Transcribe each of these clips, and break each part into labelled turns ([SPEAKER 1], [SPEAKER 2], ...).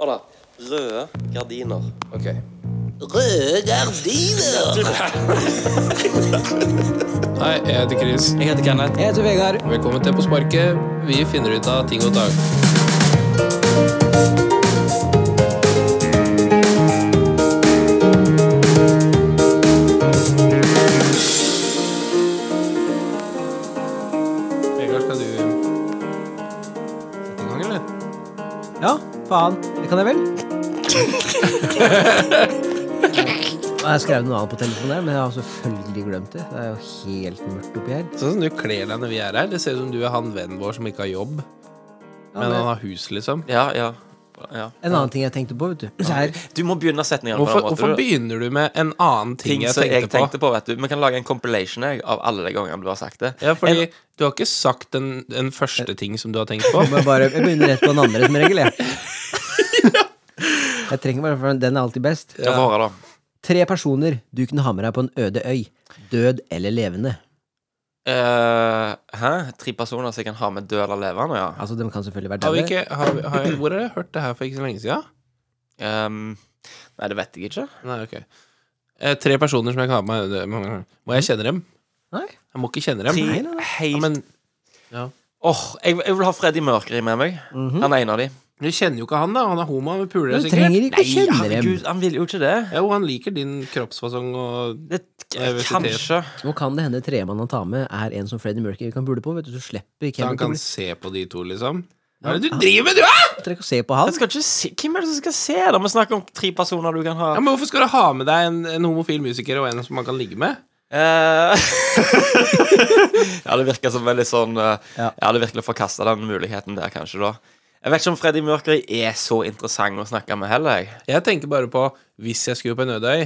[SPEAKER 1] Hør da. Røde gardiner.
[SPEAKER 2] Ok.
[SPEAKER 1] Røde gardiner!
[SPEAKER 2] Hei, jeg heter Chris.
[SPEAKER 1] Jeg heter Kenneth. Jeg heter Vegard.
[SPEAKER 2] Velkommen til På sparket. Vi finner ut av ting og tang. Vegard, skal du sette i gang, eller?
[SPEAKER 3] Ja, faen. Det kan jeg vel? Jeg har skrevet noe annet på telefonen, her, men jeg har selvfølgelig glemt det. Det er jo helt mørkt oppi her.
[SPEAKER 2] Sånn som du kler deg når vi er her. Det ser ut som du er han vennen vår som ikke har jobb,
[SPEAKER 3] Ja,
[SPEAKER 2] men
[SPEAKER 3] det-
[SPEAKER 2] han har hus, liksom.
[SPEAKER 1] Ja, ja. ja.
[SPEAKER 3] En annen ting jeg tenkte på, vet du. Så her,
[SPEAKER 1] Du må begynne setningene på
[SPEAKER 2] Hvorfor,
[SPEAKER 1] den måten. du.
[SPEAKER 2] hvorfor begynner du med en annen
[SPEAKER 1] Ting
[SPEAKER 2] ting, jeg
[SPEAKER 1] som
[SPEAKER 2] tenkte,
[SPEAKER 1] jeg tenkte på, vet du. Vi kan lage en compilation jeg, av alle de gangene du har sagt det.
[SPEAKER 2] på? Ja, fordi
[SPEAKER 1] En-
[SPEAKER 2] du har ikke sagt den, den første ting som du har tenkt på.
[SPEAKER 3] må jeg, bare, jeg begynner rett på den andre som regel, jeg. Jeg trenger bare for den er alltid best.
[SPEAKER 1] Ja, få høre, da.
[SPEAKER 3] Tre personer du kunne ha med deg på en øde øy. Død eller levende.
[SPEAKER 1] Eh, hæ? Tre personer som jeg kan ha med død eller levende? Ja.
[SPEAKER 3] Altså, de kan selvfølgelig være
[SPEAKER 2] Har vi
[SPEAKER 3] døde.
[SPEAKER 2] ikke, har, vi- har jeg, hvor har jeg hørt det her for ikke så lenge siden?
[SPEAKER 1] Ehm, nei, det vet jeg ikke.
[SPEAKER 2] Nei, ok eh, Tre personer som jeg kan ha med det- Må jeg kjenne dem?
[SPEAKER 3] Nei.
[SPEAKER 2] Jeg må ikke kjenne dem.
[SPEAKER 1] Tre
[SPEAKER 2] Ja,
[SPEAKER 1] helt Åh,
[SPEAKER 2] men
[SPEAKER 1] jeg, jeg vil ha Freddie Mercury med meg.
[SPEAKER 2] Mhm.
[SPEAKER 1] Han er en av de.
[SPEAKER 2] du kjenner jo ikke han, da. Han er homo, han puler deg
[SPEAKER 3] Du
[SPEAKER 2] sikkert.
[SPEAKER 3] trenger ikke å kjenne dem.
[SPEAKER 1] herregud, han vil jo ikke det.
[SPEAKER 2] Jo, han liker din kroppsfasong og
[SPEAKER 1] det
[SPEAKER 2] Nervøsitet.
[SPEAKER 1] kanskje.
[SPEAKER 3] Nå kan det hende treet man har tatt med, er en som Freddie Mercury kan bule på. Vet du, så
[SPEAKER 2] så
[SPEAKER 3] slipper Kenneth
[SPEAKER 2] han
[SPEAKER 3] å
[SPEAKER 2] kan
[SPEAKER 3] bli-
[SPEAKER 2] se på de to, liksom. Hva er det du driver med, du, da?!
[SPEAKER 3] Du trenger ikke å se på han.
[SPEAKER 1] Jeg skal ikke se, hvem er det som skal se det? Vi snakker om tre personer du kan ha.
[SPEAKER 2] Ja, men hvorfor skal du ha med deg en, en homofil musiker og en som man kan ligge med?
[SPEAKER 1] Eh, ja, det virker som veldig sånn eh,
[SPEAKER 3] Ja.
[SPEAKER 1] Jeg hadde virkelig forkasta den muligheten der, kanskje, da. Jeg vet ikke om Freddie Mercury er så interessant å snakke med heller. jeg.
[SPEAKER 2] Jeg tenker bare på hvis jeg skulle på en ødøy.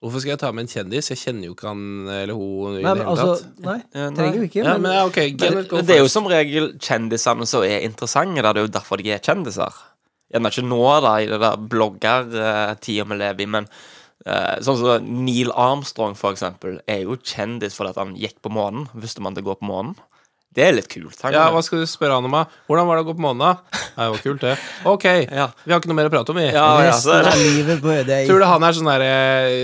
[SPEAKER 2] Hvorfor skal jeg ta med en kjendis? Jeg kjenner jo ikke han eller hun. i det
[SPEAKER 3] Nei, men
[SPEAKER 2] hele
[SPEAKER 3] altså,
[SPEAKER 2] tatt.
[SPEAKER 3] nei,
[SPEAKER 1] Eh, nei.
[SPEAKER 3] trenger jo ikke.
[SPEAKER 2] Ja, men
[SPEAKER 3] men,
[SPEAKER 2] ja, ok,
[SPEAKER 1] Men,
[SPEAKER 2] Kenneth, go
[SPEAKER 1] men det er jo
[SPEAKER 2] first.
[SPEAKER 1] som regel kjendisene som er interessante. Da. Det er jo derfor de er kjendiser. Gjerne ikke nå, da, i det der bloggertida vi lever i, men eh, sånn som Neil Armstrong, for eksempel, er jo kjendis fordi at han gikk på månen. Visste man det går på månen? Det er litt kult. tenker
[SPEAKER 2] Ja,
[SPEAKER 1] jeg.
[SPEAKER 2] hva skal du spørre han om? da? Hvordan var det å gå på månen? da? Nei, Det var kult, det. Ok,
[SPEAKER 1] Ja.
[SPEAKER 2] vi har ikke noe mer å prate om, vi.
[SPEAKER 1] ja, ja, altså, så er det.
[SPEAKER 3] resten av livet på Ødøy.
[SPEAKER 2] Tror du han er sånn der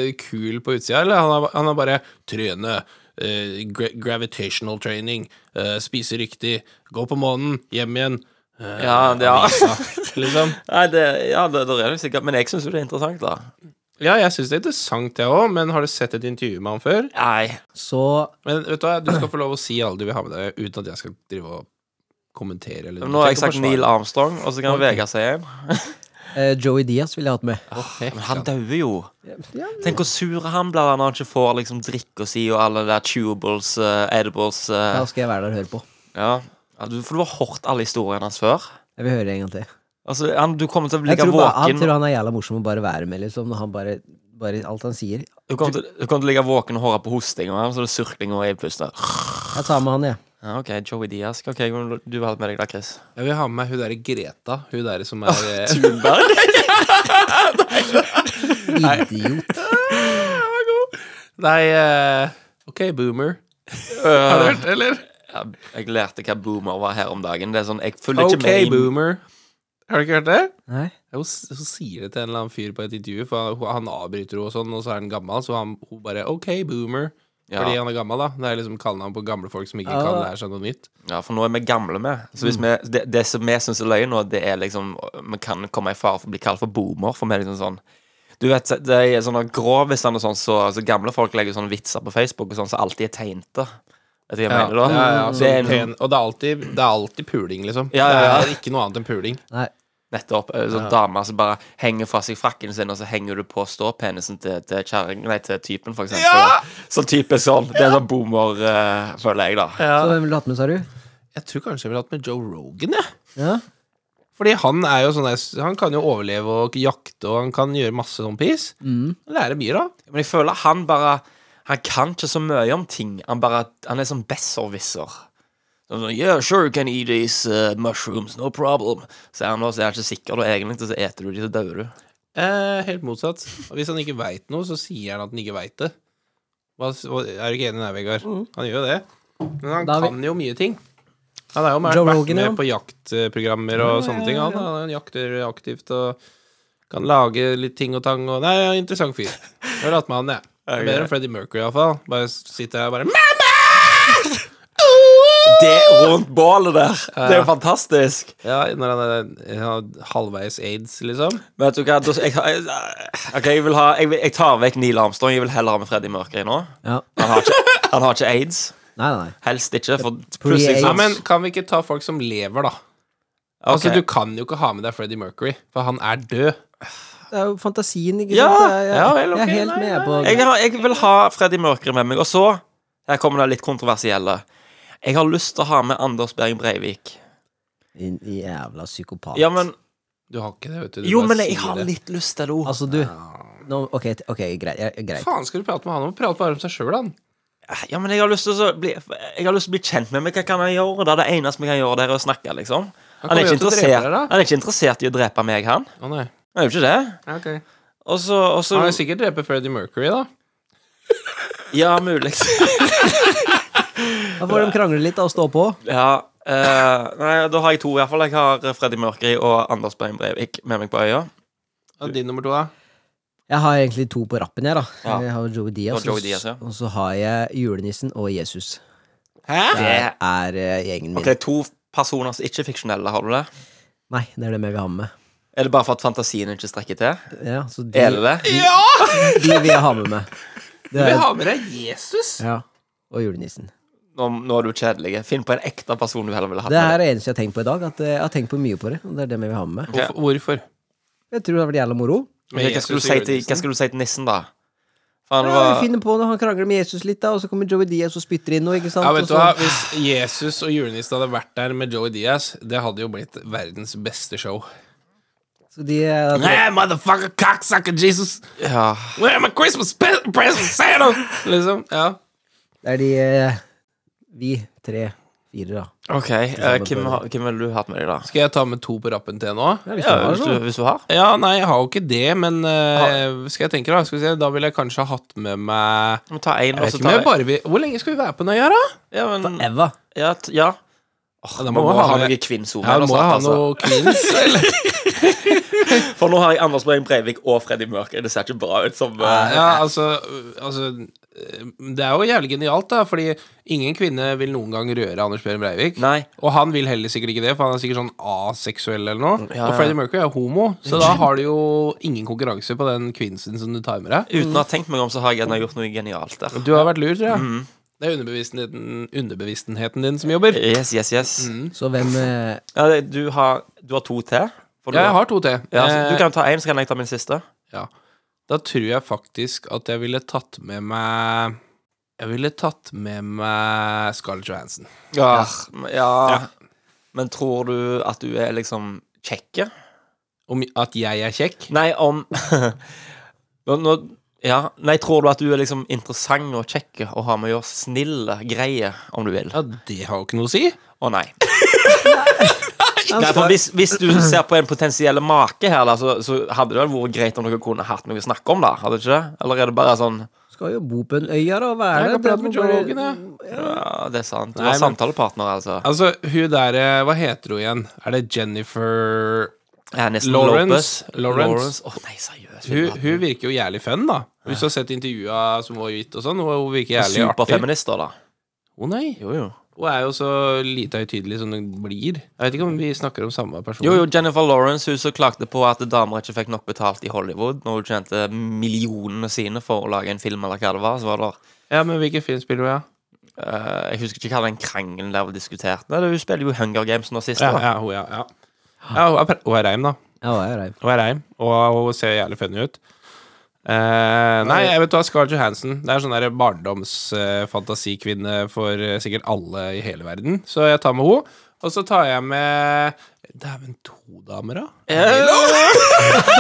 [SPEAKER 2] eh, kul på utsida, eller han har, han har bare trene, eh, gra gravitational training, eh, spise riktig, gå på månen, hjem igjen, eh,
[SPEAKER 1] Ja, det- ja.
[SPEAKER 2] avisa, liksom.
[SPEAKER 1] Nei, det, ja, det, det er det sikkert. Men jeg syns jo det er interessant, da.
[SPEAKER 2] Ja, jeg syns det er interessant, jeg òg, men har du sett et intervju med han før?
[SPEAKER 1] Nei.
[SPEAKER 3] Så
[SPEAKER 2] Men vet du hva, du skal få lov å si alle du vil ha med deg, uten at jeg skal drive og kommentere. Eller,
[SPEAKER 1] Nå har jeg sagt Neil Armstrong, og så kan Vegard si en.
[SPEAKER 3] eh, Joey Diaz ville jeg hatt med.
[SPEAKER 1] Men han dauer jo.
[SPEAKER 3] Ja,
[SPEAKER 1] Tenk hvor sur han blir når han ikke får liksom drikka si og alle de der tubables, eh, edibles eh,
[SPEAKER 3] Da skal jeg være der og høre på.
[SPEAKER 1] Ja, ja du, For du har hørt alle historiene hans før.
[SPEAKER 3] Jeg vil høre en gang til.
[SPEAKER 1] Altså, han, Du kommer til å
[SPEAKER 3] Jeg
[SPEAKER 1] ligge
[SPEAKER 3] tror bare, han
[SPEAKER 1] våken
[SPEAKER 3] tror han er jævla morsom å bare være med, liksom. Når han bare, bare alt han sier.
[SPEAKER 1] Du kommer til, du kommer til å ligge våken og høre på hostinga hans og sånn, surklinga i pusten.
[SPEAKER 3] Jeg tar med han, jeg.
[SPEAKER 1] Ja, OK, Joey Diaz. Ok, hvem Du har hatt med deg da, Chris.
[SPEAKER 2] Jeg vil ha med meg hun derre Greta. Hun derre som er eh,
[SPEAKER 1] Thunberg?
[SPEAKER 3] Idiot.
[SPEAKER 2] Nei, eh, OK, boomer. Har du
[SPEAKER 1] Eh,
[SPEAKER 2] hørt, eller?
[SPEAKER 1] jeg lærte hva boomer var her om dagen. Det er sånn, Jeg følger ikke
[SPEAKER 2] OK,
[SPEAKER 1] med i
[SPEAKER 2] boomer. Har du ikke hørt det?
[SPEAKER 3] Nei.
[SPEAKER 2] Ja, Hun, s- hun sier det til en eller annen fyr på et intervju, for han, han avbryter henne og sånn, og så er han gammel, så han, hun bare OK, boomer.
[SPEAKER 1] Ja. Ah.
[SPEAKER 2] Fordi han er gammel, da. Det er liksom kallenavn på gamle folk som ikke
[SPEAKER 3] Ja.
[SPEAKER 2] kan lære seg noe nytt.
[SPEAKER 1] Ja, for nå er vi gamle med. Så
[SPEAKER 2] Mm.
[SPEAKER 1] hvis vi, det, det som vi syns er løgn nå, det er liksom Vi kan komme i fare for å bli kalt for boomer, for vi er liksom sånn Du vet, det er sånne gråvisene og sånn, så, så gamle folk legger sånne vitser på Facebook og sånn, som alltid er tegnte. Vet du hva jeg mener da?
[SPEAKER 2] ja, ja,
[SPEAKER 1] det
[SPEAKER 2] sånn
[SPEAKER 1] er liksom en,
[SPEAKER 2] pen, og det er, alltid, det er alltid puling, liksom.
[SPEAKER 1] Ja, ja, ja.
[SPEAKER 2] Det er ikke noe annet enn puling.
[SPEAKER 3] Nei.
[SPEAKER 1] nettopp eh, sånn dame som bare henger fra seg frakken sin, og så henger du på ståpenisen til, til kjerring... Nei, til typen, for eksempel.
[SPEAKER 2] Ja!
[SPEAKER 1] Så type sånn. Det er sånn boomer, eh, føler jeg, da.
[SPEAKER 3] Så hvem ville du hatt med, sa du?
[SPEAKER 2] Jeg tror kanskje jeg ville hatt med Joe Rogan, jeg.
[SPEAKER 3] Ja.
[SPEAKER 2] Fordi han er jo sånn der, Han kan jo overleve og jakte, og han kan gjøre masse sånn piss.
[SPEAKER 3] Mm.
[SPEAKER 2] Lære mye, da.
[SPEAKER 1] Men jeg føler han bare Han kan ikke så mye om ting. Han bare Han er sånn besserwisser. Sånn sånn, Yeah, sure, you can eat these uh, mushrooms, no problem. Så er han da, så er han ikke sikker, da, egentlig, så eter du de, så dør du.
[SPEAKER 2] Eh, helt motsatt. Og hvis han ikke veit noe, så sier han at han ikke veit det. Hva, hva, er du ikke enig der, Vegard? Han gjør jo det. Men han
[SPEAKER 3] Da er vi-
[SPEAKER 2] kan jo mye ting. Han er jo med,
[SPEAKER 3] Joe
[SPEAKER 2] vært
[SPEAKER 3] Rogan,
[SPEAKER 2] med
[SPEAKER 3] ja.
[SPEAKER 2] på jaktprogrammer og sånne ting. Han, han jakter aktivt og Kan lage litt ting og tang og Nei, ja, interessant fyr. Jeg vil hatt med han, jeg. Det er Bedre enn Freddie Mercury, iallfall. Bare sitter jeg og bare Mamma!
[SPEAKER 1] Det rundt bålet der! Det er jo fantastisk.
[SPEAKER 2] Ja, når han er han har halvveis aids, liksom.
[SPEAKER 1] Men vet du hva, da- jeg, jeg, ok, jeg, vil ha, jeg, vil, jeg tar vekk Neil Armstrong. Jeg vil heller ha med Freddie Mercury nå.
[SPEAKER 3] Ja.
[SPEAKER 1] Han har ikke, han har ikke aids.
[SPEAKER 3] Nei, nei, nei.
[SPEAKER 1] Helst ikke. For
[SPEAKER 3] Pre-AIDS.
[SPEAKER 1] plutselig
[SPEAKER 2] Ja,
[SPEAKER 1] så
[SPEAKER 2] men kan vi ikke ta folk som lever, da? Altså,
[SPEAKER 1] Ok.
[SPEAKER 2] Du kan jo ikke ha med deg Freddie Mercury, for han er død.
[SPEAKER 3] Det er jo fantasien, ikke
[SPEAKER 1] Ja,
[SPEAKER 3] sant? Jeg,
[SPEAKER 1] ja,
[SPEAKER 3] jeg,
[SPEAKER 1] vel, ok,
[SPEAKER 3] er helt
[SPEAKER 2] nei,
[SPEAKER 3] med på
[SPEAKER 1] jeg, har, jeg vil ha Freddie Mercury med meg. Og så Her kommer det litt kontroversielle. Jeg har lyst til å ha med Anders Behring Breivik.
[SPEAKER 3] Din jævla psykopat.
[SPEAKER 1] Ja, men,
[SPEAKER 2] Du har ikke det, vet du. du
[SPEAKER 1] jo,
[SPEAKER 2] bare
[SPEAKER 1] men jeg
[SPEAKER 2] sier
[SPEAKER 1] har
[SPEAKER 2] det.
[SPEAKER 1] litt lyst til det òg.
[SPEAKER 3] Altså, du nå, Ok, t- ok, greit. ja, greit.
[SPEAKER 2] Faen skal du prate med han om? Prate bare om seg sjøl, han.
[SPEAKER 1] Ja, men jeg har lyst til å bli, jeg har lyst til å bli kjent med meg. Hva kan jeg gjøre? Det er det eneste vi kan gjøre, det er å snakke, liksom. Han,
[SPEAKER 2] kommer
[SPEAKER 1] er, ikke
[SPEAKER 2] jo til å drepe
[SPEAKER 1] interessert,
[SPEAKER 2] deg, da.
[SPEAKER 1] han er ikke interessert i å drepe meg, han.
[SPEAKER 2] Å nei.
[SPEAKER 1] Han er jo ikke det.
[SPEAKER 2] Ja, ok.
[SPEAKER 1] Og så, og så
[SPEAKER 2] Han vil sikkert drepe Freddie Mercury, da.
[SPEAKER 1] Ja, mulig.
[SPEAKER 3] Da får de krangle litt da, og stå på.
[SPEAKER 1] Ja. eh, nei, da har jeg to, i hvert fall. Jeg har Freddy Mørkeri og Anders Behring Breivik med meg på øya.
[SPEAKER 2] Ja, din nummer to, da.
[SPEAKER 3] Jeg har egentlig to på rappen her, da.
[SPEAKER 1] Ja.
[SPEAKER 3] Jeg har Joey Diaz,
[SPEAKER 1] Og Joey Diaz, ja.
[SPEAKER 3] og så har jeg julenissen og Jesus.
[SPEAKER 2] Hæ?
[SPEAKER 3] Det
[SPEAKER 1] Det-
[SPEAKER 3] er eh, gjengen min.
[SPEAKER 1] Ok, To personer som ikke er fiksjonelle, har du det?
[SPEAKER 3] Nei, det er dem jeg vil ha med.
[SPEAKER 1] Er det bare for at fantasien ikke strekker til?
[SPEAKER 3] Ja, så de,
[SPEAKER 1] Er det det?
[SPEAKER 2] Ja!
[SPEAKER 3] de vil jeg ha med meg.
[SPEAKER 2] Du
[SPEAKER 3] Det
[SPEAKER 2] vil
[SPEAKER 3] er,
[SPEAKER 2] ha med deg Jesus?
[SPEAKER 3] ja, og julenissen.
[SPEAKER 1] Nå, nå er du kjedelig. Finn på en ekte person du heller ville hatt
[SPEAKER 3] Det her
[SPEAKER 1] med.
[SPEAKER 3] er det eneste jeg har tenkt på i dag. At eh, jeg har tenkt på mye på det. Og det er dem jeg vil ha med meg.
[SPEAKER 1] Ok.
[SPEAKER 2] Hvorfor- Hvorfor?
[SPEAKER 3] Jeg tror det har vært jævla moro.
[SPEAKER 1] deg. Ok, Hva skulle du si til, hva skulle du si til nissen, da? Faen, det
[SPEAKER 3] Ja, vi
[SPEAKER 1] var
[SPEAKER 3] finner på når han krangler med Jesus litt, da, og så kommer Joey Diaz og spytter inn noe, ikke sant?
[SPEAKER 2] Ja, vet
[SPEAKER 3] Og
[SPEAKER 2] du
[SPEAKER 3] så-
[SPEAKER 2] hva, Hvis Jesus og julenissen hadde vært der med Joey Diaz, det hadde jo blitt verdens beste show.
[SPEAKER 3] Så de, eh,
[SPEAKER 2] Hey, motherfucker, cocksucker Jesus!
[SPEAKER 1] ja.
[SPEAKER 2] Where my Christmas pe- present, Santa? Liksom, ja.
[SPEAKER 3] det er de eh, Vi tre, fire, da.
[SPEAKER 1] OK. eh, hvem, har- hvem ville du hatt med deg, da?
[SPEAKER 2] Skal jeg ta med to på rappen til nå?
[SPEAKER 3] Ja, hvis
[SPEAKER 1] Ja,
[SPEAKER 3] du har
[SPEAKER 1] hvis, du,
[SPEAKER 3] noe.
[SPEAKER 1] hvis du har?
[SPEAKER 2] Ja, nei, jeg har jo ikke det, men eh, skal jeg tenke da? Skal vi se, da ville jeg kanskje ha hatt med meg Altså,
[SPEAKER 1] Vi tar én,
[SPEAKER 2] jeg
[SPEAKER 1] og
[SPEAKER 2] vet
[SPEAKER 1] så
[SPEAKER 2] ikke, men
[SPEAKER 1] tar
[SPEAKER 2] jeg
[SPEAKER 1] vi
[SPEAKER 2] bare vil, Hvor lenge skal vi være på den øya, da?
[SPEAKER 1] Ja, men
[SPEAKER 3] Eva.
[SPEAKER 1] Ja. t- ja.
[SPEAKER 2] da
[SPEAKER 1] da
[SPEAKER 2] må
[SPEAKER 1] må,
[SPEAKER 2] vi
[SPEAKER 1] vi ha
[SPEAKER 2] ha-
[SPEAKER 1] noe kvinnesone.
[SPEAKER 2] Ja,
[SPEAKER 1] eller
[SPEAKER 2] må jeg ha
[SPEAKER 1] sånt, altså.
[SPEAKER 2] noe kvinns, eller?
[SPEAKER 1] For nå har jeg Anders Breivik Breivik og Freddy Mørker. Det ser ikke bra ut som eh,
[SPEAKER 2] Ja, altså, øh, altså øh, Det er jo jævlig genialt, da, fordi ingen kvinne vil noen gang røre Anders Behring Breivik.
[SPEAKER 1] Nei.
[SPEAKER 2] Og han vil heller sikkert ikke det, for han er sikkert sånn aseksuell eller noe.
[SPEAKER 1] Ja,
[SPEAKER 2] Og
[SPEAKER 1] ja.
[SPEAKER 2] Freddie Mercury er homo, så da har du jo ingen konkurranse på den kvinnsen som du timer av.
[SPEAKER 1] Uten å ha tenkt meg om, så har jeg ennå gjort noe genialt der.
[SPEAKER 2] Du har vært lur, tror jeg.
[SPEAKER 1] Mm.
[SPEAKER 2] Det er underbevisstheten, underbevisstheten din som jobber.
[SPEAKER 1] Yes, yes, yes.
[SPEAKER 2] Mm.
[SPEAKER 3] Så hvem eh,
[SPEAKER 1] Ja, det- du, har, du har to til? For du,
[SPEAKER 2] Ja, jeg har to til.
[SPEAKER 1] Ja, så du
[SPEAKER 2] Eh,
[SPEAKER 1] kan ta én, så kan jeg ta min siste.
[SPEAKER 2] ja. Da tror jeg faktisk at jeg ville tatt med meg Jeg ville tatt med meg Scarlett Johansson.
[SPEAKER 1] Ja. ja.
[SPEAKER 2] Ja.
[SPEAKER 1] Men tror du at du er liksom kjekke?
[SPEAKER 2] Om at jeg er kjekk?
[SPEAKER 1] Nei, om nå, nå, ja. Nei, tror du at du er liksom interessant og kjekk og har med å gjøre snille greier, om du vil?
[SPEAKER 2] Ja, det har jo ikke noe å si.
[SPEAKER 1] Å nei.
[SPEAKER 2] Altså,
[SPEAKER 1] Nei, for hvis, hvis du ser på en potensiell make her, da, så, så hadde det vel vært greit om dere kunne hatt noe å snakke om, da? Hadde det ikke det? Eller er det bare sånn
[SPEAKER 3] skal jo bo på en øy her, og hva
[SPEAKER 2] Jeg
[SPEAKER 3] er det?
[SPEAKER 2] kan prate
[SPEAKER 3] Det
[SPEAKER 2] med
[SPEAKER 3] må
[SPEAKER 2] Joe
[SPEAKER 3] bare-
[SPEAKER 2] Rogan, jeg.
[SPEAKER 1] Ja, det er sant. Du
[SPEAKER 2] Nei,
[SPEAKER 1] var
[SPEAKER 2] men-
[SPEAKER 1] samtalepartner, altså.
[SPEAKER 2] Altså, hun der eh, Hva heter hun igjen? Er det Jennifer
[SPEAKER 1] Aniston
[SPEAKER 2] Lawrence.
[SPEAKER 1] Lopez.
[SPEAKER 2] Lawrence.
[SPEAKER 1] Lawrence. Åh, nei, seriøst.
[SPEAKER 2] hun, hun virker jo jævlig fun, da. Hvis du har sett intervjua som var gitt og sånn, hun- hun virker jævlig artig.
[SPEAKER 1] Superfeminister, da.
[SPEAKER 2] Å nei.
[SPEAKER 1] Jo, jo.
[SPEAKER 2] Hun er jo så lite høytidelig som hun blir. Jeg vet ikke om vi snakker om samme person.
[SPEAKER 1] Jo, jo, Jennifer Lawrence hun som klagde på at damer ikke fikk nok betalt i Hollywood når hun tjente millionene sine for å lage en film, eller hva det var. Så var det
[SPEAKER 2] Ja, men hvilken film spiller hun, ja?
[SPEAKER 1] eh, Jeg husker ikke hva den krangelen der var diskutert. Nei, det- Hun spiller jo Hunger Games nå sist.
[SPEAKER 2] Ja,
[SPEAKER 1] da.
[SPEAKER 2] ja, hun, ja, ja. ja hun, er, pre- hun er reim, da.
[SPEAKER 3] Ja, hva er det?
[SPEAKER 2] Hun er reim, og hun ser jævlig funny ut. Eh, nei, jeg vet hva, Scarlett Johansson. Det er sånn der barndomsfantasikvinne for eh, sikkert alle i hele verden. Så jeg tar med henne. Og så tar jeg med Dæven, to damer, da?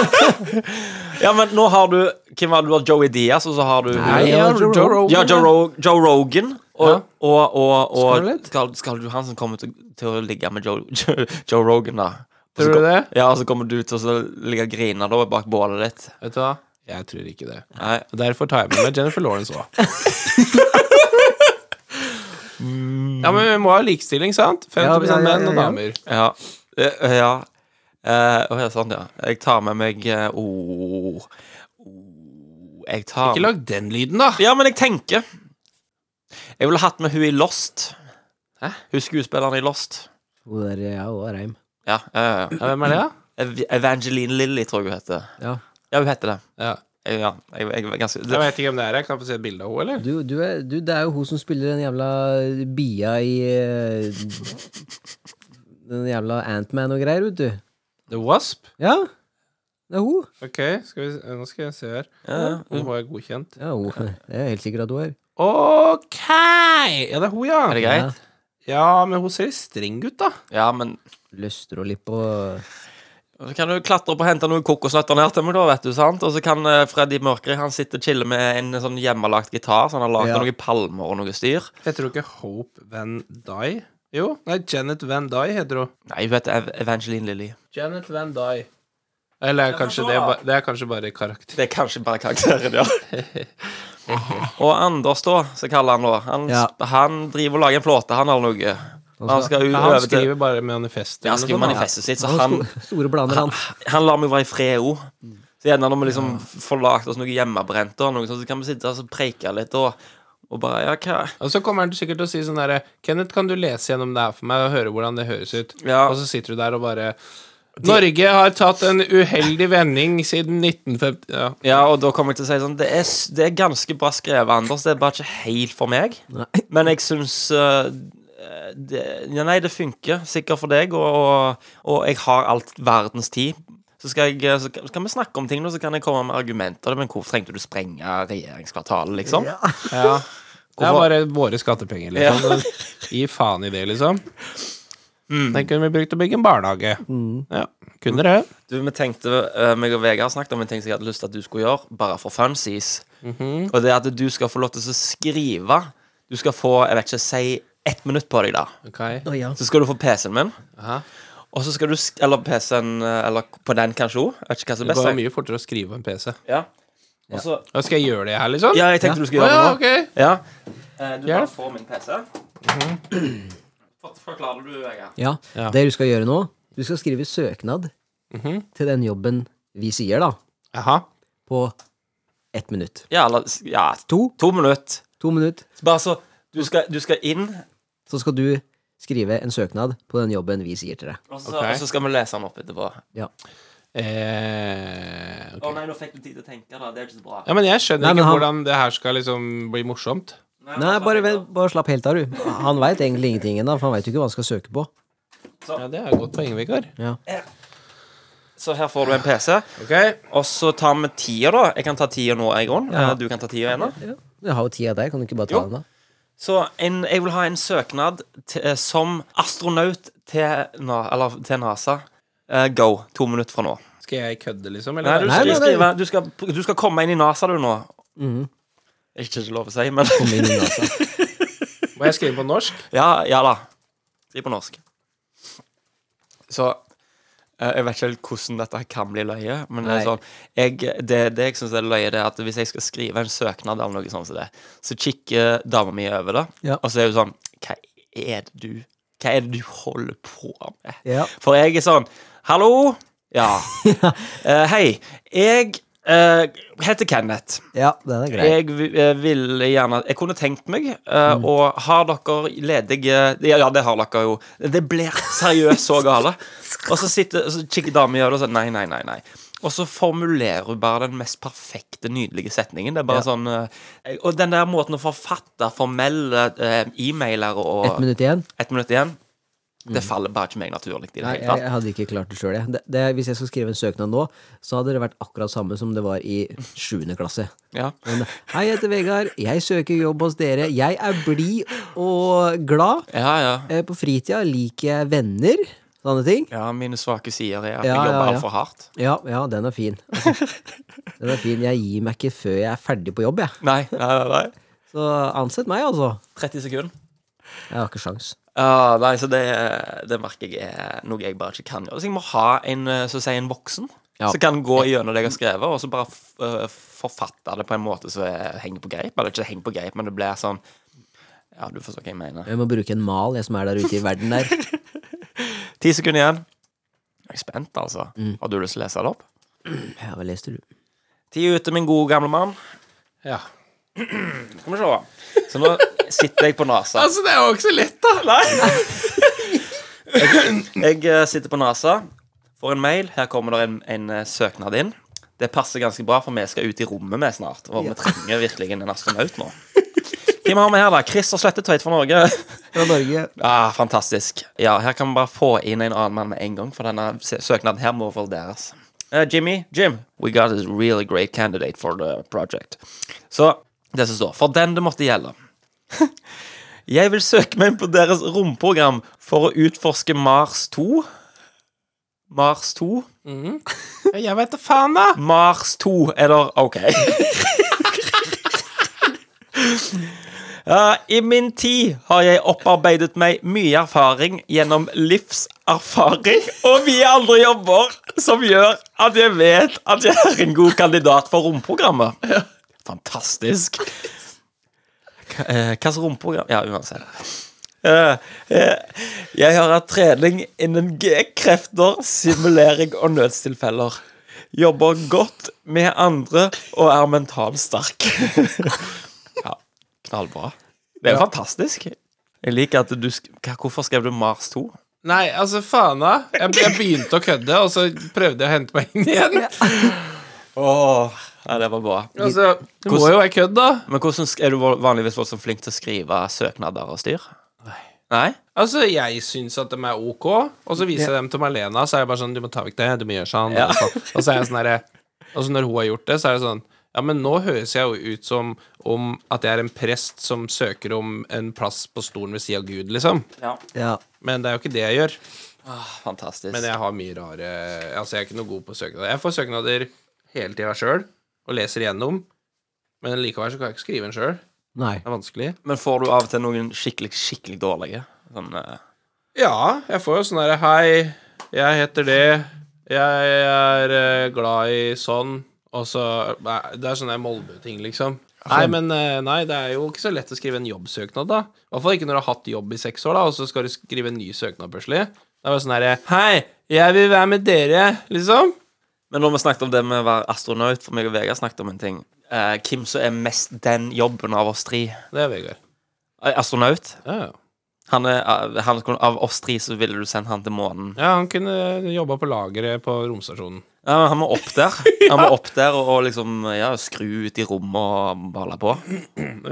[SPEAKER 1] Ja, men nå har du Hvem var det du har? Joey Diaz, og så har du
[SPEAKER 3] Nei, ja, Joe Rogan,
[SPEAKER 1] Ja, Joe, Rog Joe Rogan. Og,
[SPEAKER 2] Ja.
[SPEAKER 1] og, og, og
[SPEAKER 2] Scarlett?
[SPEAKER 1] Skal, skal du Hansen kommer til, til å ligge med Joe, Joe, Joe Rogan, da. Og så
[SPEAKER 2] Tror du
[SPEAKER 1] kom-
[SPEAKER 2] det?
[SPEAKER 1] Ja, og så kommer du til å så ligge og grine da, bak bålet ditt.
[SPEAKER 2] Vet du hva? Jeg tror ikke det.
[SPEAKER 1] Nei.
[SPEAKER 2] Og Derfor tar jeg med meg Jennifer Lawrence òg. Mm. Ja, men vi må ha likestilling, sant? 50
[SPEAKER 3] Ja, ja, ja, ja,
[SPEAKER 2] menn og
[SPEAKER 3] ja.
[SPEAKER 2] damer.
[SPEAKER 1] Ja. Eh, Ja. Eh, Å ja, sånn, ja. Jeg tar med meg eh, oh, oh, Jeg tar
[SPEAKER 2] Ikke lag den lyden, da.
[SPEAKER 1] Ja, men jeg tenker Jeg ville hatt med hun i Lost. Hæ? Hun skuespilleren i Lost.
[SPEAKER 3] Hun der, ja, hun er reim.
[SPEAKER 1] Ja, ja, ja.
[SPEAKER 2] Ja, Hvem er det, da?
[SPEAKER 1] Ev- Evangeline Lilly, tror jeg hun heter.
[SPEAKER 3] Ja.
[SPEAKER 1] Ja, hun heter det.
[SPEAKER 2] Ja.
[SPEAKER 1] Jeg- Ja, jeg, jeg er ganske
[SPEAKER 2] Jeg vet ikke hvem det er. Jeg kan få se et bilde av henne, eller?
[SPEAKER 3] Du, du, er, du, det er jo hun som spiller den jævla bia i eh, Den jævla Antman og greier, vet du.
[SPEAKER 2] The Wasp.
[SPEAKER 3] Ja, det er hun.
[SPEAKER 2] Ok, skal vi, se- nå skal jeg se her.
[SPEAKER 1] Ja, ja.
[SPEAKER 2] Hun var godkjent.
[SPEAKER 3] Ja, hun. Det er jeg helt sikker at hun er.
[SPEAKER 2] Ok! Ja, det er hun,
[SPEAKER 1] Er det
[SPEAKER 2] ja.
[SPEAKER 1] greit?
[SPEAKER 2] Ja, men hun ser litt streng ut, da.
[SPEAKER 1] Ja, men
[SPEAKER 3] Løster og lipp og
[SPEAKER 1] Så kan du klatre opp og hente noen kokosnøtter ned til meg, da, vet du, sant? Og så kan eh, Freddy Mørkeri han sitte og chille med en sånn hjemmelagt gitar, så han har lagd
[SPEAKER 3] Ja.
[SPEAKER 1] noen palmer og noe styr.
[SPEAKER 2] Heter hun ikke Hope Van Dye? Jo, nei, Janet Van Dye heter hun.
[SPEAKER 1] Nei, hun heter Ev Evangeline Lilly.
[SPEAKER 2] Janet Van Dye. Eller er kanskje det, ba- det er kanskje bare karakter.
[SPEAKER 1] Det er kanskje bare karakteren, ja. og Anders, da, som kaller han da. Han,
[SPEAKER 3] Ja.
[SPEAKER 1] han driver og lager en flåte, han eller noe. Han skal jo
[SPEAKER 2] Ja,
[SPEAKER 1] øve
[SPEAKER 2] han
[SPEAKER 1] til
[SPEAKER 2] skriver bare manifestet.
[SPEAKER 1] Ja, han
[SPEAKER 2] eller
[SPEAKER 1] skriver
[SPEAKER 2] noe sånt, da.
[SPEAKER 1] manifestet sitt, så
[SPEAKER 3] Han har
[SPEAKER 1] han,
[SPEAKER 3] sto- store planer, han.
[SPEAKER 1] han lar meg være i fred òg. Så gjerne når vi liksom får lagd oss noe hjemmebrent, og noe sånt, så kan vi sitte og så preike litt og, og bare Ja, hva
[SPEAKER 2] Og så kommer han sikkert til å si sånn derre Kenneth, kan du lese gjennom det her for meg og høre hvordan det høres ut?
[SPEAKER 1] Ja.
[SPEAKER 2] Og så sitter du der og bare Norge har tatt en uheldig vending siden 1950 Ja.
[SPEAKER 1] Ja, og da kommer jeg til å si sånn Det er, s- det er ganske bra skrevet, Anders. Det er bare ikke helt for meg. Men jeg syns eh, det, ja, Nei, det funker sikkert for deg, og, og, og jeg har alt verdens tid. Så skal, jeg, eh, så kan- så kan vi snakke om ting, nå, så kan jeg komme med argumenter. Men hvorfor trengte du sprenge regjeringskvartalet, liksom?
[SPEAKER 2] ja. Det er
[SPEAKER 1] Hvorfor-
[SPEAKER 2] bare våre skattepenger, liksom. Gi faen i det, liksom.
[SPEAKER 1] Mm.
[SPEAKER 2] Den kunne vi brukt til å bygge en barnehage. Ja, kunne det.
[SPEAKER 1] Du, vi tenkte, eh, meg og Vegard snakket om en ting som jeg hadde lyst til at du skulle gjøre, bare for funsies. Og det er at du skal få lov til å skrive. Du skal få, jeg vet ikke, si ett minutt på deg, da.
[SPEAKER 2] Ok.
[SPEAKER 3] Å, ja.
[SPEAKER 1] Så skal du få PC-en min.
[SPEAKER 2] Aha.
[SPEAKER 1] Og så skal du sk- Eller PC-en, eh, eller på den kanskje òg. Vet ikke hva som er
[SPEAKER 2] Det
[SPEAKER 1] best.
[SPEAKER 2] går jo
[SPEAKER 1] jeg.
[SPEAKER 2] mye fortere å skrive på en PC.
[SPEAKER 1] Ja. Og så
[SPEAKER 2] Og skal jeg gjøre det her, liksom?
[SPEAKER 1] Ja, jeg tenkte du skulle
[SPEAKER 2] Å,
[SPEAKER 1] gjøre
[SPEAKER 2] ja,
[SPEAKER 1] det nå.
[SPEAKER 2] ok.
[SPEAKER 1] Ja. Eh, Du bare
[SPEAKER 2] Hjelp.
[SPEAKER 1] får min PC.
[SPEAKER 2] Mhm.
[SPEAKER 1] For- Forklarer du, Vegard?
[SPEAKER 3] Ja.
[SPEAKER 2] Ja.
[SPEAKER 3] Det du skal gjøre nå, du skal skrive søknad
[SPEAKER 1] Mhm.
[SPEAKER 3] til den jobben vi sier, da,
[SPEAKER 2] Aha.
[SPEAKER 3] på ett minutt.
[SPEAKER 1] Ja, eller s- ja,
[SPEAKER 3] To.
[SPEAKER 1] to minutter.
[SPEAKER 3] To minutter.
[SPEAKER 1] Så Bare så du skal, du skal inn,
[SPEAKER 3] Så skal du skrive en søknad på den jobben vi sier til deg.
[SPEAKER 1] og så,
[SPEAKER 2] Ok.
[SPEAKER 1] og så skal vi lese den opp etterpå. Å
[SPEAKER 3] Ja.
[SPEAKER 2] Eh, ok.
[SPEAKER 1] nei, nå fikk du tid til å tenke, da. Det er ikke så bra.
[SPEAKER 2] Ja, men jeg skjønner
[SPEAKER 3] Nei, men
[SPEAKER 2] ikke
[SPEAKER 3] han-
[SPEAKER 2] hvordan det her skal liksom bli morsomt.
[SPEAKER 3] Nei, bare, vent, bare slapp helt av, du. Han veit egentlig ingenting ennå, for han veit jo ikke hva han skal søke på.
[SPEAKER 2] Ja, det er et godt poeng, Vegard.
[SPEAKER 3] Ja.
[SPEAKER 1] Så her får du en PC.
[SPEAKER 2] Ok.
[SPEAKER 1] Og så tar vi tida, da. Jeg kan ta tida nå, Eiron.
[SPEAKER 3] Ja.
[SPEAKER 1] Eh, Du kan ta tida igjen. da
[SPEAKER 3] Ja. Du har jo tida der, kan du ikke bare ta
[SPEAKER 1] Jo.
[SPEAKER 3] den, da?
[SPEAKER 1] Så en, jeg vil ha en søknad til, som astronaut til, Na- eller, til NASA. Eh, go. To minutter fra nå.
[SPEAKER 2] Skal jeg kødde, liksom?
[SPEAKER 1] Nei, du,
[SPEAKER 2] Eller?
[SPEAKER 3] Nei,
[SPEAKER 1] skal
[SPEAKER 3] nei, nei.
[SPEAKER 1] Skrive, du, skal, du skal komme inn i NASA, du, nå.
[SPEAKER 3] Mhm.
[SPEAKER 1] Ikke ikke lov å si, men
[SPEAKER 3] Kom inn i NASA.
[SPEAKER 2] Må jeg skrive på norsk?
[SPEAKER 1] Ja, ja da. Si på norsk. Så eh, Jeg vet ikke helt hvordan dette her kan bli løye, men det, er
[SPEAKER 3] Nei.
[SPEAKER 1] sånn, jeg, det, det jeg syns er løye, det er at hvis jeg skal skrive en søknad, eller noe sånt som det, så kikker dama mi over det,
[SPEAKER 3] Ja.
[SPEAKER 1] og så er hun sånn Hva er det du Hva er det du holder på med?
[SPEAKER 3] Ja.
[SPEAKER 1] For jeg er sånn Hallo? Ja. Eh, hei. Jeg eh, heter Kenneth.
[SPEAKER 3] ja, den er grei.
[SPEAKER 1] Jeg vi- eh, ville gjerne Jeg kunne tenkt meg,
[SPEAKER 3] Mm.
[SPEAKER 1] eh, og har dere ledige ja, ja, det har dere jo. Det blir seriøst så gale. Og så sitter så kikker dama gjør det og sier nei, nei, nei. nei Og så formulerer hun bare den mest perfekte, nydelige setningen. Det er bare sånn eh, Og den der måten å forfatte formelle eh, e-mailer og
[SPEAKER 3] Ett minutt igjen?
[SPEAKER 1] Ett minutt igjen. Det faller bare ikke meg naturlig i det
[SPEAKER 3] Nei,
[SPEAKER 1] hele
[SPEAKER 3] jeg,
[SPEAKER 1] tatt.
[SPEAKER 3] jeg hadde ikke klart det sjøl, jeg. Det, det, hvis jeg skulle skrive en søknad nå, så hadde det vært akkurat samme som det var i sjuende klasse.
[SPEAKER 1] Ja.
[SPEAKER 3] Men, Hei, jeg heter Vegard. Jeg søker jobb hos dere. Jeg er blid og glad.
[SPEAKER 1] ja, ja.
[SPEAKER 3] Eh, På fritida liker jeg venner. Sånne ting.
[SPEAKER 1] Ja, mine svake sider er at jeg
[SPEAKER 3] Ja,
[SPEAKER 1] jobber
[SPEAKER 3] ja, ja.
[SPEAKER 1] altfor hardt.
[SPEAKER 3] Ja, ja, den er fin. Altså, den er fin. Jeg gir meg ikke før jeg er ferdig på jobb, jeg.
[SPEAKER 1] Nei, nei, nei. nei.
[SPEAKER 3] Så ansett meg, altså.
[SPEAKER 1] 30 sekunder.
[SPEAKER 3] Jeg har ikke sjans.
[SPEAKER 1] Ja, nei, så det, det merker jeg er noe jeg bare ikke kan gjøre. Så jeg må ha en, eh, så å si, en voksen
[SPEAKER 3] Ja.
[SPEAKER 1] som kan gå gjennom det jeg har skrevet, og så bare f- eh, forfatte det på en måte som er- henger på greip. Eller ikke henger på greip, men det blir sånn Ja, du forstår hva jeg mener.
[SPEAKER 3] Jeg må bruke en mal, jeg som er der ute i verden der.
[SPEAKER 1] Ti sekunder igjen. jeg er spent, altså.
[SPEAKER 3] Mm.
[SPEAKER 1] Har du lyst til å lese det opp?
[SPEAKER 3] Ja, hva leste du?
[SPEAKER 1] Tida ute, min gode gamle mann.
[SPEAKER 2] Ja.
[SPEAKER 1] Skal vi se. Så nå sitter jeg på nesa.
[SPEAKER 2] Altså, det er jo ikke så lett, da.
[SPEAKER 1] Jeg eh, sitter på NASA, får en mail. Her kommer det en, en eh, søknad inn. Det passer ganske bra, for vi skal ut i rommet med snart. Og vi trenger virkelig en astronaut nå. Hvem har vi her, da? Chris og Slettetveit fra Norge.
[SPEAKER 3] Fra Norge.
[SPEAKER 1] Ah, fantastisk. Ja, her kan vi bare få inn en annen mann med en gang, for denne se- søknaden her må vurderes. Eh, Jimmy, Jim, we got a really great candidate for the project. Så det som står For den det måtte gjelde. Jeg vil søke meg inn på deres romprogram for å utforske Mars 2. Mars 2?
[SPEAKER 2] Jeg veit da faen, da.
[SPEAKER 1] Mars 2 er der OK. Ja, I min tid har jeg opparbeidet meg mye erfaring gjennom livserfaring og via andre jobber, som gjør at jeg vet at jeg er en god kandidat for romprogrammet. Fantastisk. Hva- eh, Hvilket romprogram Ja, uansett. Eh, eh, Jeg har hatt trening innen G-krefter, simulering og nødstilfeller. Jobber godt med andre og er mentalt sterk. ja, knallbra. Det er jo fantastisk. Jeg liker at du sk Hva- Hvorfor skrev du Mars 2?
[SPEAKER 2] Nei, altså, faen, da. Jeg, jeg begynte å kødde, og så prøvde jeg å hente meg inn igjen.
[SPEAKER 1] Åh, ja, det var bra.
[SPEAKER 2] Altså, det må jo være kødd, da.
[SPEAKER 1] Men hvordan sk- er du vo- vanligvis voldsomt flink til å skrive søknader og styr? Nei. Nei?
[SPEAKER 2] Altså, jeg syns at de er ok, og så viser jeg dem til Malena, så er jeg bare sånn Du må ta vekk det, du må gjøre sånn.
[SPEAKER 1] Ja.
[SPEAKER 2] Og, sånn. og så er jeg sånn herre Og så når hun har gjort det, så er det sånn Ja, men nå høres jeg jo ut som om at jeg er en prest som søker om en plass på stolen ved siden av Gud, liksom.
[SPEAKER 1] Ja.
[SPEAKER 3] Ja.
[SPEAKER 2] Men det er jo ikke det jeg gjør.
[SPEAKER 1] Fantastisk.
[SPEAKER 2] Men jeg har mye rare Altså, jeg er ikke noe god på søknader. Jeg får søknader hele tida sjøl, og leser igjennom, men likevel så kan jeg ikke skrive en sjøl.
[SPEAKER 3] Nei.
[SPEAKER 2] Det er vanskelig.
[SPEAKER 1] Men får du av og til noen skikkelig, skikkelig dårlige? Sånn, eh,
[SPEAKER 2] Ja, jeg får jo sånn derre Hei, jeg heter det. Jeg er eh, glad i sånn. Og så Nei, Det er sånne Molde-ting, liksom. Nei, men eh, nei, det er jo ikke så lett å skrive en jobbsøknad, da. I hvert fall ikke når du har hatt jobb i seks år, da, og så skal du skrive en ny søknad plutselig. Det er jo sånn herre Hei, jeg vil være med dere, liksom.
[SPEAKER 1] Men når vi snakket om det med å være astronaut, for meg og Vegard snakket om en ting. Eh, hvem som er mest den jobben av oss tre?
[SPEAKER 2] Det er Vegard.
[SPEAKER 1] Eh, astronaut?
[SPEAKER 2] Ja, ja.
[SPEAKER 1] Han er, eh, han, av oss tre så ville du sendt han til månen.
[SPEAKER 2] ja, han kunne jobba på lageret på romstasjonen.
[SPEAKER 1] Ja, men han må opp der. Han må opp der og, og liksom ja, skru ut i rommet og holde på.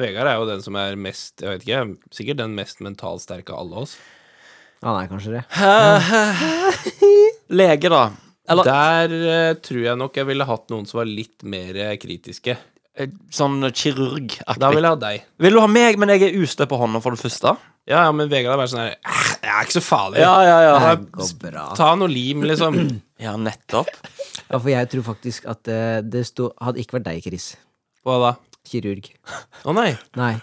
[SPEAKER 2] Vegard er jo den som er mest, jeg vet ikke, sikkert den mest mentalt sterke av alle oss.
[SPEAKER 3] Han er kanskje det.
[SPEAKER 1] Lege, da. Eller
[SPEAKER 2] Der eh, tror jeg nok jeg ville hatt noen som var litt mer eh, kritiske.
[SPEAKER 1] eh, sånn
[SPEAKER 2] Da
[SPEAKER 1] kirurgaktig.
[SPEAKER 2] ville jeg hatt deg.
[SPEAKER 1] Vil du ha meg, men jeg er ustø på hånda for det første?
[SPEAKER 2] Ja, ja, men Vegard er bare sånn her «Eh, Jeg er ikke så farlig.
[SPEAKER 1] ja,
[SPEAKER 3] Det
[SPEAKER 1] ja.
[SPEAKER 3] går bra.
[SPEAKER 2] Ta noe lim, liksom.
[SPEAKER 1] Ja, nettopp.
[SPEAKER 3] Ja, for jeg tror faktisk at eh, det sto, hadde ikke vært deg, Chris.
[SPEAKER 2] Hva da?
[SPEAKER 3] Kirurg.
[SPEAKER 2] Å nei.
[SPEAKER 3] Nei.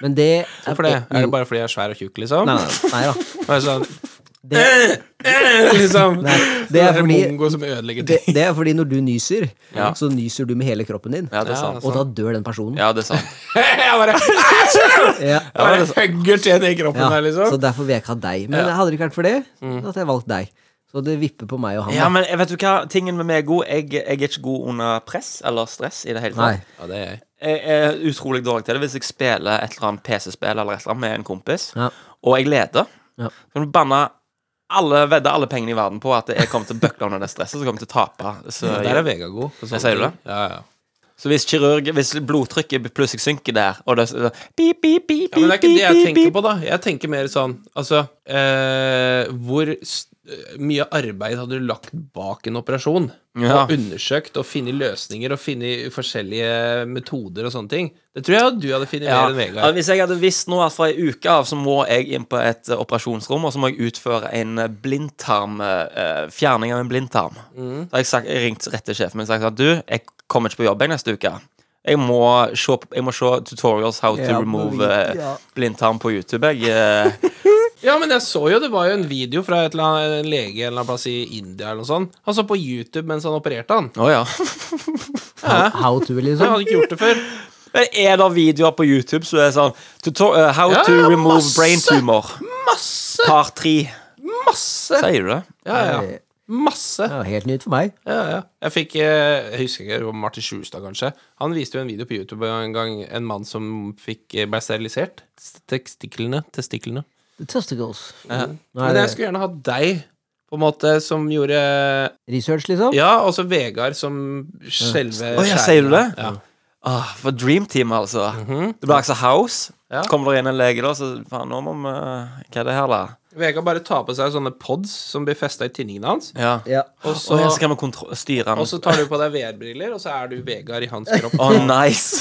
[SPEAKER 3] Men det er,
[SPEAKER 2] Hvorfor det? Er det
[SPEAKER 3] jo.
[SPEAKER 2] bare fordi jeg er svær og tjukk, liksom?
[SPEAKER 3] Nei, nei, nei da.
[SPEAKER 2] Bare sånn
[SPEAKER 3] Det,
[SPEAKER 2] liksom.
[SPEAKER 3] nei, det er fordi
[SPEAKER 2] mongo som ødelegger
[SPEAKER 3] det,
[SPEAKER 2] ting.
[SPEAKER 3] det er fordi når du nyser,
[SPEAKER 1] Ja.
[SPEAKER 3] så nyser du med hele kroppen din.
[SPEAKER 1] Ja, det er
[SPEAKER 2] Ja,
[SPEAKER 1] sant.
[SPEAKER 3] Og da dør den personen.
[SPEAKER 1] Ja, det er sant.
[SPEAKER 2] jeg bare,
[SPEAKER 3] Ja.
[SPEAKER 2] jeg bare hugger til i kroppen
[SPEAKER 3] Ja,
[SPEAKER 2] her,
[SPEAKER 3] Så
[SPEAKER 2] liksom. Mm.
[SPEAKER 3] derfor vil jeg ikke ha deg. Men hadde det ikke vært for det, så hadde jeg valgt deg. Så det vipper på meg og han.
[SPEAKER 1] Ja,
[SPEAKER 3] da.
[SPEAKER 1] men jeg vet du hva? Tingen med meg er god. Jeg, jeg er ikke god under press eller stress i det hele
[SPEAKER 3] Nei.
[SPEAKER 1] tatt.
[SPEAKER 2] Ja, det er jeg.
[SPEAKER 1] Jeg er utrolig dårlig til det hvis jeg spiller et eller annet PC-spill eller et eller annet med en kompis,
[SPEAKER 3] Ja.
[SPEAKER 1] og jeg leder.
[SPEAKER 3] Ja.
[SPEAKER 1] Så kan du banne alle, vedde alle pengene i verden på at jeg kommer til å bøkle under det stresset, så kommer jeg til å tape. Så,
[SPEAKER 2] Der er Vegard god. på
[SPEAKER 1] Jeg
[SPEAKER 2] sånne
[SPEAKER 1] sier
[SPEAKER 2] ting.
[SPEAKER 1] det.
[SPEAKER 2] Ja, ja.
[SPEAKER 1] så hvis kirurg Hvis blodtrykket plutselig synker der, og det er sånn pip, pip, pip,
[SPEAKER 2] Ja, men det er ikke
[SPEAKER 1] pip,
[SPEAKER 2] det jeg
[SPEAKER 1] pip,
[SPEAKER 2] tenker
[SPEAKER 1] pip.
[SPEAKER 2] på, da. Jeg tenker mer sånn Altså, eh, hvor s- eh, mye arbeid hadde du lagt bak en operasjon?
[SPEAKER 1] Ja.
[SPEAKER 2] Og undersøkt og funnet løsninger og funnet forskjellige metoder og sånne ting. Det tror jeg du hadde funnet
[SPEAKER 1] Ja,
[SPEAKER 2] mer
[SPEAKER 1] altså,
[SPEAKER 2] enn Vegard.
[SPEAKER 1] hvis jeg hadde visst nå at fra ei uke av så må jeg inn på et eh, operasjonsrom, og så må jeg utføre en eh, blindtarm eh, eh, Fjerning av en blindtarm.
[SPEAKER 2] Mm.
[SPEAKER 1] Da har jeg, sagt, jeg ringt rett til sjefen min og sagt at du, jeg kommer ikke på jobb jeg neste uke. Jeg må se, på- jeg må se tutorials how to
[SPEAKER 3] Ja, på
[SPEAKER 1] remove
[SPEAKER 3] vid-
[SPEAKER 1] eh,
[SPEAKER 3] ja.
[SPEAKER 1] blindtarm på YouTube. Jeg, eh,
[SPEAKER 2] Ja, men jeg så jo det var jo en video fra et eller annet, en lege en eller annen plass i India eller noe sånt. Han så på YouTube mens han opererte, han.
[SPEAKER 1] Å ja.
[SPEAKER 2] Ja,
[SPEAKER 3] How to,
[SPEAKER 2] han
[SPEAKER 3] liksom.
[SPEAKER 2] hadde ikke gjort det før.
[SPEAKER 1] Men er det videoer på YouTube som er sånn tuto- eh, How
[SPEAKER 2] Ja,
[SPEAKER 1] to
[SPEAKER 2] ja,
[SPEAKER 1] remove
[SPEAKER 2] masse.
[SPEAKER 1] brain tumor.
[SPEAKER 2] Masse!
[SPEAKER 1] Par tre.
[SPEAKER 2] Masse!
[SPEAKER 1] Sier du det?
[SPEAKER 2] Ja, ja. Masse.
[SPEAKER 3] Det var helt nytt for meg.
[SPEAKER 2] Ja, ja. Jeg fikk eh, Jeg husker ikke, det var Martin Sjulstad, kanskje. Han viste jo en video på YouTube en gang, en mann som fikk, eh, ble sterilisert. Testiklene. Testiklene. Mm.
[SPEAKER 3] The testicles. Nei,
[SPEAKER 2] Men jeg skulle gjerne hatt deg, på en måte, som gjorde
[SPEAKER 3] Research, liksom?
[SPEAKER 2] Ja, også Vegard som selve
[SPEAKER 1] Å ja,
[SPEAKER 2] skjæringen.
[SPEAKER 1] sier du det?
[SPEAKER 2] Ja.
[SPEAKER 1] Ah, for Dream Team, altså. Det blir altså House.
[SPEAKER 2] Ja.
[SPEAKER 1] Kommer det inn en lege, da, så faen, nå må vi Hva er det her, da?
[SPEAKER 2] Vegard bare tar på seg sånne pods som blir festa i tinningene hans.
[SPEAKER 1] Ja.
[SPEAKER 3] Ja.
[SPEAKER 2] Og
[SPEAKER 1] Så,
[SPEAKER 2] så,
[SPEAKER 1] ja, så kan vi kontro- styre
[SPEAKER 2] og
[SPEAKER 1] han.
[SPEAKER 2] så tar du på deg VR-briller, og så er du Vegard i hans kropp.
[SPEAKER 1] Å, nice!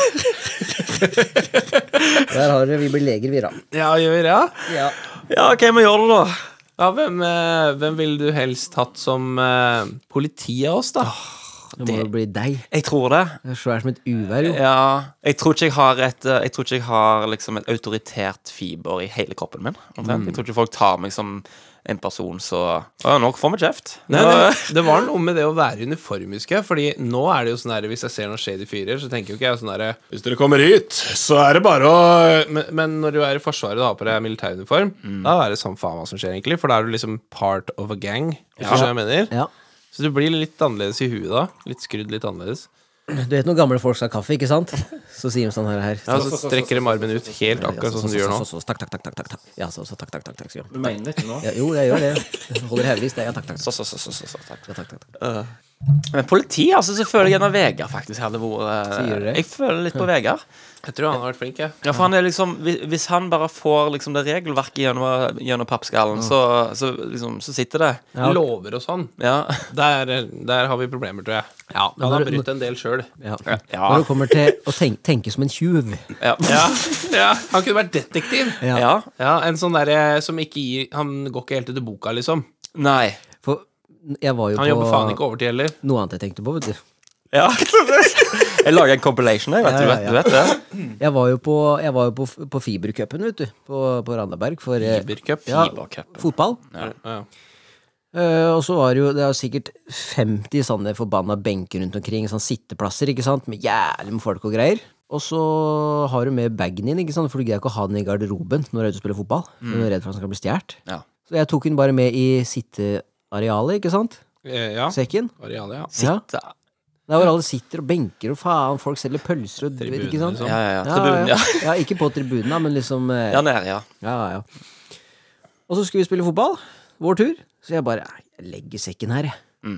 [SPEAKER 3] Der har dere Vi blir leger, vi, da.
[SPEAKER 2] Ja, gjør ja.
[SPEAKER 3] Ja.
[SPEAKER 1] ja, OK, vi gjør det, da.
[SPEAKER 2] ja hvem, eh, hvem ville du helst hatt som eh, politi av oss, da?
[SPEAKER 3] Det må jo bli deg.
[SPEAKER 1] Jeg tror det.
[SPEAKER 3] Du er svær som et uvær, jo.
[SPEAKER 1] Ja. Jeg tror ikke jeg har et eh, Jeg tror ikke jeg har liksom et autoritært fiber i hele kroppen min. omtrent. Jeg tror ikke folk tar meg som en person så Å, nå får vi kjeft.
[SPEAKER 2] Nei,
[SPEAKER 1] Nå-
[SPEAKER 2] det, det var noe med det å være i uniform, husker jeg. Fordi nå er det jo sånn her hvis jeg ser noen shady fyrer, så tenker jo ikke jeg sånn herre Hvis dere kommer hit, så er det bare å Mm. Men, men når du er i Forsvaret og har på deg militæruniform, da er det samme faen hva som skjer, egentlig. For da er du liksom part of a gang. Hvis du skjønner hva jeg mener.
[SPEAKER 3] Ja.
[SPEAKER 2] Så du blir litt annerledes i huet da. Litt skrudd litt annerledes.
[SPEAKER 3] Du vet når gamle folk skal ha kaffe, ikke sant? Så sier de sånn her. her.
[SPEAKER 2] Ja, så strekker de armen ut helt akkurat sånn som du gjør nå.
[SPEAKER 3] Så, så, så, takk, takk, takk, takk, takk, takk. Ja, så, så, takk, takk, takk, takk, sier de.
[SPEAKER 1] Du mener det ikke nå?
[SPEAKER 3] Ja, jo, jeg gjør det. Jeg Holder haugevis. det. Ja, takk, takk.
[SPEAKER 1] Så, så, så, så, så, så, takk.
[SPEAKER 3] Ja, takk, takk, takk.
[SPEAKER 1] Men politi, altså, så føler jeg en av Vegard faktisk hadde vært eh,
[SPEAKER 3] Sier du det?
[SPEAKER 1] Jeg føler litt på Vegard.
[SPEAKER 2] Jeg tror han har vært flink, jeg.
[SPEAKER 1] Ja, for han er liksom hvi- Hvis han bare får liksom det regelverket gjennom, gjennom pappskallen, så, så, liksom, så sitter det.
[SPEAKER 2] Lover og sånn.
[SPEAKER 1] Ja.
[SPEAKER 2] Der, der har vi problemer, tror jeg. Ja, Han har
[SPEAKER 3] når-
[SPEAKER 2] brutt en del sjøl.
[SPEAKER 3] Ja.
[SPEAKER 1] Ja.
[SPEAKER 3] Når det kommer til å tenke, tenke som en tjuv
[SPEAKER 1] Ja.
[SPEAKER 2] Ja, ja. Han kunne vært detektiv.
[SPEAKER 3] Ja.
[SPEAKER 1] Ja.
[SPEAKER 2] Ja, en sånn derre som ikke gir Han går ikke helt etter boka, liksom.
[SPEAKER 1] Nei.
[SPEAKER 3] For jeg var jo
[SPEAKER 2] Han jobber
[SPEAKER 3] på
[SPEAKER 2] faen ikke overtid heller.
[SPEAKER 3] noe annet jeg tenkte på, vet du.
[SPEAKER 1] Ja. Jeg lager en compilation, jeg. Vet,
[SPEAKER 3] Ja,
[SPEAKER 1] du,
[SPEAKER 3] ja,
[SPEAKER 1] vet, du vet det?
[SPEAKER 3] Jeg var jo på, jeg var jo på, f- på Fibercupen, vet du. På, på Randaberg for eh,
[SPEAKER 2] Fibercup.
[SPEAKER 3] ja,
[SPEAKER 1] Fibercupen.
[SPEAKER 3] fotball.
[SPEAKER 2] Ja.
[SPEAKER 3] Eh, og så var det jo det er jo sikkert 50 sånne forbanna benker rundt omkring, sånn sitteplasser, ikke sant, med jævlig med folk og greier. Og så har du med bagen din, ikke sant, for du greier ikke å ha den i garderoben når du er ute og spiller fotball. Du
[SPEAKER 2] Mm.
[SPEAKER 3] er redd for at den skal bli stjålet.
[SPEAKER 1] Ja.
[SPEAKER 3] Så jeg tok den bare med i sittearealet, ikke sant?
[SPEAKER 2] Eh, ja.
[SPEAKER 3] Sekken.
[SPEAKER 2] Arealet, ja.
[SPEAKER 3] Ja.
[SPEAKER 1] Da.
[SPEAKER 3] Der hvor alle sitter og benker og faen, folk selger pølser og
[SPEAKER 2] Tribunen,
[SPEAKER 3] ikke sant?
[SPEAKER 2] liksom.
[SPEAKER 1] Ja, ja, ja.
[SPEAKER 3] Ja,
[SPEAKER 1] Tribunen, ja.
[SPEAKER 3] ja. ja, ikke på tribunen, da, men liksom eh,
[SPEAKER 1] Ja, nede, ja.
[SPEAKER 3] Ja, ja, ja. Og så skulle vi spille fotball. Vår tur. Så jeg bare "Nei, Jeg legger sekken her, jeg.
[SPEAKER 1] Mm.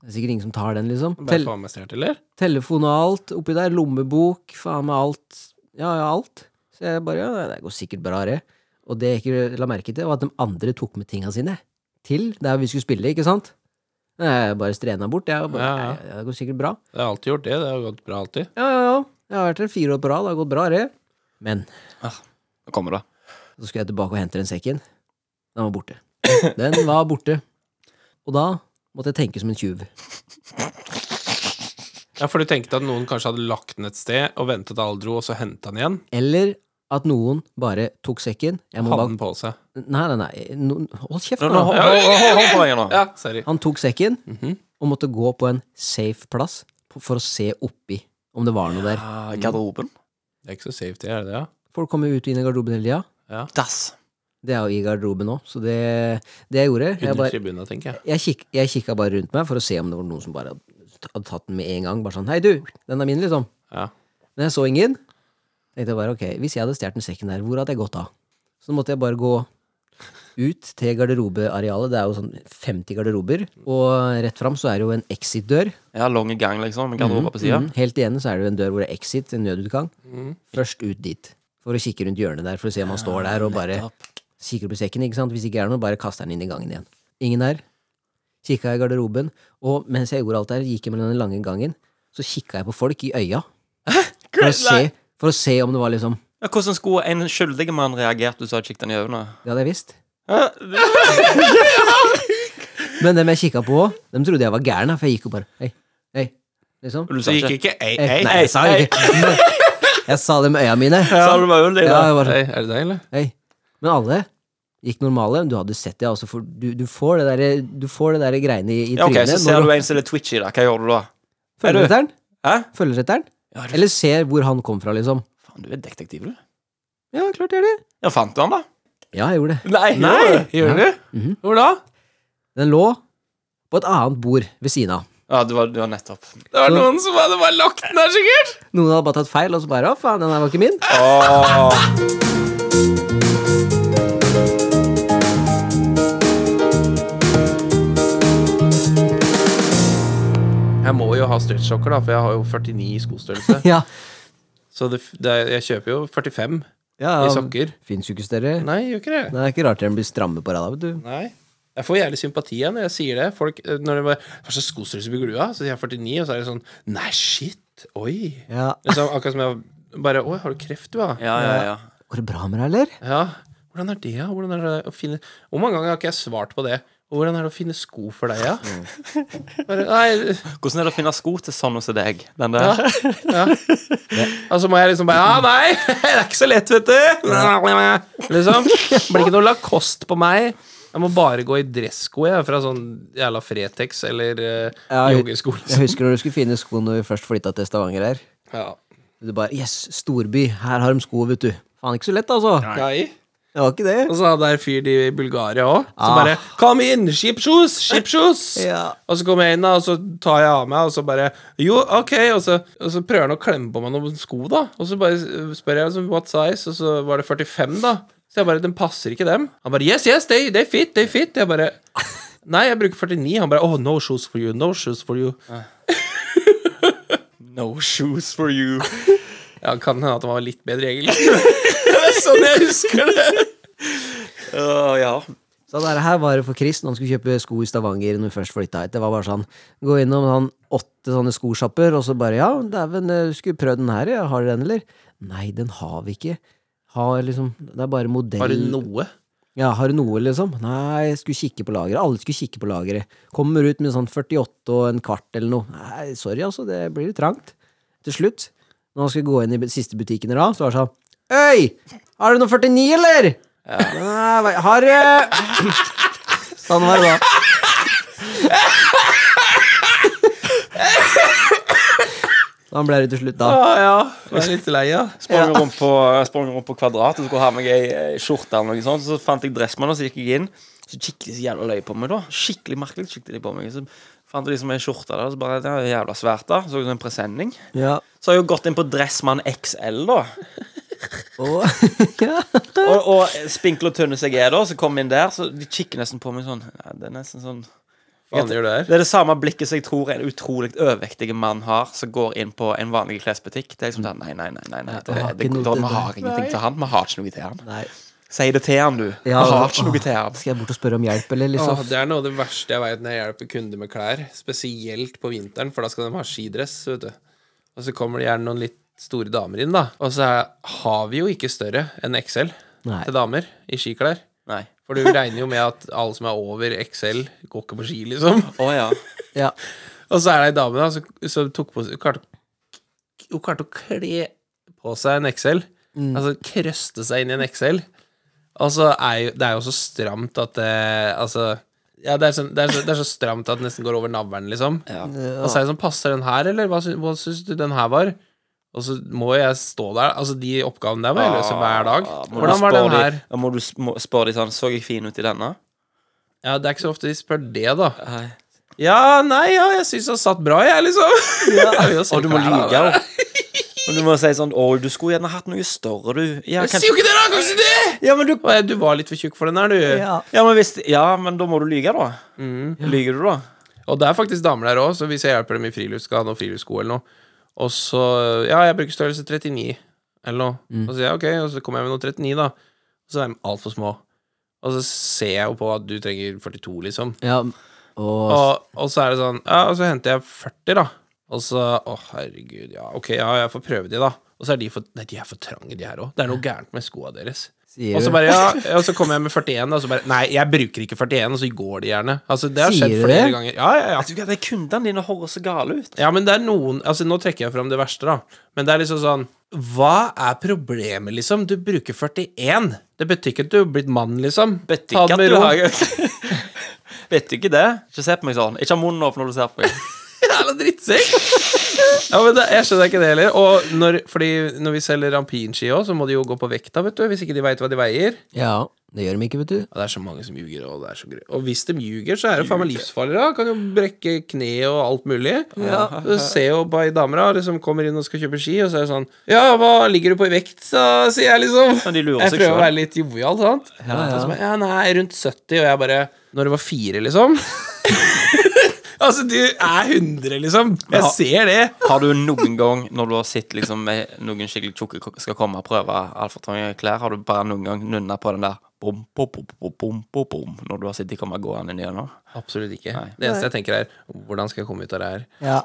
[SPEAKER 3] Det er sikkert ingen som tar den, liksom.
[SPEAKER 2] Bare
[SPEAKER 3] Tel
[SPEAKER 2] faen meg stjålet, eller?
[SPEAKER 3] telefon og alt oppi der. Lommebok, faen meg alt. Ja, ja, alt. Så jeg bare Ja, det går sikkert bra, det. Og det jeg ikke la merke til, var at de andre tok med tinga sine til der vi skulle spille, ikke sant? Jeg bare strena bort. Jeg og bare,
[SPEAKER 2] Ja, ja.
[SPEAKER 3] "Nei, ja, det går sikkert bra.
[SPEAKER 2] Det har alltid gjort det. Det har gått bra alltid.
[SPEAKER 3] Ja, ja, ja. Jeg har vært her fire år på rad. Det har gått bra, det. Men
[SPEAKER 1] Nå kommer det.
[SPEAKER 3] Så skulle jeg tilbake og hente den sekken. Den var borte. Den var borte. Og da måtte jeg tenke som en tjuv.
[SPEAKER 2] Ja, For du tenkte at noen kanskje hadde lagt den et sted og ventet til alle dro, og så henta den igjen?
[SPEAKER 3] Eller at noen bare tok sekken. Jeg må
[SPEAKER 2] Hadde
[SPEAKER 3] bare
[SPEAKER 2] den på seg.
[SPEAKER 3] Nei, nei, nei. No, hold kjeft,
[SPEAKER 1] Nå, nå, hold,
[SPEAKER 3] nå.
[SPEAKER 1] hold, hold, hold på igjen nå.
[SPEAKER 2] Ja, sorry.
[SPEAKER 3] Han tok sekken
[SPEAKER 2] Mhm.
[SPEAKER 3] og måtte gå på en safe plass på- for å se oppi om det var noe der.
[SPEAKER 1] Ah, Garderoben.
[SPEAKER 2] Det er ikke så safety, er det det? ja?
[SPEAKER 3] Folk kommer jo ut og inn i garderoben hele tida.
[SPEAKER 1] Dass.
[SPEAKER 3] Det er jo i garderoben nå, så det, det jeg gjorde jeg
[SPEAKER 2] Under
[SPEAKER 3] bare,
[SPEAKER 2] tribuna, tenker jeg.
[SPEAKER 3] jeg, kikk, jeg kikka bare rundt meg for å se om det var noen som bare hadde tatt den med en gang. Bare sånn 'Hei, du, den er min', liksom.
[SPEAKER 2] Ja.
[SPEAKER 3] Men jeg så ingen. Tenkte jeg bare, ok, Hvis jeg hadde stjålet den sekken der, hvor hadde jeg gått av? Så måtte jeg bare gå ut til garderobearealet. Det er jo sånn 50 garderober. Og rett fram så er det jo en exit-dør.
[SPEAKER 1] Ja, lang gang, liksom, med garderober på sida.
[SPEAKER 3] Mhm. Helt igjen så er det jo en dør hvor det er exit, en nødutgang.
[SPEAKER 2] Mhm.
[SPEAKER 3] Først ut dit. For å kikke rundt hjørnet der, for å se om han står der og bare kikker opp i sekken. ikke sant? Hvis ikke er det noe, bare kaster den inn i gangen igjen. Ingen der. Kikka i garderoben, og mens jeg gjorde alt der, gikk jeg mellom den lange gangen, så kikka jeg på folk i øya. For å, se, for å se om det var liksom
[SPEAKER 1] Ja, hvordan skulle en skyldig mann reagert hvis du hadde kikket den i øynene?
[SPEAKER 3] Det hadde jeg visst.
[SPEAKER 1] Ja, det-
[SPEAKER 3] Men dem jeg kikka på, dem trodde jeg var gæren, da, for jeg gikk jo bare Hei, hei, liksom.
[SPEAKER 1] Du sa
[SPEAKER 2] Så gikk
[SPEAKER 1] ikke
[SPEAKER 2] ikke ei,
[SPEAKER 3] Hei,
[SPEAKER 2] ei.
[SPEAKER 3] nei, jeg sa jo ikke Men Jeg sa det med øya mine.
[SPEAKER 1] Sa du bare øl i
[SPEAKER 3] Ja,
[SPEAKER 1] det?
[SPEAKER 3] jeg bare,
[SPEAKER 2] Ei, Er det deg, eller?
[SPEAKER 3] hei. Men alle gikk normale. Du hadde sett det, altså. For du, du får det derre Du får det derre greiene i, i
[SPEAKER 1] Ja, ok,
[SPEAKER 3] trynet
[SPEAKER 1] så ser du en som er litt twitchy, da. Hva gjør du da?
[SPEAKER 3] følger
[SPEAKER 1] Er du-
[SPEAKER 3] etter den.
[SPEAKER 1] Hæ?
[SPEAKER 3] Følger etter den.
[SPEAKER 1] Ja, du,
[SPEAKER 3] Eller ser hvor han kom fra, liksom.
[SPEAKER 1] faen, du er detektiv, du.
[SPEAKER 3] Ja, klart jeg gjør det.
[SPEAKER 1] Ja, fant du han, da?
[SPEAKER 3] Ja, jeg gjorde det.
[SPEAKER 1] Nei!
[SPEAKER 2] Nei! Gjør du?
[SPEAKER 3] Mhm.
[SPEAKER 2] Hvor da?
[SPEAKER 3] Den lå på et annet bord ved siden av.
[SPEAKER 1] Ja, du var, du var nettopp
[SPEAKER 2] Det var noen som hadde bare lagt den der, sikkert.
[SPEAKER 3] Noen hadde bare tatt feil, og så bare 'Å, faen, den her var ikke min'.
[SPEAKER 2] Jeg må jo ha stretchsokker, da, for jeg har jo 49 i skostørrelse.
[SPEAKER 3] Ja.
[SPEAKER 2] Så det, det, jeg kjøper jo 45
[SPEAKER 3] ja
[SPEAKER 2] i sokker.
[SPEAKER 3] Fins jo ikke større. Nei.
[SPEAKER 2] Nei, jeg gjør ikke det.
[SPEAKER 3] Det er ikke rart dere blir stramme på rad, vet du.
[SPEAKER 2] Nei. Jeg får jævlig sympati igjen når jeg sier det. Folk, eh, når de bare Hva slags skostørrelse bygger du av? Så sier jeg 49, og så er det sånn Nei, shit. Oi.
[SPEAKER 3] Ja.
[SPEAKER 2] Liksom, akkurat som jeg bare Oi, har du kreft, du, da?
[SPEAKER 1] Ja, ja, ja.
[SPEAKER 3] Går det bra med deg, eller?
[SPEAKER 2] Ja, hvordan er det, ja? Hvordan er det å finne Hvor mange ganger har ikke jeg svart på det? Og hvordan er det å finne sko for deg, ja?
[SPEAKER 3] Mm.
[SPEAKER 2] Bare, nei,
[SPEAKER 1] Hvordan er det å finne sko til sånn hos deg? Den der?
[SPEAKER 2] altså må jeg liksom bare Ja, nei, det er ikke så lett, vet du. Liksom. Blir ikke noe Lacoste på meg. Jeg må bare gå i dressko, jeg, fra sånn jævla Fretex eller uh,
[SPEAKER 3] Ja, jeg-
[SPEAKER 2] joggesko. liksom.
[SPEAKER 3] Jeg husker når du skulle finne sko når vi først flytta til Stavanger her.
[SPEAKER 2] Ja.
[SPEAKER 3] Du bare 'Yes, storby. Her har de sko, vet du'. Faen, ikke så lett, altså.
[SPEAKER 2] Nei.
[SPEAKER 3] Det var ikke
[SPEAKER 2] Og
[SPEAKER 3] det.
[SPEAKER 2] så hadde jeg en fyr i Bulgaria òg, som
[SPEAKER 3] Ah.
[SPEAKER 2] bare Kom inn! Ship shoes! Ship shoes!
[SPEAKER 3] Ja.
[SPEAKER 2] Og så kommer jeg inn, da, og så tar jeg av meg, og så bare Jo, ok! Og så, og så prøver han å klemme på meg noen sko, da. Og så bare eh, spør jeg liksom, what size, og så var det 45, da. Så jeg bare Den passer ikke dem. Han bare Yes, yes, they, they fit, they fit. Jeg bare Nei, jeg bruker 49. Han bare Oh, no shoes for you, no shoes for you.
[SPEAKER 1] No shoes for you.
[SPEAKER 2] Ja, kan hende at han var litt bedre, egentlig. det er sånn jeg husker det.
[SPEAKER 1] Uh, ja.
[SPEAKER 3] Så det her var det for Chris når han skulle kjøpe sko i Stavanger når vi først flytta hit. Det var bare sånn Gå innom sånn åtte sånne skosjapper, og så bare Ja, dæven, eh, skulle prøvd den her, ja. Har dere den, eller? Nei, den har vi ikke. Har liksom Det er bare modell
[SPEAKER 2] Bare noe.
[SPEAKER 3] Ja, har du noe, liksom? Nei, jeg skulle kikke på lageret. Alle skulle kikke på lageret. Kommer ut med sånn 48 og en kvart eller noe. Nei, sorry, altså, det blir litt trangt. Til slutt, når han skulle gå inn i bu- siste butikken her da, så var det sånn Øy! Har du noe 49, eller? Nei, hva- har du Sånn var det da. Sånn ble det til slutt,
[SPEAKER 2] Å
[SPEAKER 3] da.
[SPEAKER 2] ja. Jeg er litt lei, ja.
[SPEAKER 1] Sprang rundt på, jeg sprang rundt på Kvadrat og skulle ha meg ei ei skjorte eller noe sånt. Så fant jeg dressmann, og så gikk jeg inn. Så skikkelig så jævla løy på meg, da. Skikkelig merkelig skikkelig løy på meg. Så fant jeg liksom ei skjorte der, og så bare Det er jævla svært, da. Så ut som en presenning.
[SPEAKER 3] Ja.
[SPEAKER 1] Så har jeg jo gått inn på Dressmann XL, da.
[SPEAKER 3] Og, ja.
[SPEAKER 1] Og, og spinkle og tynne som jeg er, da, så kom jeg inn der, så de kikker nesten på meg sånn ja, Det er nesten sånn
[SPEAKER 2] Faen, gjør det her.
[SPEAKER 1] Det er det samme blikket som jeg tror en utrolig overvektig mann har, som går inn på en vanlig klesbutikk. Det er liksom sånn Nei, nei, nei. nei, nei det,
[SPEAKER 3] har
[SPEAKER 1] det,
[SPEAKER 3] ikke noe
[SPEAKER 1] da-
[SPEAKER 3] til
[SPEAKER 1] Vi har
[SPEAKER 3] deg.
[SPEAKER 1] ingenting til han. Vi har ikke noe til han.
[SPEAKER 3] Nei.
[SPEAKER 1] Si det til han, du. Vi
[SPEAKER 3] Ja,
[SPEAKER 1] har
[SPEAKER 3] men-
[SPEAKER 1] ikke noe til han.
[SPEAKER 3] Skal jeg bort og spørre om hjelp, eller liksom?
[SPEAKER 2] Åh, det er noe av det verste jeg veit når jeg hjelper kunder med klær. Spesielt på vinteren, for da skal de ha skidress. vet du Og så kommer det gjerne noen litt store damer inn, da. Og så er, har vi jo ikke større enn XL
[SPEAKER 3] Nei.
[SPEAKER 2] til damer i skiklær.
[SPEAKER 1] Nei.
[SPEAKER 2] For du regner jo med at alle som er over XL, går ikke på ski, liksom.
[SPEAKER 1] Å ja.
[SPEAKER 3] Ja.
[SPEAKER 2] Og så er det ei dame da som, som tok på seg Hun klarte, hun klarte å kle på seg en XL.
[SPEAKER 1] Mm.
[SPEAKER 2] Altså krøste seg inn i en XL. Og så er jo, det er jo så stramt at det Altså ja, det, er sånn, det, er så, det er så stramt at det nesten går over navlen, liksom.
[SPEAKER 1] ja.
[SPEAKER 2] Og så er det sånn Passer den her, eller? Hva, sy- hva syns du den her var? Og så må jeg stå der. Altså, de oppgavene der må jeg løse hver dag.
[SPEAKER 1] Ah, må du
[SPEAKER 2] Hvordan var
[SPEAKER 1] spørre
[SPEAKER 2] den her?
[SPEAKER 1] de- Må du sm- spørre de sånn Så jeg fin ut i denne?
[SPEAKER 2] Ja, Det er ikke så ofte de spør det, da.
[SPEAKER 1] Nei.
[SPEAKER 2] Ja, nei, ja, jeg syns han satt bra, jeg, liksom. Jeg vil jo se
[SPEAKER 1] Og du må
[SPEAKER 2] klær, da.
[SPEAKER 1] lyge, da. Og du må si sånn Å, du skulle gjerne hatt noe større, du. Ja,
[SPEAKER 2] Jeg sier jo ikke det, da! Kan ikke si det!
[SPEAKER 1] ja, men du
[SPEAKER 2] Å, ja, Du var litt for tjukk for den her, du.
[SPEAKER 3] Ja.
[SPEAKER 1] Ja, men hvis Ja, men da må du lyge, da. Lyger du, da?
[SPEAKER 2] Og det er faktisk damer der òg, så hvis jeg hjelper dem i friluft, skal ha noen friluftssko eller noe. Og så Ja, jeg bruker størrelse 39 eller noe.
[SPEAKER 1] Mm.
[SPEAKER 2] Og så sier jeg ok, og så kommer jeg med noe 39, da. Og så er de altfor små. Og så ser jeg jo på at du trenger 42, liksom.
[SPEAKER 3] Ja, og
[SPEAKER 2] Og, og så er det sånn Ja, og så henter jeg 40, da. Og så Å, herregud, ja, ok, ja, jeg får prøve de, da. Og så er de for Nei, de er for trange, de her òg. Det er noe gærent med skoa deres.
[SPEAKER 3] sier
[SPEAKER 2] Og så
[SPEAKER 3] du-
[SPEAKER 2] bare, ja, og så kommer jeg med 41, og så bare Nei, jeg bruker ikke 41, og så går de gjerne. Altså, det har
[SPEAKER 3] Sier
[SPEAKER 2] skjedd
[SPEAKER 3] du
[SPEAKER 2] flere
[SPEAKER 3] det?
[SPEAKER 2] ganger. Ja, ja, ja.
[SPEAKER 1] Jeg tror ikke at kundene dine høres så gale ut.
[SPEAKER 2] Ja, men det er noen Altså, nå trekker jeg fram det verste, da. Men det er liksom sånn Hva er problemet, liksom? Du bruker 41. Det betyr ikke at du er blitt mann, liksom.
[SPEAKER 1] Vet
[SPEAKER 2] Ta
[SPEAKER 1] ikke
[SPEAKER 2] det
[SPEAKER 1] at
[SPEAKER 2] med
[SPEAKER 1] du
[SPEAKER 2] ro.
[SPEAKER 1] har Vet du ikke det? Ikke se på meg sånn. Ikke ha munnen åpen når du ser på meg. Jævla drittsekk!
[SPEAKER 2] Ja, men det, Jeg skjønner ikke det heller. Og når, fordi når vi selger rampinski òg, så må de jo gå på vekta, vet du. Hvis ikke de veit hva de veier.
[SPEAKER 3] Ja, det gjør de ikke, vet du.
[SPEAKER 2] Og det er så mange som ljuger, og det er så grøy. Og hvis de ljuger, så er det faen meg livsfarlig, da. Kan jo brekke kne og alt mulig. Ja. Du ser jo på ei dame da, liksom kommer inn og skal kjøpe ski, og så er det sånn Ja, hva ligger du på i vekt, da, sier jeg liksom.
[SPEAKER 1] Men de lurer
[SPEAKER 2] Jeg
[SPEAKER 1] seg
[SPEAKER 2] prøver å
[SPEAKER 1] selv.
[SPEAKER 2] være litt jovial, sant. Ja, ja. Og så bare, ja, nei, rundt 70, og jeg bare Når du var fire, liksom. altså, du er 100, liksom. Jeg ser det.
[SPEAKER 1] Har du noen gang, når du har sett liksom, med noen skikkelig tjukke ko- skal komme og prøve altfor trange klær, har du bare noen gang nunna på den der bom, bom, bom, bom, bom, bom, bom, når du har sett de komme gående ned nå?
[SPEAKER 2] Absolutt ikke. Det eneste jeg tenker, er hvordan skal jeg komme ut av det her?
[SPEAKER 3] Ja.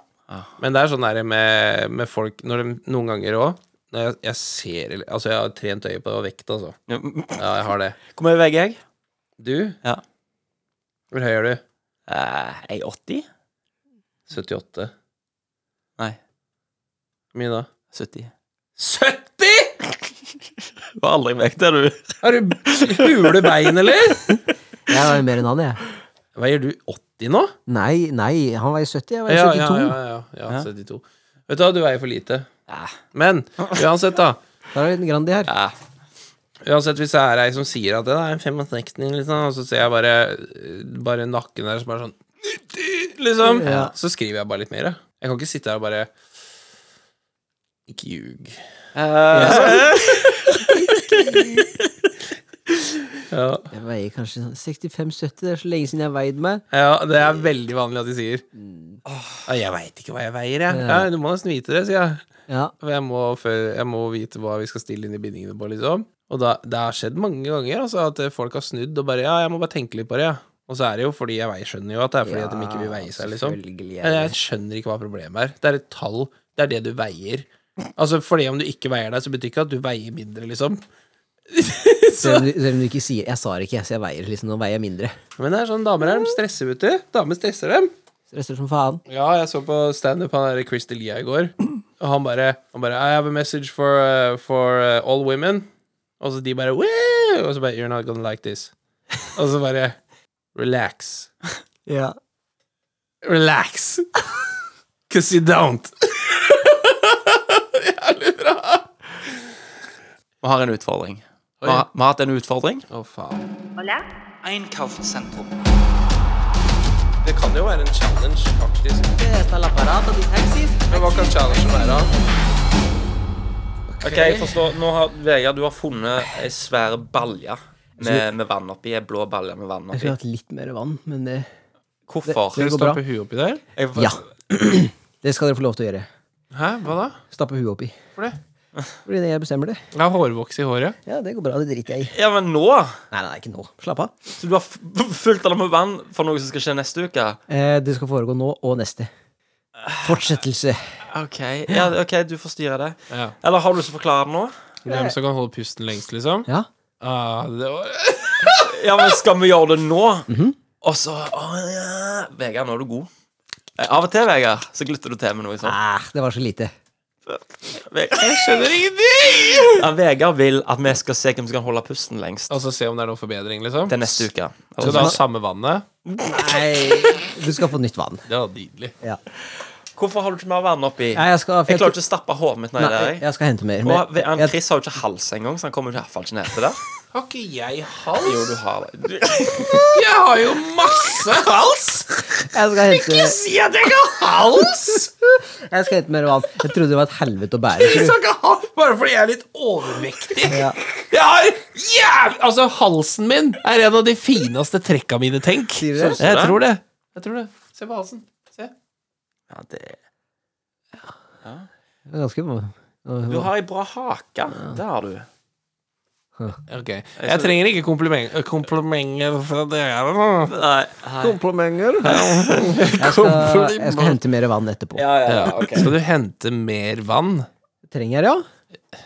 [SPEAKER 2] Men det er sånn der med, med folk når de, Noen ganger òg når jeg, jeg ser Altså, jeg har trent øye på vekt, altså.
[SPEAKER 1] Ja, mm.
[SPEAKER 2] Ja, jeg har det.
[SPEAKER 1] Hvor mye veier jeg?
[SPEAKER 2] Du?
[SPEAKER 1] Ja.
[SPEAKER 2] Hvor høy er du?
[SPEAKER 1] Eh, jeg er 80?
[SPEAKER 2] 78.
[SPEAKER 1] Nei,
[SPEAKER 2] Hvor mye da?
[SPEAKER 1] 70.
[SPEAKER 2] 70?!
[SPEAKER 1] Du har aldri vekt det, du.
[SPEAKER 2] Har du hule bein, eller?
[SPEAKER 3] Jeg var jo mer enn han, jeg.
[SPEAKER 2] Veier du 80 nå?
[SPEAKER 3] Nei, nei, han var i 70, jeg var i
[SPEAKER 2] Ja,
[SPEAKER 3] 72.
[SPEAKER 2] ja, ja, ja, ja. 72. Vet du hva, du veier for lite.
[SPEAKER 1] Ja.
[SPEAKER 2] Men uansett, da.
[SPEAKER 3] Da er det en liten Grandi her.
[SPEAKER 1] Ja.
[SPEAKER 2] Uansett hvis det er ei som sier at det er en 65, liksom, og så ser jeg bare, bare nakken der som er sånn Liksom.
[SPEAKER 3] Ja.
[SPEAKER 2] Så skriver jeg bare litt mer. jeg. Jeg kan ikke sitte her og bare Ikke ljug.
[SPEAKER 1] Eh,
[SPEAKER 2] Ja.
[SPEAKER 3] Jeg veier kanskje sånn 65-70, det er så lenge siden jeg veide meg.
[SPEAKER 2] ja, det er veldig vanlig at de sier «Åh, Jeg veit ikke hva jeg veier, jeg. Mm. Ja, du må nesten vite det, sier jeg.
[SPEAKER 3] Ja,
[SPEAKER 2] For jeg må, før- jeg må vite hva vi skal stille inn i bindingene på, liksom. Og da, det har skjedd mange ganger altså, at folk har snudd og bare Ja, jeg må bare tenke litt på det, ja. Og så er det jo fordi jeg veier, skjønner jo at det er fordi at de ikke vil veie seg, liksom.
[SPEAKER 3] selvfølgelig.
[SPEAKER 2] Jeg, jeg skjønner ikke hva problemet er. Det er et tall. Det er det du veier. Altså, fordi om du ikke veier deg, så betyr ikke at du veier mindre, liksom.
[SPEAKER 3] Selv om, du, selv om du ikke sier 'jeg sa det ikke, jeg, så jeg veier liksom, nå veier jeg mindre'.
[SPEAKER 2] Men det er sånn, damer er de stresser, vet du. Damer stresser dem.
[SPEAKER 3] Stresser som faen.
[SPEAKER 2] Ja, jeg så på standup han der Chris Delia i går, og han bare, han bare I have a message for, uh, for uh, all women. Og så de bare Woo! Og så bare You're not gonna like this. Og så bare Relax.
[SPEAKER 3] Ja.
[SPEAKER 2] Relax. Cause you don't.
[SPEAKER 1] Vi har en utfordring. Vi har, vi har hatt en utfordring.
[SPEAKER 2] Å, faen.
[SPEAKER 4] Hola.
[SPEAKER 1] Einkaufssentrum.
[SPEAKER 2] Det kan jo være en challenge, faktisk. Men hva kan challengen være?
[SPEAKER 1] Ok, forstå. Nå har Vegard, du har funnet ei svær balje med, med vann oppi. Ei blå balje med vann
[SPEAKER 5] Jeg
[SPEAKER 1] oppi.
[SPEAKER 5] skulle hatt litt mer vann, men det
[SPEAKER 1] Hvorfor?
[SPEAKER 2] Skal
[SPEAKER 3] Det
[SPEAKER 2] du
[SPEAKER 3] går bra.
[SPEAKER 2] stappe huet oppi der?
[SPEAKER 1] Jeg,
[SPEAKER 3] eh, Ja. Det skal dere få lov til å gjøre.
[SPEAKER 2] Hæ, hva da?
[SPEAKER 3] Stappe huet oppi.
[SPEAKER 2] Hvorfor det?
[SPEAKER 3] Fordi det jeg bestemmer det.
[SPEAKER 2] Jeg har hårvoks i håret.
[SPEAKER 3] Ja, det går bra. Det driter jeg i.
[SPEAKER 1] ja, men nå?
[SPEAKER 3] Nei, nei, ikke nå. Slapp av.
[SPEAKER 1] Så du har f- fulgt den med vann for noe som skal skje neste uke?
[SPEAKER 3] Eh, det skal foregå nå og neste. Fortsettelse.
[SPEAKER 1] Ok, ja, ok, du får styre det.
[SPEAKER 2] Ja.
[SPEAKER 1] Eller har du lyst til å forklare det nå?
[SPEAKER 2] Hvem som kan holde pusten lengst, liksom?
[SPEAKER 3] Ja.
[SPEAKER 2] Ah, det var...
[SPEAKER 1] Ja, men skal vi gjøre det nå? Og så å, ja. Vegard, nå er du god. Eh, Av og til, Vegard, så glutter du til med noe sånt.
[SPEAKER 3] Ah, det var så lite.
[SPEAKER 1] Jeg skjønner ingenting! Ja, Vegard vil at vi skal se hvem som kan holde pusten lengst.
[SPEAKER 2] Og så se om det er noen forbedring, liksom?
[SPEAKER 1] Til neste uke. Altså,
[SPEAKER 2] Skal du ha samme vannet?
[SPEAKER 3] Nei, du skal få nytt vann.
[SPEAKER 2] Det var nydelig.
[SPEAKER 3] Ja.
[SPEAKER 1] Hvorfor har du ikke mer vann oppi?
[SPEAKER 3] Nei, jeg skal
[SPEAKER 1] Jeg klarer ikke å stappe hodet mitt nedi
[SPEAKER 3] Nei,
[SPEAKER 1] der.
[SPEAKER 3] jeg- jeg skal hente mer.
[SPEAKER 1] jeg. Og han
[SPEAKER 3] jeg,
[SPEAKER 1] Chris har jo ikke hals engang, så han kommer jo i hvert fall ikke ned til det.
[SPEAKER 2] Har ikke jeg hals?
[SPEAKER 1] Jo, du har det.
[SPEAKER 2] Jeg har jo masse hals!
[SPEAKER 3] jeg, skal hente,
[SPEAKER 2] Si at jeg ikke har hals!
[SPEAKER 3] jeg skal hente mer vann. Jeg trodde det var et helvete å bære.
[SPEAKER 2] Jeg
[SPEAKER 3] tror du?
[SPEAKER 2] skal ikke ha Bare fordi jeg er litt overvektig.
[SPEAKER 3] Ja.
[SPEAKER 2] Jeg har jævlig Altså, halsen min er en av de fineste trekka mine, tenk.
[SPEAKER 3] Sier du det?
[SPEAKER 2] Jeg tror det. Jeg tror det. Se på halsen. Se.
[SPEAKER 1] Ja, det.
[SPEAKER 3] Det var Ganske
[SPEAKER 1] Du har ei bra hake. Det har du.
[SPEAKER 2] Ok. Jeg trenger ikke komplimenter Komplimenter fra dere.
[SPEAKER 1] Nei, hei.
[SPEAKER 2] Komplimenter?
[SPEAKER 3] jeg skal, jeg skal hente mer vann etterpå.
[SPEAKER 1] Ja, ja, ja, ok.
[SPEAKER 2] Skal du hente mer vann?
[SPEAKER 3] Trenger jeg det, ja?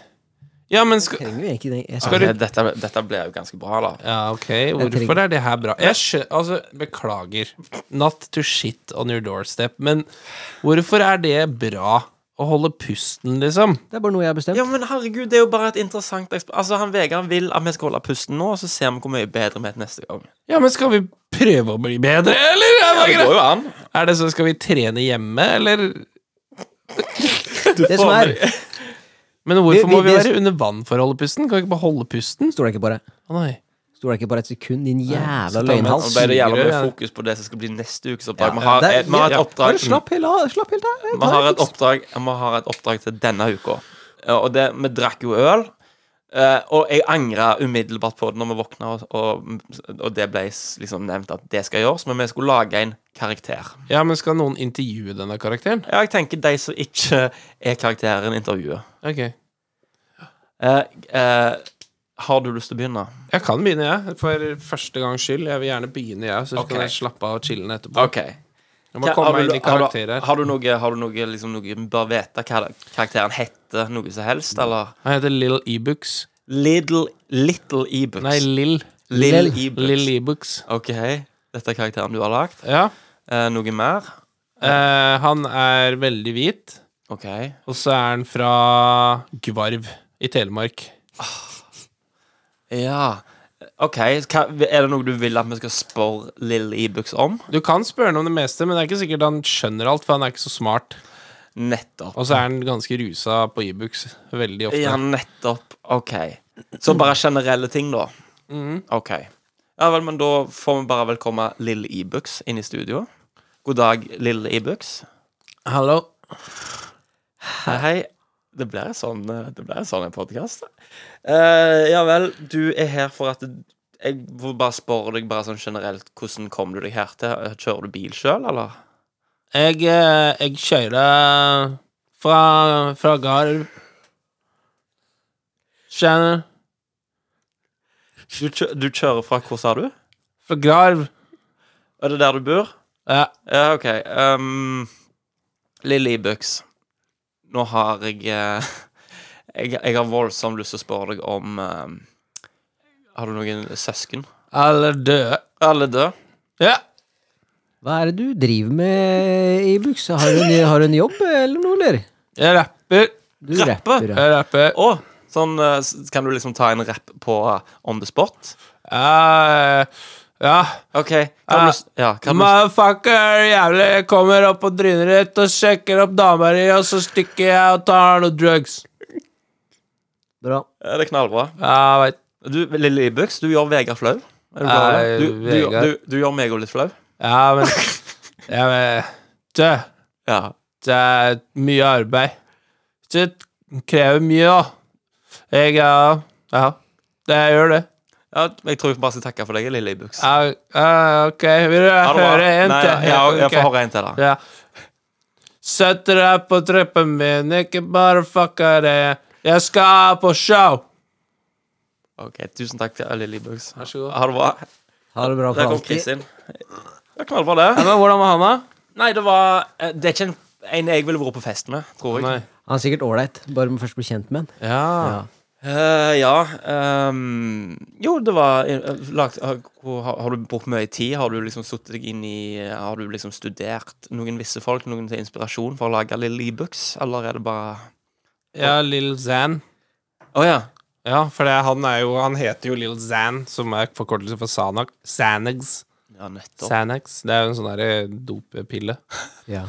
[SPEAKER 2] Ja, men skal
[SPEAKER 3] Trenger vi egentlig det? Jeg
[SPEAKER 2] Skal
[SPEAKER 3] skal,
[SPEAKER 2] du-
[SPEAKER 1] Ok, Dette, dette blir jo ganske bra, da.
[SPEAKER 2] Ja, ok.
[SPEAKER 3] trenger-
[SPEAKER 2] Hvorfor er det her bra? Jeg skjø... Altså, beklager. Not to shit on your doorstep, men hvorfor er det bra å holde pusten, liksom.
[SPEAKER 3] Det er bare noe jeg har bestemt.
[SPEAKER 1] Ja, men herregud, det er jo bare et interessant eksp- Altså, han Vegard vil at vi skal holde pusten nå, og så ser vi hvor mye bedre vi er til neste gang.
[SPEAKER 2] Ja, men skal vi prøve å bli bedre, eller? Er det, greit?
[SPEAKER 1] jo an.
[SPEAKER 2] er det så, skal vi trene hjemme, eller?
[SPEAKER 3] det som er
[SPEAKER 2] Men hvorfor
[SPEAKER 3] Vi- vi-
[SPEAKER 2] må vi
[SPEAKER 3] vi-
[SPEAKER 2] være under vann for å holde pusten? Kan vi ikke bare holde pusten?
[SPEAKER 3] Stoler jeg ikke på deg.
[SPEAKER 2] Å nei.
[SPEAKER 3] Stoler jeg ikke på deg et sekund, din
[SPEAKER 2] så
[SPEAKER 3] jævla
[SPEAKER 2] tar vi-
[SPEAKER 1] Nå
[SPEAKER 3] løgnhals.
[SPEAKER 1] ble det jævla mye
[SPEAKER 2] Ja.
[SPEAKER 1] fokus på det som skal bli neste ukes oppdrag. Vi
[SPEAKER 3] Ja,
[SPEAKER 1] har,
[SPEAKER 3] det er-
[SPEAKER 1] eh, vi har et
[SPEAKER 3] ja,
[SPEAKER 1] oppdrag
[SPEAKER 3] Bare slapp helt av. Slapp helt av. Jeg
[SPEAKER 1] Vi
[SPEAKER 3] tar
[SPEAKER 1] har
[SPEAKER 3] det
[SPEAKER 1] et oppdrag Vi har et oppdrag til denne uka. Eh, Og det, vi drakk jo øl. eh, og jeg angra umiddelbart på det når vi våkna, og, og, og det ble s- liksom nevnt at det skal gjøres. Men vi skulle lage en karakter.
[SPEAKER 2] Ja, men skal noen intervjue denne karakteren?
[SPEAKER 1] Ja, Jeg tenker de som ikke er karakteren, intervjuet.
[SPEAKER 2] Ok.
[SPEAKER 1] Eh, eh, har du lyst til å begynne?
[SPEAKER 2] Jeg kan begynne, jeg. For første gangs skyld. Jeg vil gjerne begynne, jeg. Så
[SPEAKER 1] Ok.
[SPEAKER 2] kan jeg slappe av og chille etterpå. Jeg må
[SPEAKER 1] Hva-
[SPEAKER 2] komme
[SPEAKER 1] har,
[SPEAKER 2] meg
[SPEAKER 1] du,
[SPEAKER 2] inn i
[SPEAKER 1] har,
[SPEAKER 2] karakter
[SPEAKER 1] du,
[SPEAKER 2] her.
[SPEAKER 1] har du noe Har du noe liksom noe vi bør vite hva karakteren heter? Noe som helst, eller?
[SPEAKER 2] Han heter Lill Ebooks.
[SPEAKER 1] Little Little Ebooks.
[SPEAKER 2] Nei, Lill.
[SPEAKER 1] Lill
[SPEAKER 2] Lill
[SPEAKER 1] Ebooks.
[SPEAKER 2] Ebooks.
[SPEAKER 1] OK. Dette er karakteren du har lagd.
[SPEAKER 2] Ja.
[SPEAKER 1] Eh, noe mer?
[SPEAKER 2] Eh, han er veldig hvit.
[SPEAKER 1] OK.
[SPEAKER 2] Og så er han fra Gvarv i Telemark.
[SPEAKER 1] Ja. OK. Hva, er det noe du vil at vi skal spørre Little Ebooks om?
[SPEAKER 2] Du kan spørre ham om det meste, men det er ikke sikkert han skjønner alt, for han er ikke så smart.
[SPEAKER 1] Nettopp.
[SPEAKER 2] Og så er han ganske rusa på Ibux veldig ofte.
[SPEAKER 1] Ja, nettopp. OK. Så bare generelle ting, da. OK. Ja vel, men da får vi bare velkomme Little Ebooks inn i studio. God dag, Little Ebooks.
[SPEAKER 2] Hallo.
[SPEAKER 1] Hei, hei. Det blir en sånn, eh, det blir en sånn podkast. ja vel, du er her for at Jeg vil bare spørre deg bare sånn generelt, hvordan kom du deg her til? Eh, Kjører du bil sjøl, eller?
[SPEAKER 2] Jeg, eh, jeg kjører fra, fra Garv. Skjønner?
[SPEAKER 1] Du, kjø- du kjører fra Hvor sa du?
[SPEAKER 2] Fra Garv.
[SPEAKER 1] Er det der du bor?
[SPEAKER 2] Ja.
[SPEAKER 1] Ja, OK. Um, Lille Ibux, nå har jeg eh, jeg, jeg har voldsomt lyst til å spørre deg om eh, Har du noen søsken?
[SPEAKER 2] Eller døde.
[SPEAKER 1] Alle døde?
[SPEAKER 2] Ja.
[SPEAKER 3] Hva er det du driver med i buksa? Har du, en- har du en jobb eller noe, eller?
[SPEAKER 2] Jeg rapper.
[SPEAKER 3] Du
[SPEAKER 1] Rappe?
[SPEAKER 3] rapper, ja.
[SPEAKER 2] Jeg rapper.
[SPEAKER 1] Å! Sånn, eh, s- kan du liksom ta en rapp på eh, on the spot?
[SPEAKER 2] Eh, ja.
[SPEAKER 1] OK. Hva har du lyst Eh, Ja, hva har du lyst
[SPEAKER 2] Motherfucker, jævlig. Jeg kommer opp på trynet ditt og sjekker opp dama di, og så stikker jeg og tar noe drugs.
[SPEAKER 3] Bra.
[SPEAKER 1] Eh, Det er knallbra.
[SPEAKER 2] Ja, veit.
[SPEAKER 1] Du, Lille Ibux, du gjør Vegard flau. Er du klar over det?
[SPEAKER 2] Eh,
[SPEAKER 1] Du, du, gjør-
[SPEAKER 2] Vegard.
[SPEAKER 1] du, du gjør meg òg litt flau.
[SPEAKER 2] Ja, men Ja, men Du,
[SPEAKER 1] Ja.
[SPEAKER 2] det er mye arbeid. Det krever mye, da. Jeg ja, ja. Det jeg gjør det.
[SPEAKER 1] ja. Jeg tror jeg bare skal takke for deg, Lille Ibux.
[SPEAKER 2] Ja, ja, ok, vil du
[SPEAKER 1] Ha det bra.
[SPEAKER 2] høre en
[SPEAKER 1] Nei,
[SPEAKER 2] til?
[SPEAKER 1] ja, ja, Ah, jeg
[SPEAKER 2] ok.
[SPEAKER 1] får høre en til, da.
[SPEAKER 2] Ja. Sett deg på trippen min, ikke bare fucka det. Jeg skal på show.
[SPEAKER 1] Ok, Tusen takk, eh, Lille Ibux.
[SPEAKER 2] Vær så god.
[SPEAKER 1] Ha det bra.
[SPEAKER 3] Ha det bra for
[SPEAKER 1] Der kom
[SPEAKER 3] alltid.
[SPEAKER 1] Chris inn. Det er knallbra, det.
[SPEAKER 2] Men hvordan var han, da?
[SPEAKER 1] Nei, det var eh, Det er ikke en, en jeg ville vært på fest med, tror jeg.
[SPEAKER 3] Han er sikkert ålreit, bare må først bli kjent med han.
[SPEAKER 2] Ja.
[SPEAKER 1] Eh, ja ehm, Jo, det var eh, lagt, har, har har du brukt mye tid? Har du liksom suttet deg inn i eh, Har du liksom studert noen visse folk? Noen til inspirasjon for å lage lille e-books? Eller er det bare
[SPEAKER 2] Ja, Lill Zan.
[SPEAKER 1] Å ja.
[SPEAKER 2] Ja, for det, han, er jo, han heter jo Lill Zan, som er forkortelse for Sanak. Xanax.
[SPEAKER 1] Ja, nettopp.
[SPEAKER 2] Xanax. Det er jo en sånn derre dopepille.
[SPEAKER 3] Ja.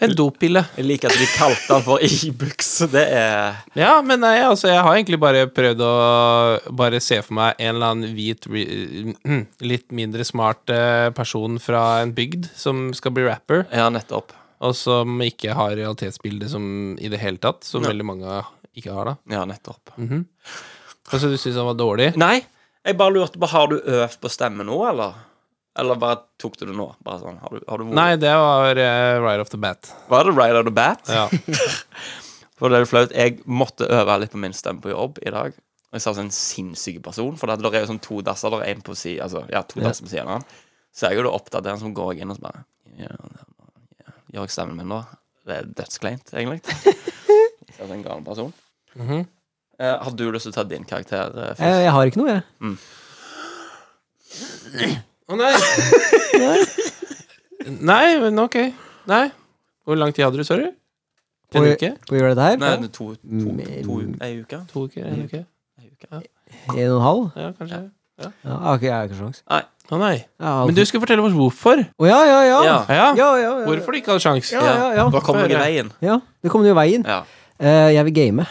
[SPEAKER 2] En dopille.
[SPEAKER 1] Jeg liker at de kalte den for e-books. Det er
[SPEAKER 2] Ja, men nei, altså, jeg har egentlig bare prøvd å bare se for meg en eller annen hvit, re- litt mindre smart eh, person fra en bygd som skal bli rapper.
[SPEAKER 1] Ja, nettopp.
[SPEAKER 2] og som ikke har realitetsbildet som, i det hele tatt, som veldig mange ikke har, da.
[SPEAKER 1] Ja, nettopp.
[SPEAKER 2] Altså, du syns han var dårlig?
[SPEAKER 1] Nei, jeg bare lurte på Har du øvd på stemme nå, eller? Eller bare tok du det nå? Bare sånn, har du, har du
[SPEAKER 2] Nei, det var eh, right off the bat.
[SPEAKER 1] Var det right out of bat?
[SPEAKER 2] Ja.
[SPEAKER 1] For det er jo flaut, jeg måtte øve litt på min stemme på jobb i dag. Og jeg sa sånn sinnssyk person, for det er jo sånn to dasser, der er en på si, altså, ja, to dasser på siden av han. Så er jeg jo da oppdatert, så går jeg inn og så bare ja, ja, Gjør jeg stemmen min nå? Det er dødskleint, egentlig. Så er det en gal person.
[SPEAKER 2] Mhm.
[SPEAKER 1] eh, har du lyst til å ta din karakter eh, først?
[SPEAKER 3] Jeg, jeg har ikke noe, jeg.
[SPEAKER 2] Å nei! nei, men ok. Nei. Hvor lang tid hadde du, sorry? På en
[SPEAKER 3] På-
[SPEAKER 2] uke?
[SPEAKER 3] Skal vi gjøre dette her?
[SPEAKER 1] Nei, det er to, to,
[SPEAKER 3] Mm.
[SPEAKER 1] to, ei uke.
[SPEAKER 2] To uker? En uke?
[SPEAKER 1] Ei uke.
[SPEAKER 3] En og en halv?
[SPEAKER 2] Ja, kanskje.
[SPEAKER 3] Ja, jeg har ikke- jeg har ikke sjans.
[SPEAKER 2] Å nei.
[SPEAKER 3] Jeg har
[SPEAKER 2] Men du skulle fortelle oss hvorfor.
[SPEAKER 3] Å ja, ja, Altså- ja.
[SPEAKER 1] Ja.
[SPEAKER 2] Ja, eh,
[SPEAKER 3] ja, ja, ja.
[SPEAKER 2] Hvorfor du ikke hadde sjans.
[SPEAKER 3] Ja, ja, ja.
[SPEAKER 1] Da kommer jeg i veien.
[SPEAKER 3] Ja, det kom jo i veien.
[SPEAKER 1] Ja.
[SPEAKER 3] Eh, jeg vil game.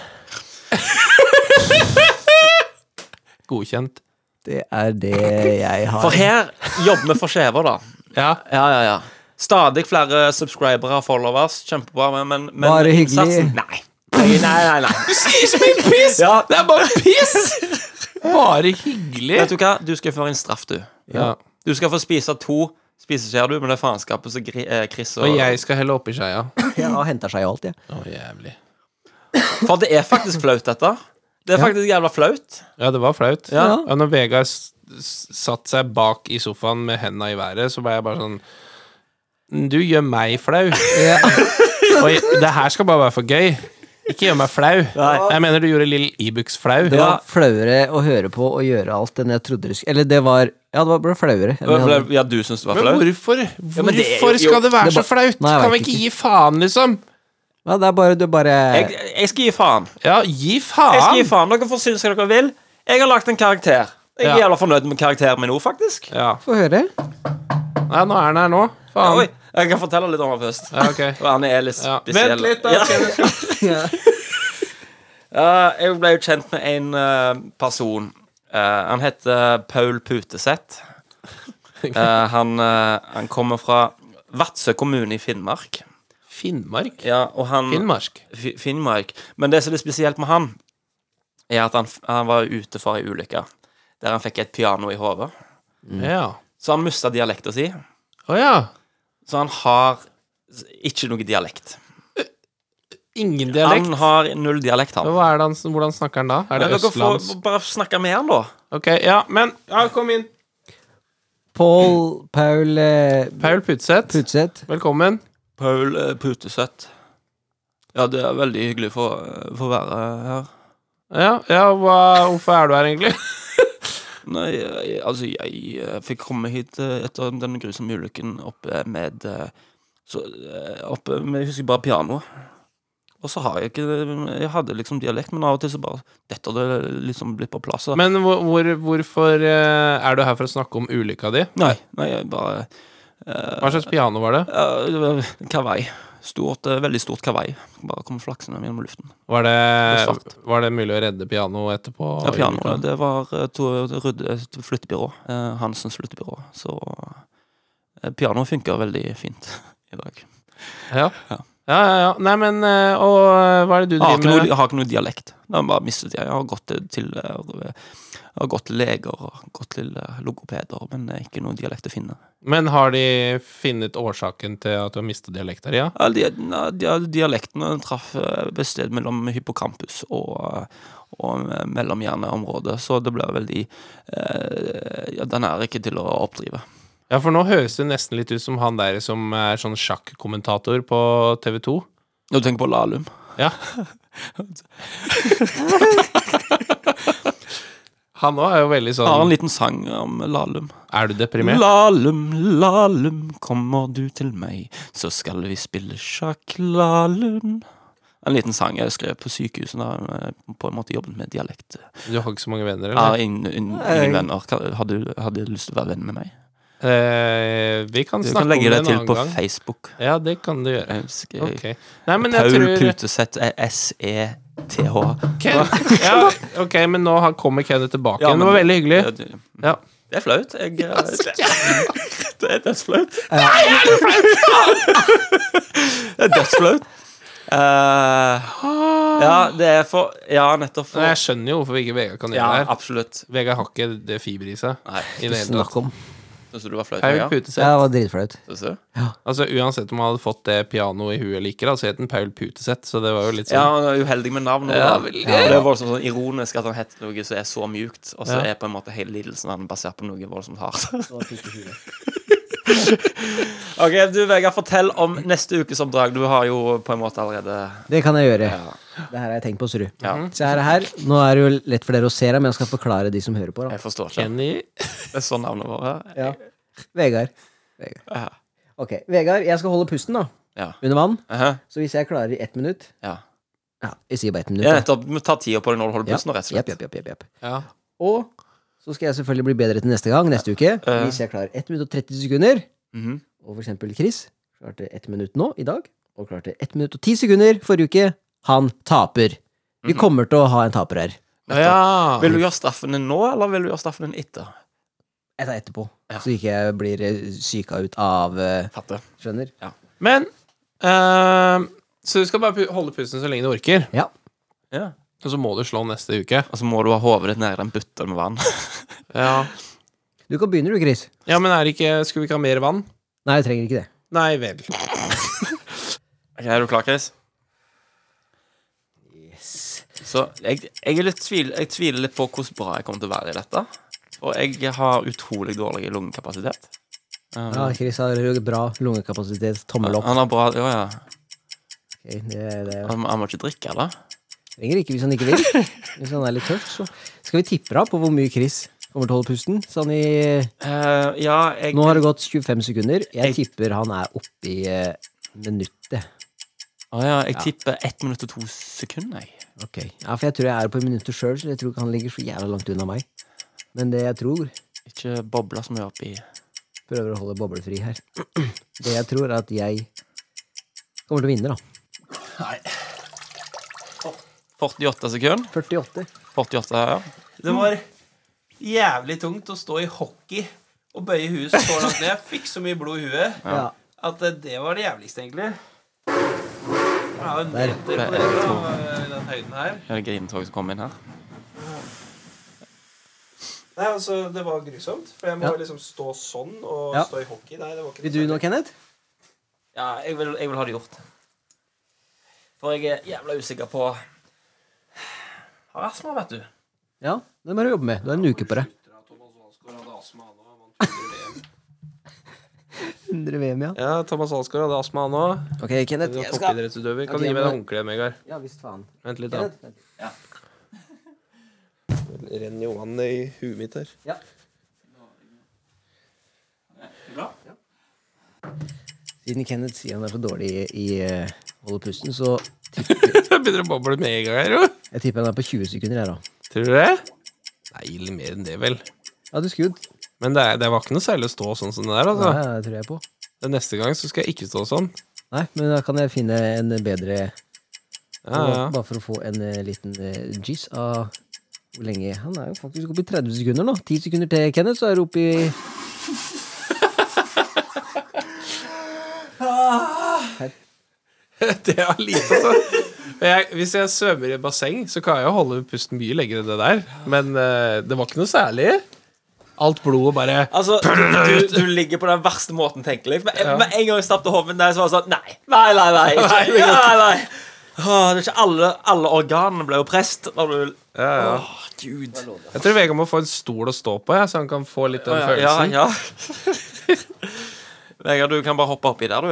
[SPEAKER 2] Godkjent.
[SPEAKER 3] Det er det jeg har.
[SPEAKER 1] For her jobber vi for skjever, da.
[SPEAKER 2] Ja.
[SPEAKER 1] Ja, ja, ja. Stadig flere subscribere og followers. Kjempebra. Men, men, men
[SPEAKER 3] Bare hyggelig.
[SPEAKER 1] innsatsen- Nei. Nei, nei, nei. nei.
[SPEAKER 2] Du sier så mye piss!
[SPEAKER 1] Ja,
[SPEAKER 2] Det er bare piss! Bare hyggelig.
[SPEAKER 1] vet du hva? Du skal få en straff, du.
[SPEAKER 2] Ja.
[SPEAKER 1] Du skal få spise to spiseskjeer, du, med det faenskapet som Gri- eh, Chris og
[SPEAKER 2] Og jeg skal helle oppi skeia.
[SPEAKER 3] Jeg har henta seg i alt, jeg.
[SPEAKER 2] Å, jævlig.
[SPEAKER 1] For det er faktisk flaut, dette. Det er faktisk jævla flaut.
[SPEAKER 2] Ja, det var flaut.
[SPEAKER 1] Ja.
[SPEAKER 2] Ja, når Vegard s- s- satt seg bak i sofaen med henda i været, så ble jeg bare sånn Du gjør meg flau. Og jeg- det her skal bare være for gøy. Ikke gjør meg flau. Jeg mener du gjorde Lill Ibux flau.
[SPEAKER 3] Det var flauere å høre på og gjøre alt enn jeg trodde det skulle Eller det var Ja, det var bare flauere. enn jeg hadde-
[SPEAKER 1] Ja, du syns det var
[SPEAKER 2] Men
[SPEAKER 1] flaut?
[SPEAKER 2] hvorfor?
[SPEAKER 1] men det er jo-
[SPEAKER 2] Hvorfor skal det være
[SPEAKER 3] det er
[SPEAKER 2] så
[SPEAKER 3] bare-
[SPEAKER 2] flaut?
[SPEAKER 3] Nei, jeg
[SPEAKER 2] Kan vi
[SPEAKER 3] vet
[SPEAKER 2] ikke
[SPEAKER 3] ikke.
[SPEAKER 2] gi faen, liksom?
[SPEAKER 3] Ja, det er bare, det er
[SPEAKER 1] Jeg,
[SPEAKER 3] bare
[SPEAKER 1] jeg skal gi faen.
[SPEAKER 2] Ja, gi
[SPEAKER 1] Jeg skal gi
[SPEAKER 2] faen!
[SPEAKER 1] faen. Dere får synes hva dere vil. Jeg har lagt en karakter. Jeg er
[SPEAKER 2] Ja.
[SPEAKER 1] jævla fornøyd med karakteren min nå, faktisk.
[SPEAKER 2] Ja.
[SPEAKER 3] Få høre.
[SPEAKER 2] Nei, nå er han her nå.
[SPEAKER 1] Oi,
[SPEAKER 2] Faen.
[SPEAKER 1] jeg kan fortelle litt om han først.
[SPEAKER 2] Ja, ok.
[SPEAKER 1] Og han er litt
[SPEAKER 2] Ja.
[SPEAKER 1] spesiell.
[SPEAKER 2] Vent litt, da.
[SPEAKER 1] Ja.
[SPEAKER 2] Kenneth.
[SPEAKER 3] Ja.
[SPEAKER 1] Ja, jeg ble jo kjent med en eh, person. Eh, han heter Paul Puteseth. Eh, han, eh, han kommer fra Vadsø kommune i Finnmark.
[SPEAKER 2] Finnmark?
[SPEAKER 1] Ja, og han,
[SPEAKER 2] Finnmark.
[SPEAKER 1] Fi- Finnmark. Men det som er litt spesielt med han, er at han, f- han var ute for ei ulykke der han fikk et piano i hodet.
[SPEAKER 2] Ja.
[SPEAKER 1] Så han mista dialekta si.
[SPEAKER 2] Å ja.
[SPEAKER 1] Så han har s- ikke noe dialekt.
[SPEAKER 2] Ingen dialekt.
[SPEAKER 1] Han har null dialekt, han.
[SPEAKER 2] Hva er det han, hvordan snakker han da? Er
[SPEAKER 1] Men
[SPEAKER 2] det
[SPEAKER 1] dere
[SPEAKER 2] østlands?
[SPEAKER 1] får bare snakke med han, da.
[SPEAKER 2] Ok, ja, men Ja, kom inn.
[SPEAKER 3] Paul Paul eh,
[SPEAKER 2] Paul Putseth,
[SPEAKER 3] Putseth.
[SPEAKER 2] velkommen.
[SPEAKER 1] Paul eh, Puteseth. Ja, det er veldig hyggelig for, eh, for å være her.
[SPEAKER 2] Ja, ja hva, hvorfor er du her, egentlig?
[SPEAKER 1] Nei, jeg, altså, jeg eh, fikk komme hit eh, etter den grusomme ulykken oppe med eh, så, eh, oppe med, Jeg husker bare pianoet. Og så har jeg ikke Jeg hadde liksom dialekt, men av og til så bare detter det liksom litt på plass. da.
[SPEAKER 2] Men hvor, hvor, hvorfor eh, er du her for å snakke om ulykka di?
[SPEAKER 1] nei, nei, jeg bare
[SPEAKER 2] Hva slags piano var det?
[SPEAKER 1] eh, det var Kavai. Stort, eh, veldig stort kavai. Bare kom flaksende gjennom luften.
[SPEAKER 2] Var
[SPEAKER 1] Det var
[SPEAKER 2] det,
[SPEAKER 1] svart.
[SPEAKER 2] var det mulig å redde pianoet etterpå?
[SPEAKER 1] Ja, pianoet.
[SPEAKER 2] ulykka?
[SPEAKER 1] Det var eh, to, rydde, et flyttebyrå. eh, Hansens flyttebyrå. Så eh, pianoet funker veldig fint i dag.
[SPEAKER 2] Ja.
[SPEAKER 1] Ja.
[SPEAKER 2] ja, ja, ja. Nei, men eh, Og eh, hva er det du
[SPEAKER 1] Jeg har ikke
[SPEAKER 2] driver
[SPEAKER 1] noe,
[SPEAKER 2] med?
[SPEAKER 1] jeg har ikke noe dialekt. Det har jeg bare mistet jeg. Jeg har gått til- til eh, jeg har gått til leger og gått til eh, logopeder, men det er ikke noe dialekt å finne.
[SPEAKER 2] Men har de funnet årsaken til at du har mista dialekta di? Ja?
[SPEAKER 1] Ja, de, na, de, dialektene traff eh, et sted mellom hippocampus og, eh, og eh, mellomhjerneområdet, så det ble veldig eh, ja, Den er ikke til å oppdrive.
[SPEAKER 2] ja, for nå høres det nesten litt ut som han der som er sånn sjakkommentator på TV2.
[SPEAKER 1] Når du tenker på Lahlum
[SPEAKER 2] Ja. Han òg er jo veldig
[SPEAKER 1] Jeg har en
[SPEAKER 2] sånn
[SPEAKER 1] liten sang om Lahlum.
[SPEAKER 2] Er du deprimert?
[SPEAKER 1] Lahlum, Lahlum, kommer du til meg, så skal vi spille sjakk, Lahlum. En liten sang jeg skrev på sykehuset da jeg på en måte jobbet med dialekt.
[SPEAKER 2] Du har ikke så mange venner,
[SPEAKER 1] Jeg har
[SPEAKER 2] eller?
[SPEAKER 1] ingen, ingen,
[SPEAKER 3] Nei.
[SPEAKER 1] ingen venner. Kan- Har du, har du lyst til å være venn med meg?
[SPEAKER 2] Eh, vi kan
[SPEAKER 1] Du
[SPEAKER 2] snakke
[SPEAKER 1] kan
[SPEAKER 2] om
[SPEAKER 1] legge
[SPEAKER 2] det
[SPEAKER 1] deg
[SPEAKER 2] en
[SPEAKER 1] til
[SPEAKER 2] annen
[SPEAKER 1] på
[SPEAKER 2] gang.
[SPEAKER 1] Facebook.
[SPEAKER 2] Ja, det kan du gjøre.
[SPEAKER 1] Jeg husker-
[SPEAKER 2] Ok. Nei, men jeg
[SPEAKER 1] Paul eh,
[SPEAKER 2] tror
[SPEAKER 1] Puteseth er E S-E-T-H.
[SPEAKER 2] Ken, ja, Ok, men nå har- kommer Kenneth tilbake
[SPEAKER 1] Ja,
[SPEAKER 2] igjen. Det
[SPEAKER 1] men-
[SPEAKER 2] var veldig hyggelig.
[SPEAKER 1] Ja, du-
[SPEAKER 2] Ja.
[SPEAKER 1] Det er flaut. Jeg, eh, det er dødsflaut. Nei, er det flaut?! det er dødsflaut. Eh, ja, det er for Ja, nettopp for
[SPEAKER 2] Nei, jeg skjønner jo hvorfor vi ikke Vegard kan
[SPEAKER 1] Ja,
[SPEAKER 2] gjøre det her.
[SPEAKER 1] absolutt.
[SPEAKER 2] Vegard har ikke det fiber i seg.
[SPEAKER 1] Nei,
[SPEAKER 2] I det hele tatt.
[SPEAKER 3] Snakk om.
[SPEAKER 1] Syns du det var flaut?
[SPEAKER 2] Paul
[SPEAKER 1] Vegard?
[SPEAKER 3] Ja,
[SPEAKER 2] Puteseth.
[SPEAKER 3] det var dritflaut.
[SPEAKER 1] Synes du?
[SPEAKER 2] Altså, uansett om han hadde fått det pianoet i huet eller ikke, da, så het han Paul Puteseth, så det var jo litt
[SPEAKER 1] Ja,
[SPEAKER 2] sånn
[SPEAKER 1] han er uheldig med navn.
[SPEAKER 2] Ja,
[SPEAKER 1] Ja,
[SPEAKER 2] veldig.
[SPEAKER 1] det er voldsomt sånn ironisk at han heter noe som er så mjukt, og så
[SPEAKER 2] Ja.
[SPEAKER 1] er på en måte hele lidelsen han basert på noe voldsomt hardt. ok, du Vegard, fortell om neste ukes oppdrag. Du har jo på en måte allerede
[SPEAKER 3] Det kan jeg gjøre.
[SPEAKER 1] Ja.
[SPEAKER 3] Det her har jeg tenkt på, Sru.
[SPEAKER 1] ja.
[SPEAKER 2] Mhm.
[SPEAKER 3] Se her, her. Nå er det jo lett for dere å se det, men jeg skal forklare de som hører på. Da.
[SPEAKER 1] Jeg forstår ikke.
[SPEAKER 2] Kenny
[SPEAKER 1] Det er sånn navnet vårt.
[SPEAKER 3] Ja. Vegard.
[SPEAKER 1] Ja.
[SPEAKER 3] Ok, Vegard, jeg skal holde pusten, da.
[SPEAKER 1] Ja.
[SPEAKER 3] under vann.
[SPEAKER 1] Aha,
[SPEAKER 3] Så hvis jeg klarer i ett minutt
[SPEAKER 1] ja.
[SPEAKER 3] Ja, jeg sier bare ett minutt.
[SPEAKER 1] ja
[SPEAKER 3] da.
[SPEAKER 1] nettopp. Du må ta tida på deg når du holder
[SPEAKER 3] Ja.
[SPEAKER 1] pusten, rett og
[SPEAKER 3] Jepp,
[SPEAKER 1] slett.
[SPEAKER 3] jepp, jepp, jepp, jepp.
[SPEAKER 2] Ja.
[SPEAKER 3] Og så skal jeg selvfølgelig bli bedre til neste gang, neste uke.
[SPEAKER 1] Ja.
[SPEAKER 3] Hvis jeg klarer 1 minutt og 30 sekunder,
[SPEAKER 1] Mhm.
[SPEAKER 3] og for eksempel Chris klarte 1 minutt nå, i dag, og klarte 1 minutt og 10 sekunder forrige uke, han taper. Vi kommer til å ha en taper her.
[SPEAKER 2] Å ja.
[SPEAKER 1] Vil du gjøre straffen din nå, eller vil du gjøre straffen din etter?
[SPEAKER 3] Jeg tar etterpå,
[SPEAKER 1] Ja.
[SPEAKER 3] så ikke jeg blir eh, syka ut av eh,
[SPEAKER 1] Fatter.
[SPEAKER 3] Skjønner?
[SPEAKER 2] Men eh, Så du skal bare pu- holde pusten så lenge du orker.
[SPEAKER 3] Ja.
[SPEAKER 1] Ja.
[SPEAKER 2] Og så må du slå neste uke.
[SPEAKER 1] Og så må du ha hodet ditt nedi den bøtta med vann.
[SPEAKER 2] Ja,
[SPEAKER 3] Du kan begynne, du, Chris.
[SPEAKER 2] ja men er det ikke Skulle vi ikke ha mer vann?
[SPEAKER 3] Nei, jeg trenger ikke det.
[SPEAKER 2] Nei vel.
[SPEAKER 1] Ok, Er du klar, Chris? Så jeg, jeg, er litt tvil, jeg tviler litt på hvordan bra jeg kommer til å være i dette. Og jeg har utrolig dårlig lungekapasitet. Um,
[SPEAKER 3] Ja, Chris har jo bra lungekapasitet. Tommel opp.
[SPEAKER 1] han har bra Ja, ja.
[SPEAKER 3] Ok, det, det
[SPEAKER 1] Han, han må ikke drikke, eller?
[SPEAKER 3] trenger ikke hvis han ikke vil. Hvis han er litt tørt, så Skal vi tippe deg på hvor mye Chris kommer til å holde pusten? Sånn i
[SPEAKER 1] Eh, ja, jeg
[SPEAKER 3] Nå har det gått 25 sekunder. Jeg tipper han er oppe i eh, minuttet.
[SPEAKER 1] Å ja, jeg tipper 1 minutt og 2 sekunder, jeg.
[SPEAKER 3] Ok. Ja, for jeg tror jeg er på minuttet sjøl, så jeg tror ikke han ligger så jævla langt unna meg. Men det jeg tror
[SPEAKER 1] Ikke bobla så mye oppi
[SPEAKER 3] Prøver å holde boblefri her. Det jeg tror, er at jeg kommer til å vinne, da.
[SPEAKER 1] 48 sekunder.
[SPEAKER 3] 48.
[SPEAKER 1] 48, ja.
[SPEAKER 2] Det var jævlig tungt å stå i hockey og bøye huet så langt ned. Jeg fikk så mye blod i huet
[SPEAKER 3] Ja.
[SPEAKER 2] at eh, det var det jævligste, egentlig. Ja, en
[SPEAKER 3] Der.
[SPEAKER 2] meter på dere, da, i den høyden her.
[SPEAKER 1] Er det grinetog som kom inn her?
[SPEAKER 2] Nei, altså, det var grusomt. For jeg må
[SPEAKER 3] Ja.
[SPEAKER 2] liksom stå sånn og
[SPEAKER 3] Ja.
[SPEAKER 2] stå i hockey. Nei, det var ikke
[SPEAKER 3] Vil du nå, Kenneth?
[SPEAKER 1] Ja, jeg vil, jeg vil ha det gjort. For jeg er jævla usikker på Har astma, vet du.
[SPEAKER 3] Ja, det må du jobbe med. Du har en uke på deg. VM, ja.
[SPEAKER 2] Ja, Thomas Alsgaard hadde astma, han òg.
[SPEAKER 3] Ok, Kenneth. Jeg skal
[SPEAKER 2] Hockeyidrettsutøver.
[SPEAKER 3] Ok,
[SPEAKER 2] Kan du gi meg
[SPEAKER 3] men-
[SPEAKER 2] det håndkleet, Vegard?
[SPEAKER 3] Ja visst, faen.
[SPEAKER 2] Vent litt, da.
[SPEAKER 3] Kenneth, vent.
[SPEAKER 2] Det renner jo vann i huet mitt her.
[SPEAKER 3] Ja. Siden Kenneth sier han er så dårlig i, i eh, holde pusten, så
[SPEAKER 2] Det begynner å boble med en gang her, jo.
[SPEAKER 3] jeg tipper han er på 20 sekunder her, da.
[SPEAKER 2] Tror du det? Nei, litt mer enn det, vel.
[SPEAKER 3] Ja, du skudd.
[SPEAKER 2] Men det, er, det var ikke noe særlig å stå sånn som det der,
[SPEAKER 3] Ja,
[SPEAKER 2] altså.
[SPEAKER 3] det tror jeg på.
[SPEAKER 2] Det neste gang så skal jeg ikke stå sånn.
[SPEAKER 3] Nei, men da kan jeg finne en bedre
[SPEAKER 2] Ja, ja.
[SPEAKER 3] Bare for å få en eh, liten eh, jizz av hvor lenge Han er jo faktisk oppe i 30 sekunder nå. 10 sekunder til, Kenneth, så er du oppe i
[SPEAKER 2] Det er lite, altså. Men Jeg, hvis jeg svømmer i basseng, så kan jeg jo holde pusten mye lenger enn det der. Men eh, det var ikke noe særlig. Alt blodet bare
[SPEAKER 1] Altså, du, du, du ligger på den verste måten tenkelig. Med, med en gang jeg stappet hodet mitt der, så var det sånn Nei, nei, nei. nei, ikke,
[SPEAKER 2] Nei, det går
[SPEAKER 1] nei, nei. Åh, det er ikke alle, alle organene ble jo prest når du
[SPEAKER 2] ja, ja.
[SPEAKER 1] Åh, Gud.
[SPEAKER 2] Jeg tror Vegard må få en stol å stå på, ja, så han kan få litt den følelsen.
[SPEAKER 1] Ja, ja. Vegard, du kan bare hoppe oppi der, du.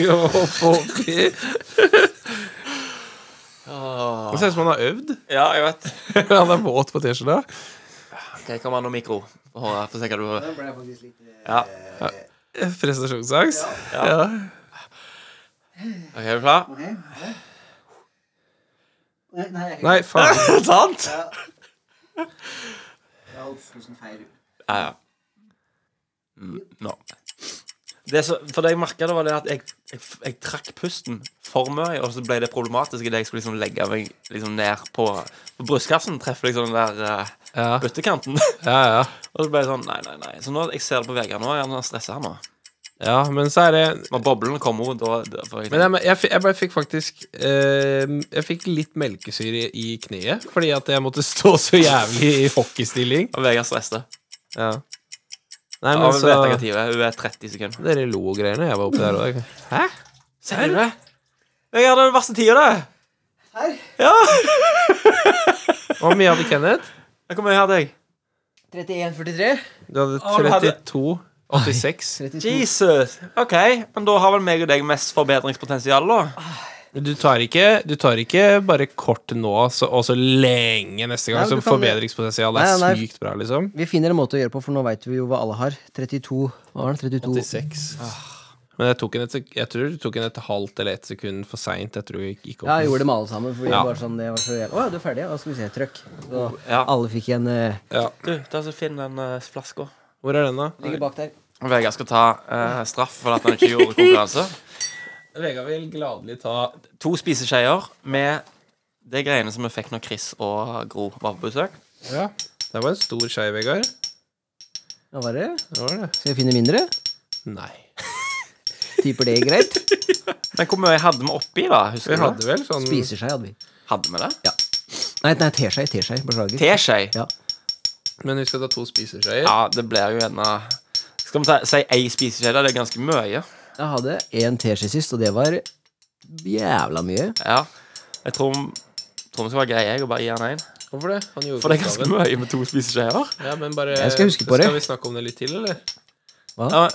[SPEAKER 2] Jo, forhåpentlig. Det ser ut som han har øvd.
[SPEAKER 1] Ja, jeg vet.
[SPEAKER 2] Han er våt på T-skjorta.
[SPEAKER 1] Ok, Kom an og mikro. Få høre, få se hva du
[SPEAKER 3] ble jeg faktisk litt eh,
[SPEAKER 1] Ja.
[SPEAKER 2] Prestasjonsangst. Ja.
[SPEAKER 1] Ok, er du klar?
[SPEAKER 3] Nei, jeg
[SPEAKER 2] Nei, faen.
[SPEAKER 1] Sant? Ja, ja. Mm, Nå. Det som- for det jeg merka, var det at jeg, jeg, jeg trakk pusten for mye, og så ble det problematisk idet jeg skulle liksom legge meg liksom ned på, på brystkassen. Treffe liksom den der
[SPEAKER 2] Ja,
[SPEAKER 1] eh, bøttekanten.
[SPEAKER 2] ja, ja.
[SPEAKER 1] og så ble det sånn Nei, nei, nei. Så nå, jeg ser det på Vegard nå. Han er stressa nå.
[SPEAKER 2] ja men så er det
[SPEAKER 1] Når boblene kommer, da, da får jeg
[SPEAKER 2] Men jeg, jeg, fi- jeg bare fikk faktisk eh, Jeg fikk litt melkesyre i kneet fordi at jeg måtte stå så jævlig i hockeystilling.
[SPEAKER 1] Og Vegard stresser.
[SPEAKER 2] Ja. Nei,
[SPEAKER 1] Ja, men
[SPEAKER 2] men
[SPEAKER 1] altså-
[SPEAKER 2] så
[SPEAKER 1] vet jeg hva tid det er. Hun er 30 sekunder.
[SPEAKER 2] Dere lo og greiene. Jeg var oppe der òg. Hæ?
[SPEAKER 1] Ser du det? Vegard, det er den verste tida, det.
[SPEAKER 3] Her?
[SPEAKER 1] Ja.
[SPEAKER 2] Hvor mye hadde Kenneth?
[SPEAKER 1] Hvor mye hadde jeg?
[SPEAKER 3] 31,43.
[SPEAKER 2] Du hadde
[SPEAKER 1] Å, du hadde-
[SPEAKER 2] 32,86.
[SPEAKER 3] 32.
[SPEAKER 1] Jesus. OK, men da har vel meg og deg mest forbedringspotensial, da.
[SPEAKER 2] Men Du tar ikke, du tar ikke bare kort nå så, og så lenge neste gang.
[SPEAKER 3] Nei, men
[SPEAKER 2] så
[SPEAKER 3] du kan-
[SPEAKER 2] forbedringspotensialet
[SPEAKER 3] Nei,
[SPEAKER 2] er
[SPEAKER 3] nei.
[SPEAKER 2] sykt bra, liksom.
[SPEAKER 3] Vi finner en måte å gjøre på, for nå veit vi jo hva alle har. 32 Hva var det? 32
[SPEAKER 2] 86. Men jeg, tok en et, sek- jeg tror det tok en et halvt eller ett sekund for seint. Jeg tror jeg gikk opp.
[SPEAKER 3] Ja, jeg gjorde det med alle sammen. Fordi
[SPEAKER 2] Ja.
[SPEAKER 3] det var sånn, det var så jævlig. Å ja, du er ferdig? Ja, skal vi se. Trykk. Så
[SPEAKER 1] Ja.
[SPEAKER 3] alle fikk en eh,
[SPEAKER 2] Ja.
[SPEAKER 1] Du, der så finn den uh, flaska.
[SPEAKER 2] Hvor er den, da?
[SPEAKER 3] Ligger bak der.
[SPEAKER 1] Vegard skal ta eh, straff for at han ikke gjorde konkurranse.
[SPEAKER 2] Vegard vil gladelig ta
[SPEAKER 1] To spiseskjeer med de greiene som vi fikk når Chris og Gro var på besøk.
[SPEAKER 2] Ja. Det var en stor skei, Vegard.
[SPEAKER 3] Ja, var det?
[SPEAKER 2] Det var det.
[SPEAKER 3] Skal jeg finne mindre?
[SPEAKER 2] Nei.
[SPEAKER 3] Tipper det er greit?
[SPEAKER 1] Men hvor mye hadde vi oppi, da?
[SPEAKER 2] Vi
[SPEAKER 1] Husker du det?
[SPEAKER 2] hadde vel sånn
[SPEAKER 3] Spiser seg, hadde vi.
[SPEAKER 1] Hadde vi det?
[SPEAKER 3] Nei, nei teskje. Teskje. Beklager.
[SPEAKER 1] Teskje?
[SPEAKER 3] Ja.
[SPEAKER 2] Men vi skal ta to spiseskjeer.
[SPEAKER 1] Ja, det blir jo gjerne Skal vi ta, si ei spiseskje? da? Det er ganske mye.
[SPEAKER 3] Jeg hadde én teskje sist, og det var jævla mye.
[SPEAKER 1] Ja. Jeg tror tror vi skal være greie jeg og bare gi han én.
[SPEAKER 2] Hvorfor det? Han gjorde
[SPEAKER 1] For det er ganske
[SPEAKER 2] oppgaven.
[SPEAKER 1] mye med to spiseskjeer.
[SPEAKER 2] Ja, men bare
[SPEAKER 3] Jeg skal huske på det.
[SPEAKER 2] Skal vi snakke om det litt til, eller?
[SPEAKER 1] Ja,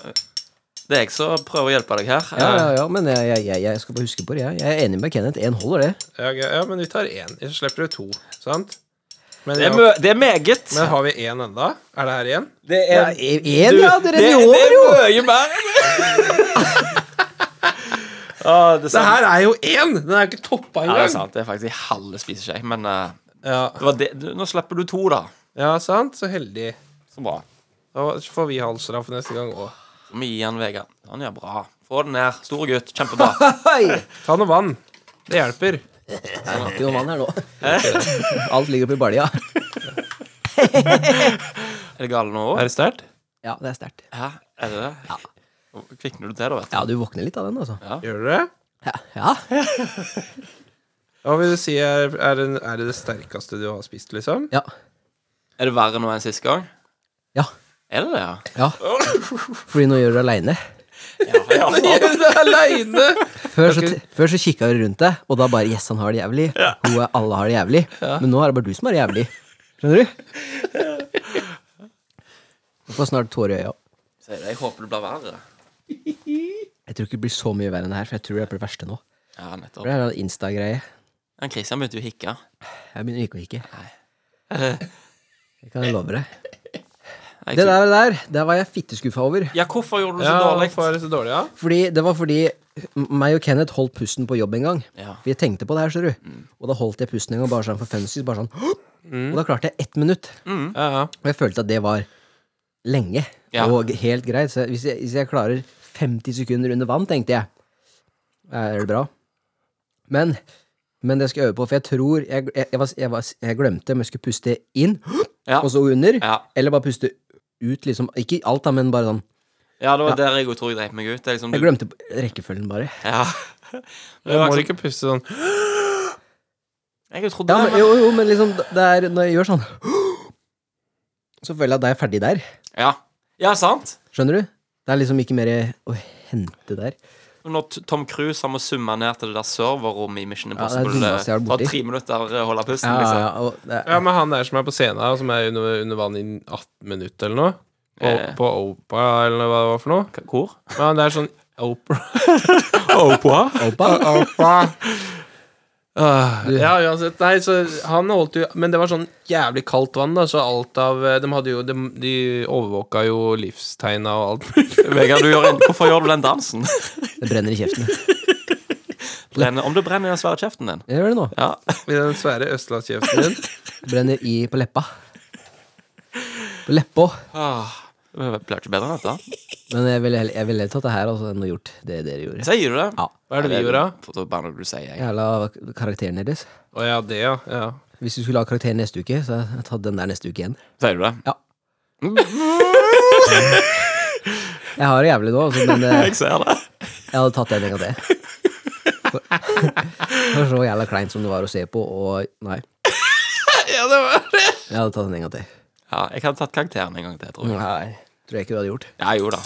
[SPEAKER 1] det er jeg som prøver å hjelpe deg her.
[SPEAKER 3] Ja, ja, ja, men jeg, jeg, jeg, jeg skal bare huske på det. Jeg, jeg er enig med Kenneth. Én holder, det.
[SPEAKER 2] Ja, ok. ja men vi tar én. Så slipper du to, sant? Men,
[SPEAKER 1] Det er,
[SPEAKER 2] ja,
[SPEAKER 1] mø det er meget.
[SPEAKER 2] men har vi én enda? Er det her igjen?
[SPEAKER 1] Det
[SPEAKER 3] Ja, Én,
[SPEAKER 1] Du,
[SPEAKER 3] ja! Dere i
[SPEAKER 1] det
[SPEAKER 3] år,
[SPEAKER 1] er
[SPEAKER 3] jo!
[SPEAKER 1] mye mer enn det! ah, det, er
[SPEAKER 2] Det
[SPEAKER 1] sant.
[SPEAKER 2] her er jo én! Den er jo ikke toppa
[SPEAKER 1] Ja, det er
[SPEAKER 2] engang.
[SPEAKER 1] sant. Det er faktisk en halv spiseskje. Men eh,
[SPEAKER 2] Ja,
[SPEAKER 1] det var det. Du, nå slipper du to, da.
[SPEAKER 2] ja, sant? Så heldig.
[SPEAKER 1] Så bra.
[SPEAKER 2] Da får vi halvstraff neste gang òg.
[SPEAKER 1] Så vi gir han Vegard. Han gjør bra. Få den ned. Store gutt. Kjempebra.
[SPEAKER 3] Hei!
[SPEAKER 2] Ta noe vann. Det hjelper.
[SPEAKER 3] Jeg har ikke noe vann her nå. Alt ligger oppi balja.
[SPEAKER 1] Er det gale nå òg?
[SPEAKER 2] Er det sterkt?
[SPEAKER 3] Ja, det er sterkt.
[SPEAKER 1] Ja, er det det? Kvikner du til, da, vet du.
[SPEAKER 3] Ja, du våkner litt av den, altså.
[SPEAKER 2] Gjør du det?
[SPEAKER 3] Ja. ja.
[SPEAKER 2] Hva vil du si er, er, det, er det det sterkeste du har spist, liksom?
[SPEAKER 3] ja.
[SPEAKER 1] Er det verre nå enn sist gang?
[SPEAKER 3] Ja.
[SPEAKER 1] Er det det, ja?
[SPEAKER 3] ja. Fordi nå gjør du det aleine.
[SPEAKER 1] Ja,
[SPEAKER 2] Gjør du det aleine!
[SPEAKER 3] Før så, før så kikka du rundt deg, og da bare 'yes, han har det jævlig'. Hun er, alle har det jævlig. Men nå er det bare du som har det jævlig. Skjønner du? Du får snart tårer i øya.
[SPEAKER 1] Sier det. Jeg håper det blir verre.
[SPEAKER 3] Jeg tror ikke det blir så mye verre enn det her, for jeg tror det er på det verste nå.
[SPEAKER 1] Ja, nettopp.
[SPEAKER 3] For det er en sånn Insta-greie.
[SPEAKER 1] Men Christian begynte jo å hikke.
[SPEAKER 3] Jeg begynner ikke å hikke.
[SPEAKER 1] Nei.
[SPEAKER 3] Det kan jeg love deg.
[SPEAKER 1] Jeg
[SPEAKER 3] Det
[SPEAKER 1] tror-
[SPEAKER 3] der, der, der var jeg fitteskuffa over.
[SPEAKER 1] Ja, hvorfor gjorde du det så
[SPEAKER 2] Ja,
[SPEAKER 1] dårlig?
[SPEAKER 2] hvorfor er det så dårlig, ja?
[SPEAKER 3] Fordi Det var fordi meg og Kenneth holdt pusten på jobb en gang.
[SPEAKER 1] Ja.
[SPEAKER 3] Vi tenkte på det her, ser du. Og da holdt jeg pusten en gang bare sånn for funsies. Bare sånn. Og da klarte jeg ett minutt.
[SPEAKER 2] Ja, ja.
[SPEAKER 3] Og jeg følte at det var lenge
[SPEAKER 1] Ja.
[SPEAKER 3] og helt greit. Så hvis jeg, hvis jeg klarer 50 sekunder under vann, tenkte jeg, eh, er det bra. Men, men det skal jeg øve på, for jeg tror jeg, jeg, jeg, var, jeg, var, jeg glemte om jeg skulle puste inn
[SPEAKER 1] Ja.
[SPEAKER 3] og så under,
[SPEAKER 1] Ja.
[SPEAKER 3] eller bare puste ut, liksom. Ikke alt, da, men bare sånn.
[SPEAKER 1] ja, det var der jeg også tror jeg dreit meg ut. Det er liksom
[SPEAKER 3] Jeg
[SPEAKER 1] du
[SPEAKER 3] glemte rekkefølgen, bare.
[SPEAKER 1] Ja.
[SPEAKER 2] Du må ikke puste sånn.
[SPEAKER 1] Jeg trodde
[SPEAKER 3] Ja,
[SPEAKER 1] det,
[SPEAKER 3] men,
[SPEAKER 1] men
[SPEAKER 3] jo, jo, men liksom, det er når jeg gjør sånn Så føler jeg at da er jeg ferdig der.
[SPEAKER 1] Ja, ja sant?
[SPEAKER 3] Skjønner du? Det er liksom ikke mer å hente der.
[SPEAKER 1] Og Når T- Tom Cruise har må summe ned til det der serverrommet i Mission
[SPEAKER 3] det er det
[SPEAKER 1] Impossible
[SPEAKER 3] dummeste jeg har vært
[SPEAKER 1] Ta
[SPEAKER 3] borti.
[SPEAKER 1] tre minutter å holde pusten,
[SPEAKER 3] Ja,
[SPEAKER 1] liksom.
[SPEAKER 3] ja, og det er,
[SPEAKER 2] Ja, men han der som er på scenen her, og som er under, under vann i 18 minutter eller noe på,
[SPEAKER 1] Eh.
[SPEAKER 2] på Opa, eller hva det var for noe.
[SPEAKER 1] Hvor?
[SPEAKER 2] Men han der sånn Opera Opera?
[SPEAKER 3] Opa.
[SPEAKER 2] ja, uansett. Nei, så han holdt jo Men det var sånn jævlig kaldt vann, da, så alt av eh, De hadde jo De, de overvåka jo livstegna og alt mulig.
[SPEAKER 1] Vegard, du gjør en, hvorfor gjør du den dansen?
[SPEAKER 3] Det brenner i kjeften.
[SPEAKER 1] Brenner, om det brenner i den svære kjeften din.
[SPEAKER 3] Det gjør det nå.
[SPEAKER 1] Ja.
[SPEAKER 2] I den svære østlandskjeften din.
[SPEAKER 3] Brenner i på leppa. På leppa.
[SPEAKER 1] Ah, det blir ikke bedre enn dette.
[SPEAKER 3] Men jeg ville heller, jeg ville heller tatt det her altså, enn å gjort det dere gjorde.
[SPEAKER 1] Sier du det?
[SPEAKER 3] Ja.
[SPEAKER 2] Hva er det vi gjorde, da?
[SPEAKER 1] Får ta bare noe du sier, jeg.
[SPEAKER 3] Jævla karakteren deres.
[SPEAKER 2] Å ja, det, ja. ja.
[SPEAKER 3] Hvis du skulle ha karakter neste uke, så hadde jeg tatt den der neste uke igjen.
[SPEAKER 1] Sier du det?
[SPEAKER 3] Ja. Jeg har det jævlig nå, altså, men eh,
[SPEAKER 1] Jeg ser det.
[SPEAKER 3] jeg hadde tatt den en gang til. Det var så jævla kleint som det var å se på, og nei.
[SPEAKER 2] Ja, det var det.
[SPEAKER 3] Jeg hadde tatt den en gang til.
[SPEAKER 1] Ja, jeg hadde tatt karakteren en gang til, tror jeg.
[SPEAKER 3] Nei. Tror jeg ikke du hadde gjort.
[SPEAKER 1] Ja, jo da.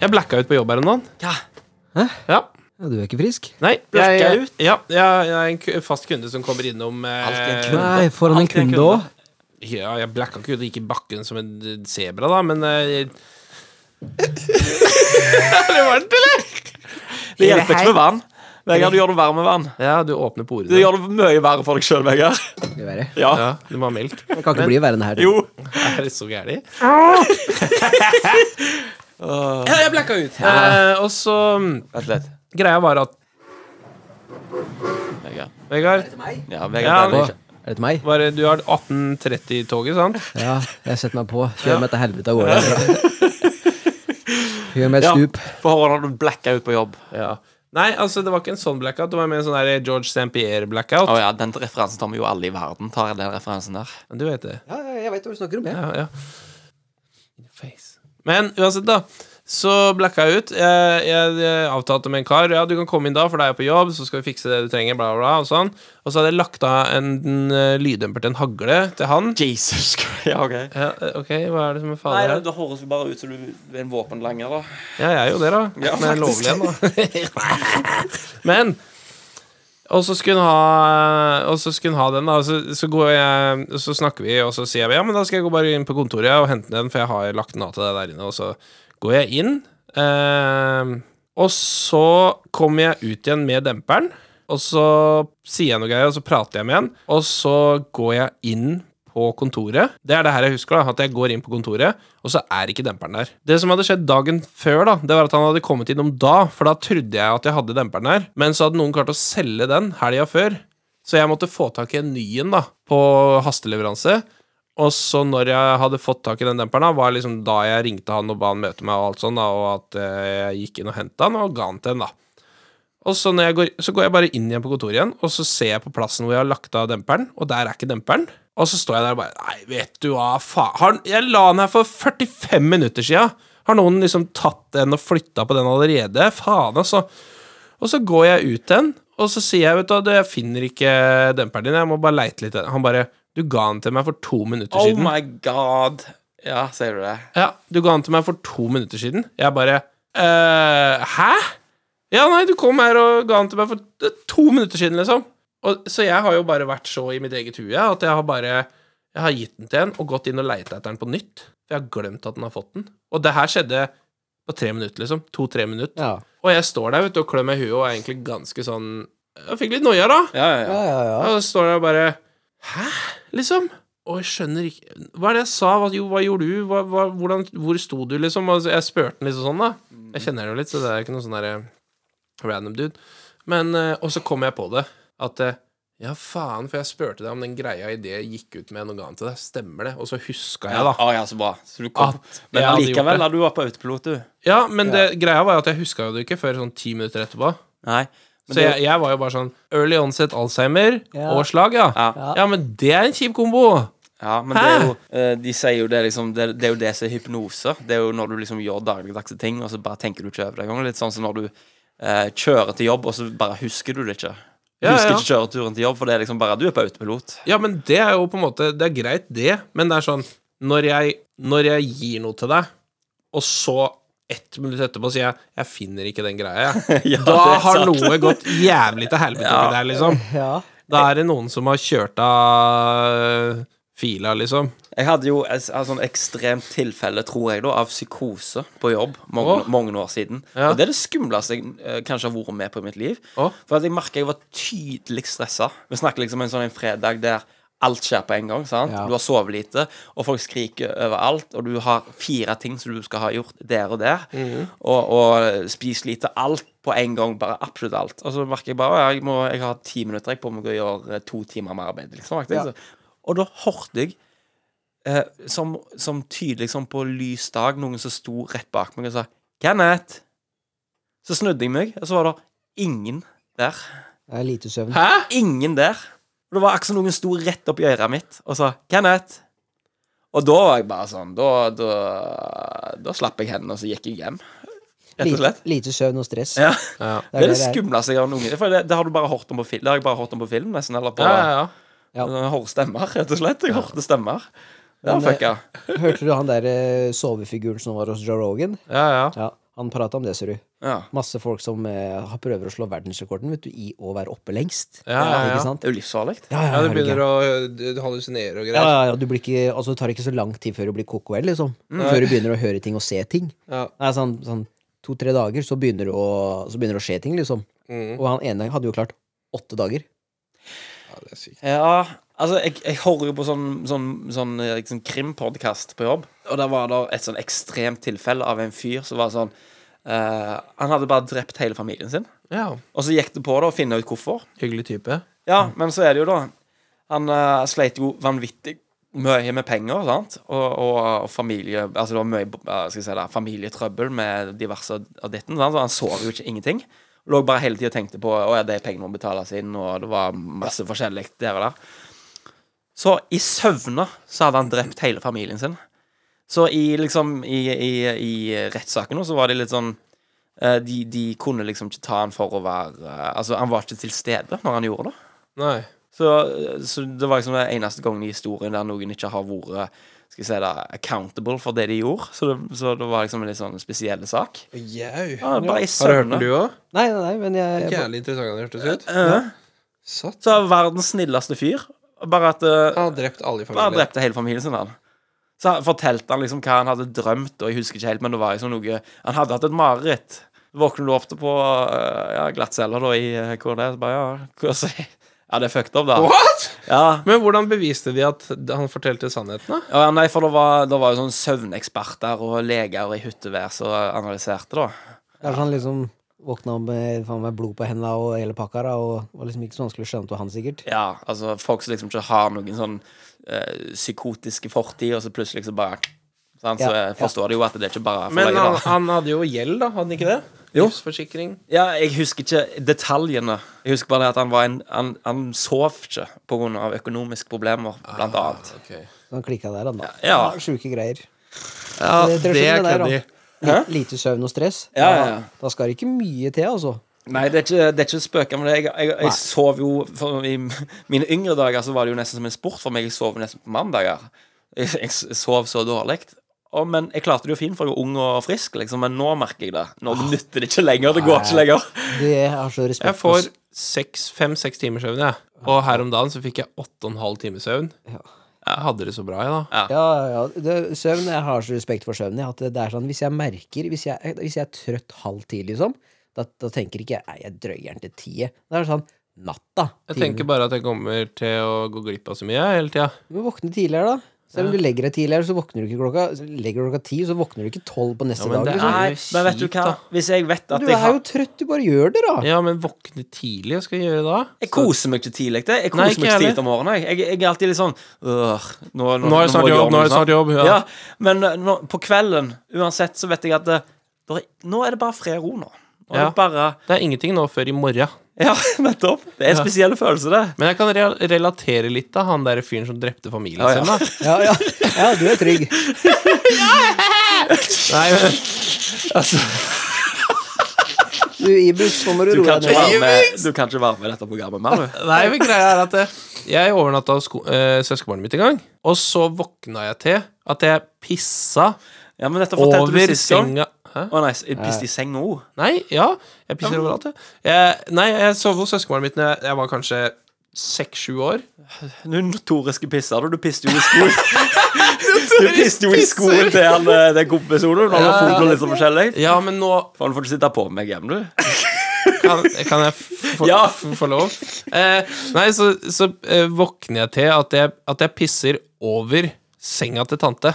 [SPEAKER 2] Jeg blacka ut på jobb her om dagen.
[SPEAKER 1] Ja.
[SPEAKER 2] Ja.
[SPEAKER 3] Ja, du er ikke frisk?
[SPEAKER 2] Nei,
[SPEAKER 1] Blacka
[SPEAKER 2] jeg,
[SPEAKER 1] ut?
[SPEAKER 2] Ja, jeg, jeg er en ku- fast kunde som kommer innom eh,
[SPEAKER 1] Alltid en kunde.
[SPEAKER 3] Nei, foran en
[SPEAKER 1] Alltid en
[SPEAKER 3] kunde
[SPEAKER 1] kunde.
[SPEAKER 3] òg.
[SPEAKER 2] Ja, jeg blacka ikke ut og gikk i bakken som en sebra, da, men eh,
[SPEAKER 1] Det hjelper ikke med vann. Vegard, du gjør det verre med vann.
[SPEAKER 2] Ja, du åpner porene.
[SPEAKER 1] Du gjør det mye verre for deg sjøl, Vegard.
[SPEAKER 3] Det er verre.
[SPEAKER 1] Ja.
[SPEAKER 2] Ja, du må ha melk.
[SPEAKER 3] Det kan ikke bli verre enn det her.
[SPEAKER 1] Jo.
[SPEAKER 2] Er det så gærent? Ah.
[SPEAKER 1] Åh,
[SPEAKER 2] Ja, jeg blacka ut. Eh, og så mm,
[SPEAKER 1] Vent litt.
[SPEAKER 2] Greia var at
[SPEAKER 1] Vegard.
[SPEAKER 2] Vegard,
[SPEAKER 1] Ja,
[SPEAKER 2] Ja,
[SPEAKER 1] Vegard ja,
[SPEAKER 3] Å,
[SPEAKER 1] ikke.
[SPEAKER 3] er det til meg?
[SPEAKER 2] var det, du har 1830-toget, sant?
[SPEAKER 3] Ja, jeg setter meg på. Kjører meg til helvete av gårde. herfra. Gjør meg et
[SPEAKER 1] Ja,
[SPEAKER 3] stup.
[SPEAKER 1] Få høre når du blacka ut på jobb.
[SPEAKER 2] Ja. Nei, altså, det var ikke en sånn blackout. Det var mer en sånn der George St. Pierre-blackout.
[SPEAKER 1] Å ja, den referansen tar vi jo alle i verden. Tar den referansen der.
[SPEAKER 2] Du vet det.
[SPEAKER 3] Ja, jeg veit hva du snakker om.
[SPEAKER 2] Ja, ja. In the face. Men uansett, da. Så blacka jeg ut. Jeg, jeg, jeg avtalte med en kar. Ja, du kan komme inn da, for da er jeg på jobb, så skal vi fikse det du trenger, bla, bla, bla, og sånn. Og så hadde jeg lagt av en, en lyddemper til en hagle til han.
[SPEAKER 1] Jesus Christ. Ja, OK.
[SPEAKER 2] Ja, eh, ok, hva er det som er
[SPEAKER 1] Nei,
[SPEAKER 2] farlig
[SPEAKER 1] det,
[SPEAKER 2] her?
[SPEAKER 1] det høres jo bare ut som du er en våpenlanger, da.
[SPEAKER 2] Ja, jeg er jo det, da.
[SPEAKER 1] Ja,
[SPEAKER 2] Men jeg er
[SPEAKER 1] faktisk.
[SPEAKER 2] lovlig igjen, da. Men Og så skulle hun ha Og så skulle hun ha den, da. Så, så går jeg og Så snakker vi, og så sier jeg ja, men da skal jeg gå bare inn på kontoret og hente den, for jeg har lagt den av til deg der inne. Og så går jeg inn, eh, og så kommer jeg ut igjen med demperen. Og så sier jeg noe greier, og så prater jeg med han. Og så går jeg inn på kontoret. Det er det her jeg husker, da, at jeg går inn på kontoret, og så er ikke demperen der. Det som hadde skjedd dagen før, da, det var at han hadde kommet innom da, for da trodde jeg at jeg hadde demperen der. Men så hadde noen klart å selge den helga før, så jeg måtte få tak i en ny en da, på hasteleveranse. Og så når jeg hadde fått tak i den demperen, da, var liksom da jeg ringte han og ba han møte meg, og alt sånn, da, og at eh, jeg gikk inn og henta han og ga han til en, da. Og så, når jeg går, så går jeg bare inn igjen på kontoret igjen, og så ser jeg på plassen hvor jeg har lagt av demperen, og der er ikke demperen. Og så står jeg der og bare Nei, vet du hva, faen har, Jeg la den her for 45 minutter sia! Har noen liksom tatt den og flytta på den allerede? Faen, altså. Og så går jeg ut igjen, og så sier jeg, vet du hva, du, jeg finner ikke demperen din, jeg må bare leite litt. Han bare Du ga den til meg for to minutter
[SPEAKER 1] Oh
[SPEAKER 2] siden.
[SPEAKER 1] my god. Ja, sier du det?
[SPEAKER 2] Ja, du ga den til meg for to minutter siden. Jeg bare «Eh, Hæ? Ja, nei, du kom her og ga den til meg for t- to minutter siden, liksom. Og, så jeg har jo bare vært så i mitt eget hue at jeg har bare Jeg har gitt den til en og gått inn og leita etter den på nytt. For jeg har glemt at den har fått den. Og det her skjedde på tre minutter, liksom. To-tre minutter.
[SPEAKER 3] Ja.
[SPEAKER 2] Og jeg står der vet du, og klør meg i huet og er egentlig ganske sånn Jeg fikk litt noia, da.
[SPEAKER 1] Ja, ja, ja.
[SPEAKER 2] Og så står jeg og bare Hæ? Liksom? Og jeg skjønner ikke Hva er det jeg sa? Hva, jo, hva gjorde du? Hva, hva, hvordan, hvor sto du, liksom? Og så- jeg spurte den liksom sånn, da. Jeg kjenner henne jo litt, så det er ikke noe sånn derre random dude. Men eh, Og så kom jeg på det. At eh, ja, faen, for jeg spurte deg om den greia idet jeg gikk ut med noe annet til deg. Stemmer det? Og så huska jeg, da.
[SPEAKER 1] Å, ja, så bra. Så du kom.
[SPEAKER 2] At jeg
[SPEAKER 1] Men
[SPEAKER 2] hadde gjort
[SPEAKER 1] likevel
[SPEAKER 2] det.
[SPEAKER 1] har du vært på autopilot, du.
[SPEAKER 2] Ja, men det, greia var jo at jeg huska jo det ikke før sånn ti minutter etterpå.
[SPEAKER 1] Nei. Men
[SPEAKER 2] Så jeg, jeg var jo bare sånn Early onset Alzheimer og slag, ja.
[SPEAKER 1] Ja.
[SPEAKER 2] ja. men det er en kjip kombo.
[SPEAKER 1] Ja, men
[SPEAKER 2] Hæ?
[SPEAKER 1] det er jo, eh, de sier jo det liksom det, det er jo det som er hypnose. Det er jo når du liksom gjør dagligdagse ting, og så bare tenker du ikke over det engang. Litt sånn som når du eh, kjører til jobb, og så bare husker du det ikke. Du
[SPEAKER 2] Ja,
[SPEAKER 1] husker
[SPEAKER 2] ja.
[SPEAKER 1] ikke kjøreturen til jobb, for det er liksom bare du er på autopilot.
[SPEAKER 2] Ja, men det er jo på en måte Det er greit, det, men det er sånn Når jeg, når jeg gir noe til deg, og så ett minutt etterpå sier jeg 'jeg finner ikke den greia', jeg.
[SPEAKER 1] Ja,
[SPEAKER 2] da
[SPEAKER 1] det er
[SPEAKER 2] har
[SPEAKER 1] sant.
[SPEAKER 2] noe gått jævlig til helvete
[SPEAKER 1] Ja.
[SPEAKER 2] med deg, liksom. Da er det noen som har kjørt av fila, liksom.
[SPEAKER 1] Jeg hadde jo et et sånn ekstremt tilfelle, tror jeg, da, av psykose på jobb mange,
[SPEAKER 2] Åh.
[SPEAKER 1] mange år siden.
[SPEAKER 2] Ja.
[SPEAKER 1] Og det er det skumleste jeg eh, kanskje har vært med på i mitt liv.
[SPEAKER 2] Åh.
[SPEAKER 1] For at jeg merka jeg var tydelig stressa. Vi snakker liksom en sånn en fredag der alt skjer på en gang. sant? Du har sovet lite, og folk skriker overalt, og du har fire ting som du skal ha gjort der og der,
[SPEAKER 2] Mhm.
[SPEAKER 1] og, og spis lite. Alt på en gang, bare absolutt alt. Og så merker jeg bare at jeg, må, jeg har ti minutter jeg på meg å gjøre eh, to timer med arbeid. liksom, faktisk. Så- Og da hørte jeg eh, som, som tydelig som på lys dag, noen som sto rett bak meg og sa 'Kenneth'. Så snudde jeg meg, og så var det ingen der.
[SPEAKER 3] Det er lite søvn.
[SPEAKER 2] Hæ?
[SPEAKER 1] Ingen der. Og det var akkurat som noen sto rett opp i øret mitt og sa 'Kenneth'. Og da var jeg bare sånn Da, da, da slapp jeg hendene, og så gikk jeg hjem. Rett og slett.
[SPEAKER 4] Lite, lite søvn og stress.
[SPEAKER 1] Ja.
[SPEAKER 2] Ja.
[SPEAKER 1] Det er det
[SPEAKER 4] der
[SPEAKER 1] skumleste jeg har noen gang. For det, det har du bare hørt om på film. Det har jeg bare hørt om på film, nesten. Eller på
[SPEAKER 2] Ja, ja, ja.
[SPEAKER 4] Ja.
[SPEAKER 1] Jeg hører stemmer, rett og slett. Jeg hørte stemmer. Ja,
[SPEAKER 4] Men, eh,
[SPEAKER 1] fucka.
[SPEAKER 4] Hørte du han der eh, sovefiguren som var hos Joe Rogan?
[SPEAKER 2] ja, ja.
[SPEAKER 4] Ja, han prata om det, ser du.
[SPEAKER 1] Ja.
[SPEAKER 4] Masse folk som eh, har- prøver å slå verdensrekorden vet du, i å være oppe lengst.
[SPEAKER 2] Ja, ja, ja.
[SPEAKER 4] Ikke sant?
[SPEAKER 1] Det er jo livsfarlig.
[SPEAKER 4] Ja, ja,
[SPEAKER 2] ja du
[SPEAKER 4] er
[SPEAKER 2] begynner
[SPEAKER 4] gæren?
[SPEAKER 2] å du hallusinere og
[SPEAKER 4] ja,
[SPEAKER 2] greier.
[SPEAKER 4] ja, ja, du blir ikke, altså, Det tar ikke så lang tid før du blir koko liksom. Før du begynner å høre ting og se ting.
[SPEAKER 2] Ja.
[SPEAKER 4] Nei, sånn, sånn to-tre dager, så begynner, det å, så begynner det å skje ting, liksom.
[SPEAKER 2] Mm.
[SPEAKER 4] Og han ene hadde jo klart åtte dager.
[SPEAKER 2] Ja, det er sykt.
[SPEAKER 1] Ja, altså jeg, jeg hører jo på sånn, sånn, sånn, eh, sånn krimpodkast på jobb, og der var det et sånn ekstremt tilfelle av en fyr som var sånn eh, Han hadde bare drept hele familien sin,
[SPEAKER 2] Ja,
[SPEAKER 1] og så gikk det på det å finne ut hvorfor.
[SPEAKER 2] hyggelig type.
[SPEAKER 1] Ja, men så er det jo da Han eh, sleit jo vanvittig mye med penger, sant? Og, og, og familie Altså det var mye eh, skal jeg si det, familietrøbbel med diverse av ditten, sant? så han så jo ikke ingenting. Lå bare hele tida og tenkte på Å ja, de pengene må betales inn, og det var masse forskjellig der og der. Så i søvne så hadde han drept hele familien sin. Så i liksom I, i, i rettssaken nå så var det litt sånn eh, de, de kunne liksom ikke ta han for å være eh, Altså, han var ikke til stede når han gjorde det.
[SPEAKER 2] Nei.
[SPEAKER 1] Så, så det var liksom den eneste gangen i historien der noen ikke har vært skal jeg si det, accountable for det de gjorde. Så det, så det var liksom en litt sånn spesiell sak.
[SPEAKER 2] Jau.
[SPEAKER 1] Ja, bare i
[SPEAKER 2] Har du hørt
[SPEAKER 1] søvne. Eh,
[SPEAKER 2] den, du òg?
[SPEAKER 4] Nei, nei, nei, men jeg, jeg
[SPEAKER 2] Jævlig interessant han hørtes ut. Satt.
[SPEAKER 1] Så verdens snilleste fyr. Bare at eh,
[SPEAKER 2] Han har drept alle i
[SPEAKER 1] Han
[SPEAKER 2] familien.
[SPEAKER 1] drepte hele familien sin, han. Så han fortalte han liksom hva han hadde drømt, og jeg husker ikke helt, men det var liksom noe Han hadde hatt et mareritt. Våkner du opp til på eh, ja, glattceller, da, i eh, hvor det er, så bare ja, hva å si? Ja, det er fucked up, da.
[SPEAKER 2] What?!
[SPEAKER 1] Ja,
[SPEAKER 2] Men hvordan beviste de at han fortalte sannheten, da?
[SPEAKER 1] Ja, nei, for det var, det var jo sånn søvneksperter og leger i hyttevær som analyserte, da.
[SPEAKER 4] Kanskje han liksom våkna opp med, faen meg blod på hendene og hele pakka, da, og det var liksom ikke så vanskelig å skjønne at det var han, sikkert.
[SPEAKER 1] Ja, altså folk som liksom ikke har noen sånn eh, psykotiske fortid, og så plutselig så bare sant? Så
[SPEAKER 4] Ja,
[SPEAKER 1] jeg forstår det jo at det er ikke bare
[SPEAKER 2] Men
[SPEAKER 1] forlaget,
[SPEAKER 2] han,
[SPEAKER 1] da.
[SPEAKER 2] han hadde jo gjeld, da, hadde han ikke det?
[SPEAKER 1] Jo.
[SPEAKER 2] Livsforsikring.
[SPEAKER 1] Ja, jeg husker ikke detaljene. Jeg husker bare det at han var en Han, han sov ikke på grunn av økonomiske problemer, blant annet.
[SPEAKER 4] Så han klikka der, han, da.
[SPEAKER 1] Ja.
[SPEAKER 4] Sjuke greier. Eh,
[SPEAKER 2] Ja,
[SPEAKER 4] Det er
[SPEAKER 2] det
[SPEAKER 4] det der,
[SPEAKER 2] kan de.
[SPEAKER 4] Li- Lite søvn og stress.
[SPEAKER 1] Ja, ja, ja.
[SPEAKER 4] Da skal det ikke mye til, altså.
[SPEAKER 1] Nei, det er ikke, det er ikke spøker med det. Jeg, jeg, jeg sov jo for, I mine yngre dager så var det jo nesten som en sport for meg. Jeg sov nesten på mandager. Jeg, jeg s- sov så dårlig. Og- Men jeg klarte det jo fint, for jeg var ung og frisk, liksom. Men nå merker jeg det. Nå nytter det ikke lenger. Det går ikke lenger.
[SPEAKER 4] Det har så respekt
[SPEAKER 2] Jeg
[SPEAKER 4] for
[SPEAKER 2] får seks- fem-seks timers søvn, jeg. Og her om dagen så fikk jeg åtte og en halv times søvn.
[SPEAKER 4] Ja.
[SPEAKER 2] Jeg hadde det så bra, jeg, da.
[SPEAKER 4] Ja, ja, ja. det, søvn, Jeg har så respekt for søvn. Jeg, at det er sånn, hvis jeg merker Hvis jeg, hvis jeg er trøtt halv ti, liksom, da, da tenker ikke jeg Nei, jeg drøyer den til ti. jeg». Da er det sånn Natta.
[SPEAKER 2] Jeg tenker bare at jeg kommer til å gå glipp av så mye jeg, hele tida.
[SPEAKER 4] Du må våkne tidligere, da. Selv om du legger deg tidligere, så våkner du ikke klokka Legger du klokka ti, så våkner du ikke tolv på neste
[SPEAKER 2] Ja, men
[SPEAKER 4] dag.
[SPEAKER 2] det
[SPEAKER 4] Liksom.
[SPEAKER 2] er
[SPEAKER 1] Nei,
[SPEAKER 2] jo
[SPEAKER 1] men vet du
[SPEAKER 2] kjipt,
[SPEAKER 1] hva?
[SPEAKER 2] da.
[SPEAKER 1] Hvis jeg vet at
[SPEAKER 4] Du
[SPEAKER 1] jeg
[SPEAKER 4] er
[SPEAKER 1] har
[SPEAKER 4] jo trøtt, du bare gjør det, da.
[SPEAKER 2] Ja, men våkne tidlig, hva skal jeg gjøre da?
[SPEAKER 1] jeg koser meg ikke tidlig. Det. Jeg koser
[SPEAKER 2] Nei, ikke
[SPEAKER 1] meg ikke
[SPEAKER 2] jeg
[SPEAKER 1] tidlig om morgenen. Jeg, jeg, jeg er alltid litt sånn øh, nå, nå,
[SPEAKER 2] Nå er det snart
[SPEAKER 1] må jeg gjøre
[SPEAKER 2] jobb, nå er
[SPEAKER 1] noe
[SPEAKER 2] det snart jobb.
[SPEAKER 1] Ja.
[SPEAKER 2] Ja.
[SPEAKER 1] men eh, nå, på kvelden, uansett, så vet jeg at eh, der, er- Nå er det bare fred og ro, nå. Nå er
[SPEAKER 2] Ja.
[SPEAKER 1] det bare
[SPEAKER 2] Det er ingenting nå før i morgen.
[SPEAKER 1] Ja, nettopp. Det er en spesiell følelse, det.
[SPEAKER 2] Men jeg kan re relatere litt da, han der fyren som drepte familien
[SPEAKER 1] Ja, ja.
[SPEAKER 2] sin, da.
[SPEAKER 4] Ja, ja. ja du er trygg.
[SPEAKER 2] Nei, men,
[SPEAKER 4] Du, Ibus, nå må du
[SPEAKER 1] Du
[SPEAKER 4] roe
[SPEAKER 1] kan
[SPEAKER 4] deg
[SPEAKER 1] ikke
[SPEAKER 4] ned.
[SPEAKER 1] være med, du kan ikke være med i dette programmet mer, du.
[SPEAKER 2] nei, men greia er at eh, jeg overnatta hos sko- eh, søskenbarnet mitt en gang, og så våkna jeg til at jeg pissa
[SPEAKER 1] Ja, men dette fortalte
[SPEAKER 2] over
[SPEAKER 1] du sist gang.
[SPEAKER 2] senga Hæ?
[SPEAKER 1] Å nei, s- jeg pisset i senga òg.
[SPEAKER 2] Nei, ja. Jeg pisser overalt, jeg. jeg. Nei, jeg sov hos søskenbarnet mitt da jeg, jeg var kanskje seks-sju år.
[SPEAKER 1] Du notoriske pisser, du. Du pisset jo i skolen. Du pisset jo i skolen til han eh, den kompisen du, når du har fotball litt sånn forskjellig.
[SPEAKER 2] Ja, men nå
[SPEAKER 1] Faen, får du sitte på meg hjem, du.
[SPEAKER 2] Kan, kan jeg f- få,
[SPEAKER 1] Ja.
[SPEAKER 2] f- få lov? Eh, nei, så, så eh, våkner jeg til at jeg, at jeg pisser over senga til tante.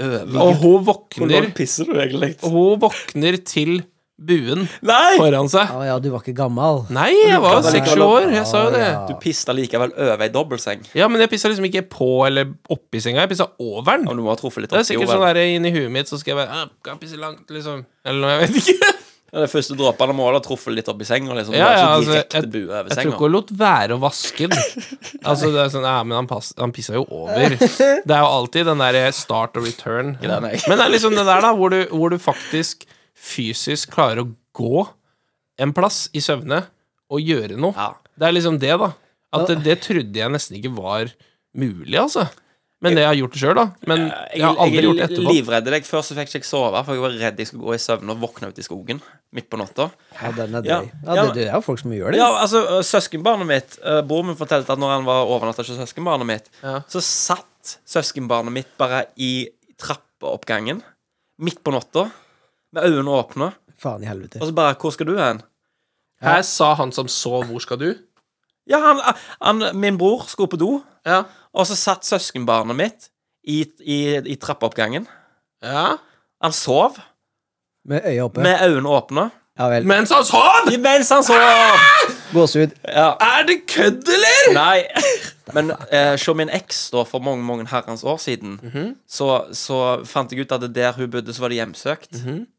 [SPEAKER 2] Og hun
[SPEAKER 1] Hvor
[SPEAKER 2] våkner
[SPEAKER 1] langt pisser du egentlig?
[SPEAKER 2] Hun våkner til buen
[SPEAKER 1] Nei!
[SPEAKER 2] foran seg.
[SPEAKER 4] Å ja, du var ikke gammal.
[SPEAKER 2] Nei, jeg var
[SPEAKER 1] Du
[SPEAKER 2] jo
[SPEAKER 1] kan
[SPEAKER 2] seks
[SPEAKER 1] likevel opp-
[SPEAKER 2] år. Jeg sa jo det.
[SPEAKER 1] Du pista likevel over ei dobbeltseng.
[SPEAKER 2] Ja, men jeg pissa liksom ikke på eller oppi senga. Jeg pissa over den.
[SPEAKER 1] Og du må ha truffet litt
[SPEAKER 2] Det er
[SPEAKER 1] oppi
[SPEAKER 2] sikkert
[SPEAKER 1] hodet.
[SPEAKER 2] sånn der inni huet mitt, så skal jeg bare «Ah, Kan pisse langt, liksom. Eller noe, jeg vet ikke.
[SPEAKER 1] Ja, Det første dråpene må ha truffet litt oppi senga. Liksom.
[SPEAKER 2] Ja, ja,
[SPEAKER 1] det
[SPEAKER 2] altså,
[SPEAKER 1] var ikke direkte
[SPEAKER 2] jeg-
[SPEAKER 1] bue over
[SPEAKER 2] Jeg tror ikke
[SPEAKER 1] senga.
[SPEAKER 2] hun lot være å vaske den. Altså, det er sånn, ja, men han, pass, han pissa jo over. Det er jo alltid den der eh, start og return.
[SPEAKER 1] den, jeg.
[SPEAKER 2] Men det er liksom det der, da, hvor du, hvor du faktisk fysisk klarer å gå en plass i søvne og gjøre noe.
[SPEAKER 1] Ja.
[SPEAKER 2] Det er liksom det, da. At det, det trodde jeg nesten ikke var mulig, altså. Men det jeg har gjort det sjøl, da. Men jeg har aldri gjort det etterpå.
[SPEAKER 1] livredd deg. Før så fikk jeg ikke sove, for jeg var redd jeg skulle gå i søvn og våkne ute i skogen midt på natta.
[SPEAKER 4] Ja, den er drøy.
[SPEAKER 1] Ja.
[SPEAKER 4] Ja,
[SPEAKER 1] Ja,
[SPEAKER 4] det, det er jo folk som gjør det.
[SPEAKER 1] Ja, altså, øh, søskenbarnet mitt øh, Broren min fortalte at når han var overnatta hos søskenbarnet mitt,
[SPEAKER 2] Ja.
[SPEAKER 1] så satt søskenbarnet mitt bare i trappeoppgangen midt på natta med øynene åpne.
[SPEAKER 3] Faen i helvete.
[SPEAKER 1] Og så bare 'Hvor skal du hen?'
[SPEAKER 2] Her sa han som så 'Hvor skal du?'
[SPEAKER 1] Ja, han, han, min bror skulle på do,
[SPEAKER 2] Ja.
[SPEAKER 1] og så satt søskenbarnet mitt i, i, i trappeoppgangen.
[SPEAKER 2] ja.
[SPEAKER 1] Han sov
[SPEAKER 3] Med øya oppe.
[SPEAKER 1] med øynene åpne
[SPEAKER 3] Ja vel.
[SPEAKER 2] Mens han sov!
[SPEAKER 1] mens han sov!
[SPEAKER 3] Gåsehud.
[SPEAKER 1] Ja.
[SPEAKER 2] Er det kødd, eller?!
[SPEAKER 1] Nei. Men eh, se min eks, da, for mange mange herrens år siden,
[SPEAKER 2] Mhm.
[SPEAKER 1] så, så fant jeg ut at det der hun bodde, så var det hjemsøkt.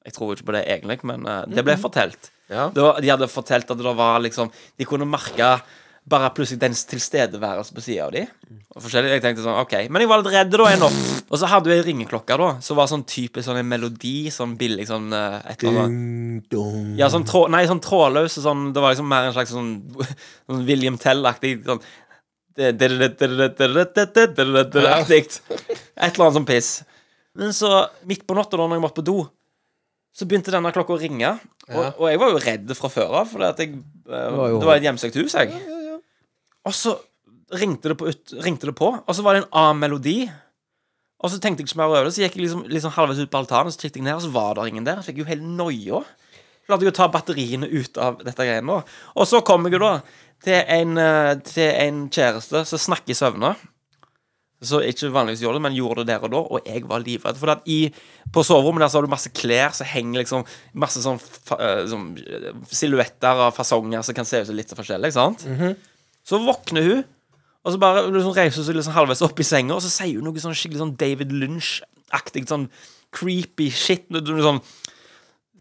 [SPEAKER 1] Jeg tror ikke på det egentlig, men eh, det ble fortalt.
[SPEAKER 2] Mhm. Ja.
[SPEAKER 1] Da, de hadde fortalt at det var liksom De kunne merke bare plutselig dens tilstedeværelse på sida av de.
[SPEAKER 2] Mm.
[SPEAKER 1] Og forskjellig, jeg tenkte sånn, ok Men jeg var litt redd da en natt. Og så hadde hun ei ringeklokke da som var sånn typisk sånn en melodi, sånn billig sånn eh, et eller annet. Ja, sånn, trå, nei, sånn trådløs og sånn Det var liksom mer en slags sånn, sånn William Tell-aktig sånn Et eller annet sånn piss. Men så, midt på natta, da når jeg måtte på do, så begynte denne klokka å ringe. Og, og jeg var jo redd fra før av, for eh, det
[SPEAKER 3] jo-
[SPEAKER 1] var et hjemsøkt hus. jeg Og så ringte det, på, ut- ringte det på, og så var det en annen melodi. Og så tenkte jeg ikke mer over det, så gikk jeg liksom, liksom halvveis ut på altanen, så kikket jeg ned, og så var det ingen der. Så fikk jeg jo helt noia. Klarte jeg å ta batteriene ut av dette greiene nå. Og så kom jeg jo da til en, eh, til en kjæreste som snakker i søvne. Så ikke vanligvis gjorde det, men gjorde det der og da, og jeg var livredd. For at i, på soverommet der så har du masse klær som henger liksom Masse sånn, fa, eh, sånn eh, silhuetter av fasonger som kan se ut som litt forskjellig, ikke sant? Så våkner hun, og så bare liksom reiser hun seg liksom halvveis opp i senga, og så sier hun noe sånn skikkelig sånn David Lynch-aktig, sånn creepy shit. noe Sånn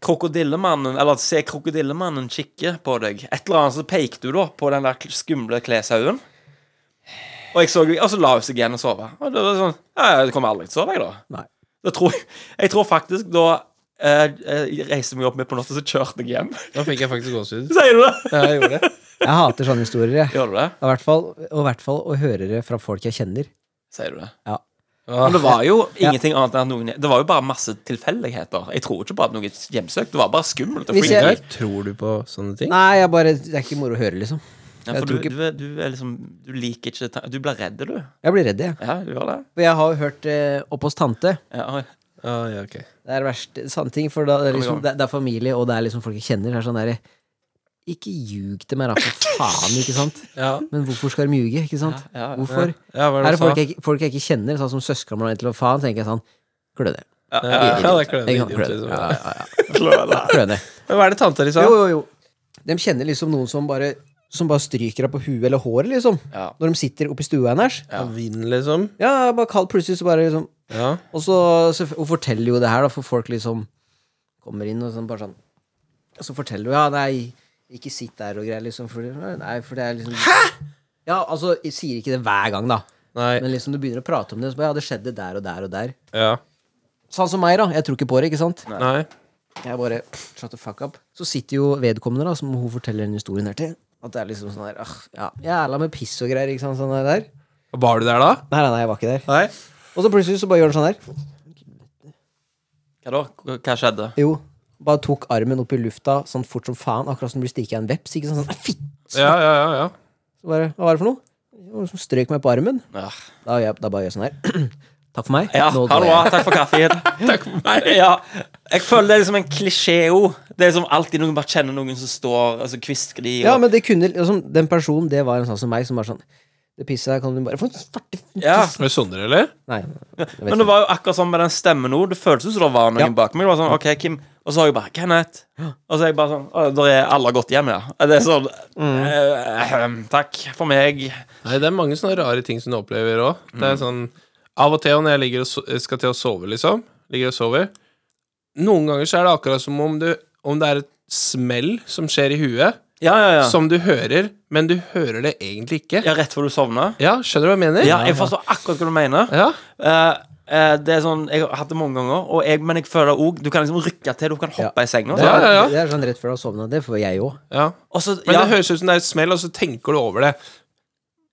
[SPEAKER 1] krokodillemannen, eller se krokodillemannen kikke på deg. Et eller annet, så pekte du da på den der skumle kleshaugen. Og, jeg så, og så la hun seg igjen og sove. Og det var sånn, ja, jeg kommer aldri til å sove, jeg da.
[SPEAKER 3] Nei.
[SPEAKER 1] Da tror jeg, jeg tror faktisk da eh, jeg reiste meg opp midt på natta, så kjørte jeg hjem.
[SPEAKER 2] Nå fikk jeg faktisk gåsehud.
[SPEAKER 1] Sier du det?
[SPEAKER 2] Ja, jeg gjorde det.
[SPEAKER 3] Jeg hater sånne historier, jeg.
[SPEAKER 1] Gjør du det?
[SPEAKER 3] Og i hvert fall, og i hvert fall å høre det fra folk jeg kjenner.
[SPEAKER 1] Sier du det?
[SPEAKER 3] Ja.
[SPEAKER 1] Men det var jo ingenting annet enn at noen Det var jo bare masse tilfeldigheter. Jeg tror ikke på at noe hjemsøkt. Det var bare skummelt. og
[SPEAKER 3] Hvis jeg-
[SPEAKER 1] freaky.
[SPEAKER 2] Eller tror du på sånne ting?
[SPEAKER 3] Nei, jeg bare, det er ikke moro å høre, liksom.
[SPEAKER 1] Ja,
[SPEAKER 3] jeg
[SPEAKER 1] for du,
[SPEAKER 3] tror ikke-
[SPEAKER 1] du, er- du er liksom Du liker ikke ta- Du blir redd, du.
[SPEAKER 3] Jeg blir redd, jeg.
[SPEAKER 1] Ja, du gjør det.
[SPEAKER 3] For jeg har jo hørt eh, opp hos tante.
[SPEAKER 1] Ja,
[SPEAKER 2] Ah, ja, ok.
[SPEAKER 3] Det er verst sanne ting, for da, det, er liksom, det, det er familie, og det er liksom folk jeg kjenner. Det er sånn der, ikke ljug til meg, da, for faen, ikke sant?
[SPEAKER 2] Ja,
[SPEAKER 3] Men hvorfor skal de ljuge, ikke sant?
[SPEAKER 1] Ja, ja, ja.
[SPEAKER 3] hvorfor?
[SPEAKER 2] ja hva
[SPEAKER 3] Er det
[SPEAKER 2] du
[SPEAKER 3] folk
[SPEAKER 2] sa?
[SPEAKER 3] jeg, ikke- folk jeg ikke kjenner, sånn som søskenen min, til å faen, tenker jeg sånn Kløne.
[SPEAKER 1] ja,
[SPEAKER 2] Ja, ja, det er klønete
[SPEAKER 3] Jeg kan
[SPEAKER 2] idiot,
[SPEAKER 3] kløne.
[SPEAKER 2] liksom.
[SPEAKER 3] Ja, ja, ja.
[SPEAKER 1] ja.
[SPEAKER 3] Kløne.
[SPEAKER 2] Men Hva er det tanta di sa?
[SPEAKER 3] Jo, jo, jo. De kjenner liksom noen som bare, som bare stryker deg på huet eller håret, liksom.
[SPEAKER 1] Ja.
[SPEAKER 3] Når de sitter oppe i stua hennes.
[SPEAKER 2] Ja. Vind, liksom?
[SPEAKER 3] Ja, bare kall plutselig, så bare liksom
[SPEAKER 2] Ja.
[SPEAKER 3] Og så, så hun forteller jo det her, da, for folk liksom kommer inn og sånn, bare sånn Og så forteller hun ja, nei, ikke sitt der og greier, liksom, for, nei, for det er liksom Hæ?! Ja, altså, jeg sier ikke det hver gang, da,
[SPEAKER 2] Nei.
[SPEAKER 3] men liksom du begynner å prate om det, så bare ja, det skjedde der og der og der.
[SPEAKER 2] Ja.
[SPEAKER 3] Sånn som meg, da. Jeg tror ikke på det, ikke sant?
[SPEAKER 2] Nei.
[SPEAKER 3] Jeg bare shut the fuck up. Så sitter jo vedkommende, da, som hun forteller den historien her til, at det er liksom sånn her, ah, ja, jævla med piss og greier, ikke sant, sånn her der.
[SPEAKER 2] Var du der da?
[SPEAKER 3] Nei, nei, nei, jeg var ikke der.
[SPEAKER 2] Nei.
[SPEAKER 3] Og så plutselig så bare gjør han sånn her.
[SPEAKER 1] Hva da? Hva skjedde?
[SPEAKER 3] Jo. Bare tok armen opp i lufta sånn fort som faen, akkurat som du stikker av en veps. Ikke sånn, sånn fitt.
[SPEAKER 2] Ja, ja, ja. ja.
[SPEAKER 3] Så bare, Hva var det for noe? Det var noen som strøk meg på armen.
[SPEAKER 1] Ja,
[SPEAKER 3] Da, gjør jeg, da bare gjør jeg sånn her. Takk for meg.
[SPEAKER 1] ja
[SPEAKER 3] Nå
[SPEAKER 1] ha
[SPEAKER 3] drar
[SPEAKER 1] det bra.
[SPEAKER 3] jeg.
[SPEAKER 1] Takk for kaffen.
[SPEAKER 2] Takk for meg.
[SPEAKER 1] Ja, jeg føler det er liksom en klisjé òg. Det er som alltid noen bare kjenner noen som står altså kvisker de og,
[SPEAKER 3] Ja, men det kunne liksom, Den personen, det var en sånn som meg, som var sånn Det pisset der kan du bare få en svarte f-
[SPEAKER 1] ja.
[SPEAKER 2] Er det Sondre, eller?
[SPEAKER 3] Nei. jeg vet
[SPEAKER 1] Men det var jo akkurat sånn med den stemmen òg. Det føltes som det var noen
[SPEAKER 3] Ja.
[SPEAKER 1] bak meg. Det var sånn, ok, Kim Og så har jeg bare Kenneth. Og så er jeg bare sånn Å, da er alle gått hjem, ja. Det er sånn eh, ehm, Takk for meg.
[SPEAKER 2] Nei, det er mange sånne rare ting som du opplever òg. Det er sånn Av og til når jeg ligger og so skal til å sove, liksom Ligger og sover Noen ganger så er det akkurat som om, du, om det er et smell som skjer i huet,
[SPEAKER 1] Ja, ja, ja.
[SPEAKER 2] som du hører, men du hører det egentlig ikke. Ja,
[SPEAKER 1] ja rett før du sovner.
[SPEAKER 2] skjønner du hva jeg mener?
[SPEAKER 1] Ja, jeg forstår akkurat hva du mener.
[SPEAKER 2] Ja,
[SPEAKER 1] Eh, eh, det er sånn, Jeg har hatt det mange ganger, og jeg, men jeg føler òg Du kan liksom rykke til, du kan hoppe i senga.
[SPEAKER 3] Det
[SPEAKER 1] så-
[SPEAKER 2] Ja,
[SPEAKER 3] er,
[SPEAKER 2] ja, ja.
[SPEAKER 3] det er sånn rett før du har sovna. Det får jeg òg.
[SPEAKER 2] ja.
[SPEAKER 1] Og så,
[SPEAKER 2] Men
[SPEAKER 1] ja,
[SPEAKER 2] det høres ut som det er et smell, og så tenker du over det.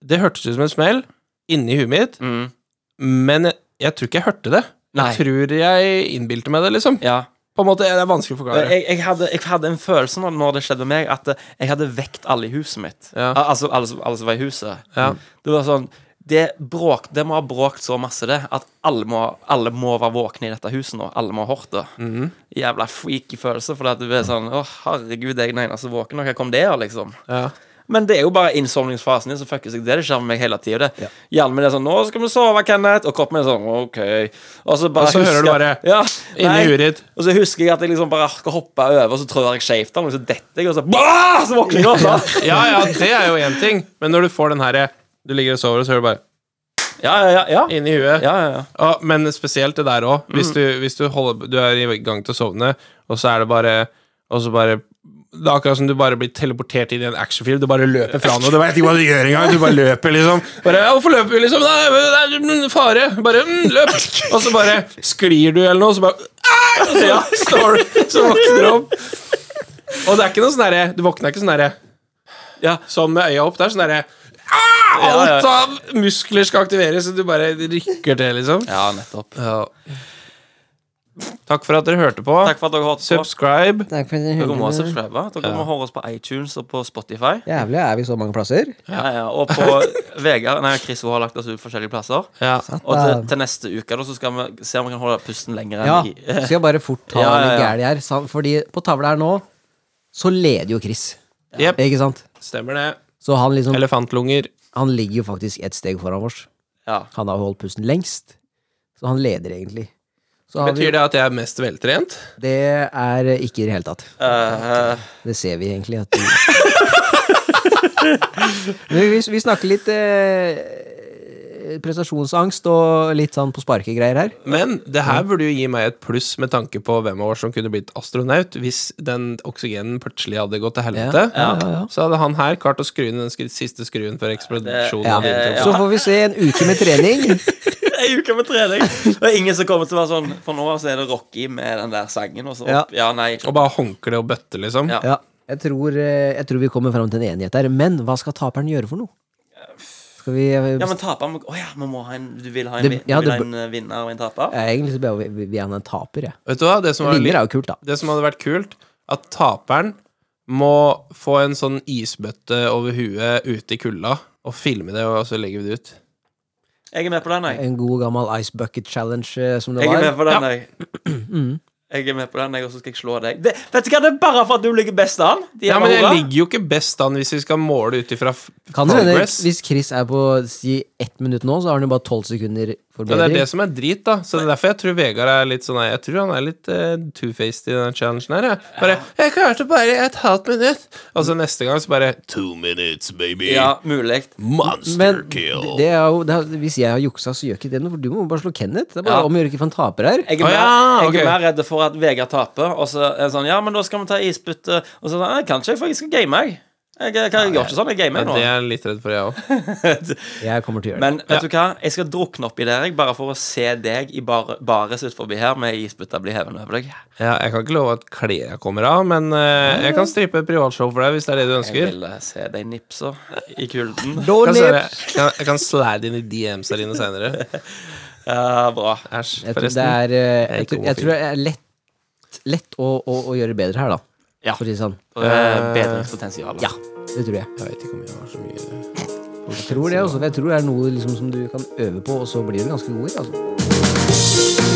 [SPEAKER 2] Det hørtes ut som et smell inni huet mitt,
[SPEAKER 1] Mm.
[SPEAKER 2] men jeg, jeg tror ikke jeg hørte det.
[SPEAKER 1] Nei.
[SPEAKER 2] Jeg tror jeg innbilte meg det, liksom.
[SPEAKER 1] ja.
[SPEAKER 2] På en måte, Det er vanskelig å forklare.
[SPEAKER 1] Jeg, jeg, hadde, jeg hadde en følelse når, når det skjedde med meg, at eh, jeg hadde vekt alle i huset mitt.
[SPEAKER 2] Ja.
[SPEAKER 1] Al- Altså alle, som- alle som var i huset.
[SPEAKER 2] Ja.
[SPEAKER 1] Det var sånn det, bråk, det må ha bråkt så masse, det, at alle må, alle må være våkne i dette huset nå. Alle må ha hørt det. Jævla freaky følelse, for at du er sånn Å, herregud, jeg er den eneste våkne. Hva kom det av, liksom?
[SPEAKER 2] Ja.
[SPEAKER 1] Men det er jo bare innsovningsfasen din som fucker seg. Det er det skjer med meg hele tida. Ja. Hjernen min er sånn 'Nå skal vi sove, Kenneth.' Og kroppen min er sånn 'OK'. Og så, bare
[SPEAKER 2] Og så hører du bare,
[SPEAKER 1] ja,
[SPEAKER 2] inni
[SPEAKER 1] nei.
[SPEAKER 2] huet ditt.
[SPEAKER 1] Og så husker jeg at jeg liksom bare skal hoppe over, og så trør jeg skjevt av, og så detter jeg, og så bah! Så våkner jeg opp. da.
[SPEAKER 2] Ja, ja, det er jo én ting, men når du får den herre Du ligger og sover, og så hører du bare
[SPEAKER 1] Ja, ja, ja. ja.
[SPEAKER 2] inni huet.
[SPEAKER 1] Ja, Mm. ja, ja.
[SPEAKER 2] Ja, men spesielt det der òg. Hvis, du, hvis du, holder, du er i gang til å sovne, og så er det bare Og så bare det er akkurat som du bare blir teleportert inn i en actionfilm. Du bare løper fra noe. Du vet ikke hva du gjør engang. Du bare løper, liksom. Bare, ja, 'Hvorfor løper vi?' liksom. Nei, men det er mm, fare. Bare mm, løp. Og så bare sklir du eller noe, og så bare «Ah!» og så, står du, så våkner du opp. Og det er ikke noe sånn derre Du våkner ikke sånn derre
[SPEAKER 1] Ja.
[SPEAKER 2] Sånn med øya opp. Det er sånn derre «Ah!»
[SPEAKER 1] Ja, ja.
[SPEAKER 2] Alt av muskler skal aktiveres, så du bare rykker til, liksom.
[SPEAKER 1] Ja, nettopp.
[SPEAKER 2] Ja. Takk for at dere hørte på.
[SPEAKER 1] Takk for at dere hørte på.
[SPEAKER 2] Subscribe.
[SPEAKER 3] Takk for den
[SPEAKER 1] Dere må
[SPEAKER 3] hundre.
[SPEAKER 1] subscribe. Dere må høre oss på iTunes og på Spotify.
[SPEAKER 3] Jævlig, er vi så mange plasser?
[SPEAKER 1] Ja, ja. Og på Vegard Nei, Chris hun har lagt oss ut forskjellige plasser.
[SPEAKER 2] Ja.
[SPEAKER 1] Og til, til neste uke da, så skal vi se om vi kan holde pusten lenger enn
[SPEAKER 3] Ja.
[SPEAKER 1] i
[SPEAKER 3] Skal jeg bare fort ta
[SPEAKER 1] Ja, ja,
[SPEAKER 3] litt
[SPEAKER 1] ja.
[SPEAKER 3] gæli her? sant? Fordi på tavla her nå, så leder jo Chris.
[SPEAKER 2] Jep.
[SPEAKER 3] Ikke sant?
[SPEAKER 2] Stemmer det.
[SPEAKER 3] Så han liksom
[SPEAKER 2] Elefantlunger.
[SPEAKER 3] Han ligger jo faktisk ett steg foran oss.
[SPEAKER 1] Ja.
[SPEAKER 3] Han har holdt pusten lengst, så han leder egentlig. Så har
[SPEAKER 2] Betyr det at jeg er mest veltrent?
[SPEAKER 3] vi Det er ikke i det hele tatt.
[SPEAKER 1] Eh,
[SPEAKER 3] Det ser vi egentlig at du Men vi, vi snakker litt eh, prestasjonsangst og litt sånn på sparket-greier her.
[SPEAKER 2] Men det her burde jo gi meg et pluss med tanke på hvem av oss som kunne blitt astronaut hvis den oksygenen plutselig hadde gått til helvete.
[SPEAKER 3] Ja, ja, ja.
[SPEAKER 2] Så hadde han her klart å skru inn den skri- siste skruen før eksplosjonen.
[SPEAKER 1] Ja. Eh, Ja.
[SPEAKER 2] av
[SPEAKER 3] Så
[SPEAKER 2] vindtunnelen.
[SPEAKER 3] får vi se en uke med trening.
[SPEAKER 1] Ei uke med trening. Og det er ingen som kommer til å være sånn For nå av så er det Rocky med den der sangen, og så opp. Ja, nei.
[SPEAKER 2] Og bare håndkle og bøtte, liksom.
[SPEAKER 1] Ja.
[SPEAKER 3] Ja, jeg tror, eh, jeg tror vi kommer fram til en enighet der. Men hva skal taperen gjøre for noe? Skal vi eh,
[SPEAKER 1] Ja, men taper må Å ja, vi må ha en Du vil ha en,
[SPEAKER 3] Det-
[SPEAKER 1] vin-
[SPEAKER 3] ja,
[SPEAKER 1] du vil
[SPEAKER 3] det
[SPEAKER 1] ha en eh, vinner og en taper?
[SPEAKER 3] Jeg er egentlig så bare vi- vi er en taper, jeg.
[SPEAKER 2] Vet du hva? Det som var litt
[SPEAKER 3] Vinner er altså. jo kult, da.
[SPEAKER 2] Det som hadde vært kult, at taperen må få en sånn isbøtte over huet ute i kulda, og filme det, og så legger vi det ut.
[SPEAKER 1] Jeg er med på den, jeg.
[SPEAKER 3] En god gammel ice bucket challenge eh, som det
[SPEAKER 1] Jeg er med
[SPEAKER 3] var.
[SPEAKER 1] på den, jeg. Jeg er med på den, jeg, og så skal jeg slå deg. Det, vet du hva, det er bare for at du ligger best an. De
[SPEAKER 2] Ja,
[SPEAKER 1] jævla
[SPEAKER 2] men jeg
[SPEAKER 1] hora.
[SPEAKER 2] ligger jo ikke best an hvis vi skal måle ut ifra f-
[SPEAKER 3] Kan det hende
[SPEAKER 2] progress.
[SPEAKER 3] hvis Chris er på si ett minutt nå, så har han jo bare tolv sekunder
[SPEAKER 2] Ja, det er
[SPEAKER 3] forbedring.
[SPEAKER 2] det som er drit, da. Så det er derfor jeg tror Vegard er litt sånn Jeg tror han er litt eh, two-faced i denne challengen her. Jeg. Bare 'Jeg klarte bare et halvt minutt', og så neste gang så bare
[SPEAKER 4] Two minutes, baby.
[SPEAKER 1] Ja, mulig.
[SPEAKER 4] Monster
[SPEAKER 3] Men
[SPEAKER 4] kill.
[SPEAKER 3] det er jo, det er, hvis jeg har juksa, så gjør ikke det noe, for du må bare slå Kenneth. Det er bare
[SPEAKER 1] Ja.
[SPEAKER 3] om å gjøre ikke for en taper her.
[SPEAKER 1] Jeg er,
[SPEAKER 2] Å,
[SPEAKER 1] mer,
[SPEAKER 2] ja,
[SPEAKER 1] jeg
[SPEAKER 2] ok.
[SPEAKER 1] er mer redd for at Vegard taper, og så er det sånn Ja, men da skal vi ta isbytte, og så sånn Nei, kan ikke jeg, for jeg skal game, jeg. Jeg, jeg, jeg gjør ikke sånn, jeg gamer
[SPEAKER 2] Det
[SPEAKER 1] nå.
[SPEAKER 2] er jeg litt redd for, jeg òg.
[SPEAKER 3] Jeg kommer til å gjøre det.
[SPEAKER 1] Men vet du hva, jeg skal drukne oppi der, jeg, bare for å se deg i bar bares utenfor her med isbytta bli hevende over deg.
[SPEAKER 2] Ja, jeg kan ikke love at klærne kommer av, men eh, jeg kan strippe et privatshow for deg hvis det er det du ønsker.
[SPEAKER 1] Jeg vil eh, se deg nipse i kulden.
[SPEAKER 2] Kan
[SPEAKER 3] Dårlig!
[SPEAKER 2] se det. Jeg kan, jeg kan slide inn i DMs der inne senere.
[SPEAKER 1] Ja, bra.
[SPEAKER 2] Æsj,
[SPEAKER 3] Jeg tror det
[SPEAKER 2] forresten.
[SPEAKER 3] er, eh,
[SPEAKER 2] er
[SPEAKER 3] jeg
[SPEAKER 2] ikke
[SPEAKER 3] tror, jeg tror det er lett, lett å, å, å gjøre bedre her, da.
[SPEAKER 1] Ja. Eh,
[SPEAKER 3] For å si det sånn.
[SPEAKER 1] For det er bedringspotensial.
[SPEAKER 3] Ja, det tror jeg.
[SPEAKER 2] Jeg vet ikke om jeg har så mye
[SPEAKER 3] altså. Jeg tror det, også, for jeg tror det er noe liksom, som du kan øve på, og så blir du ganske god i. Altså.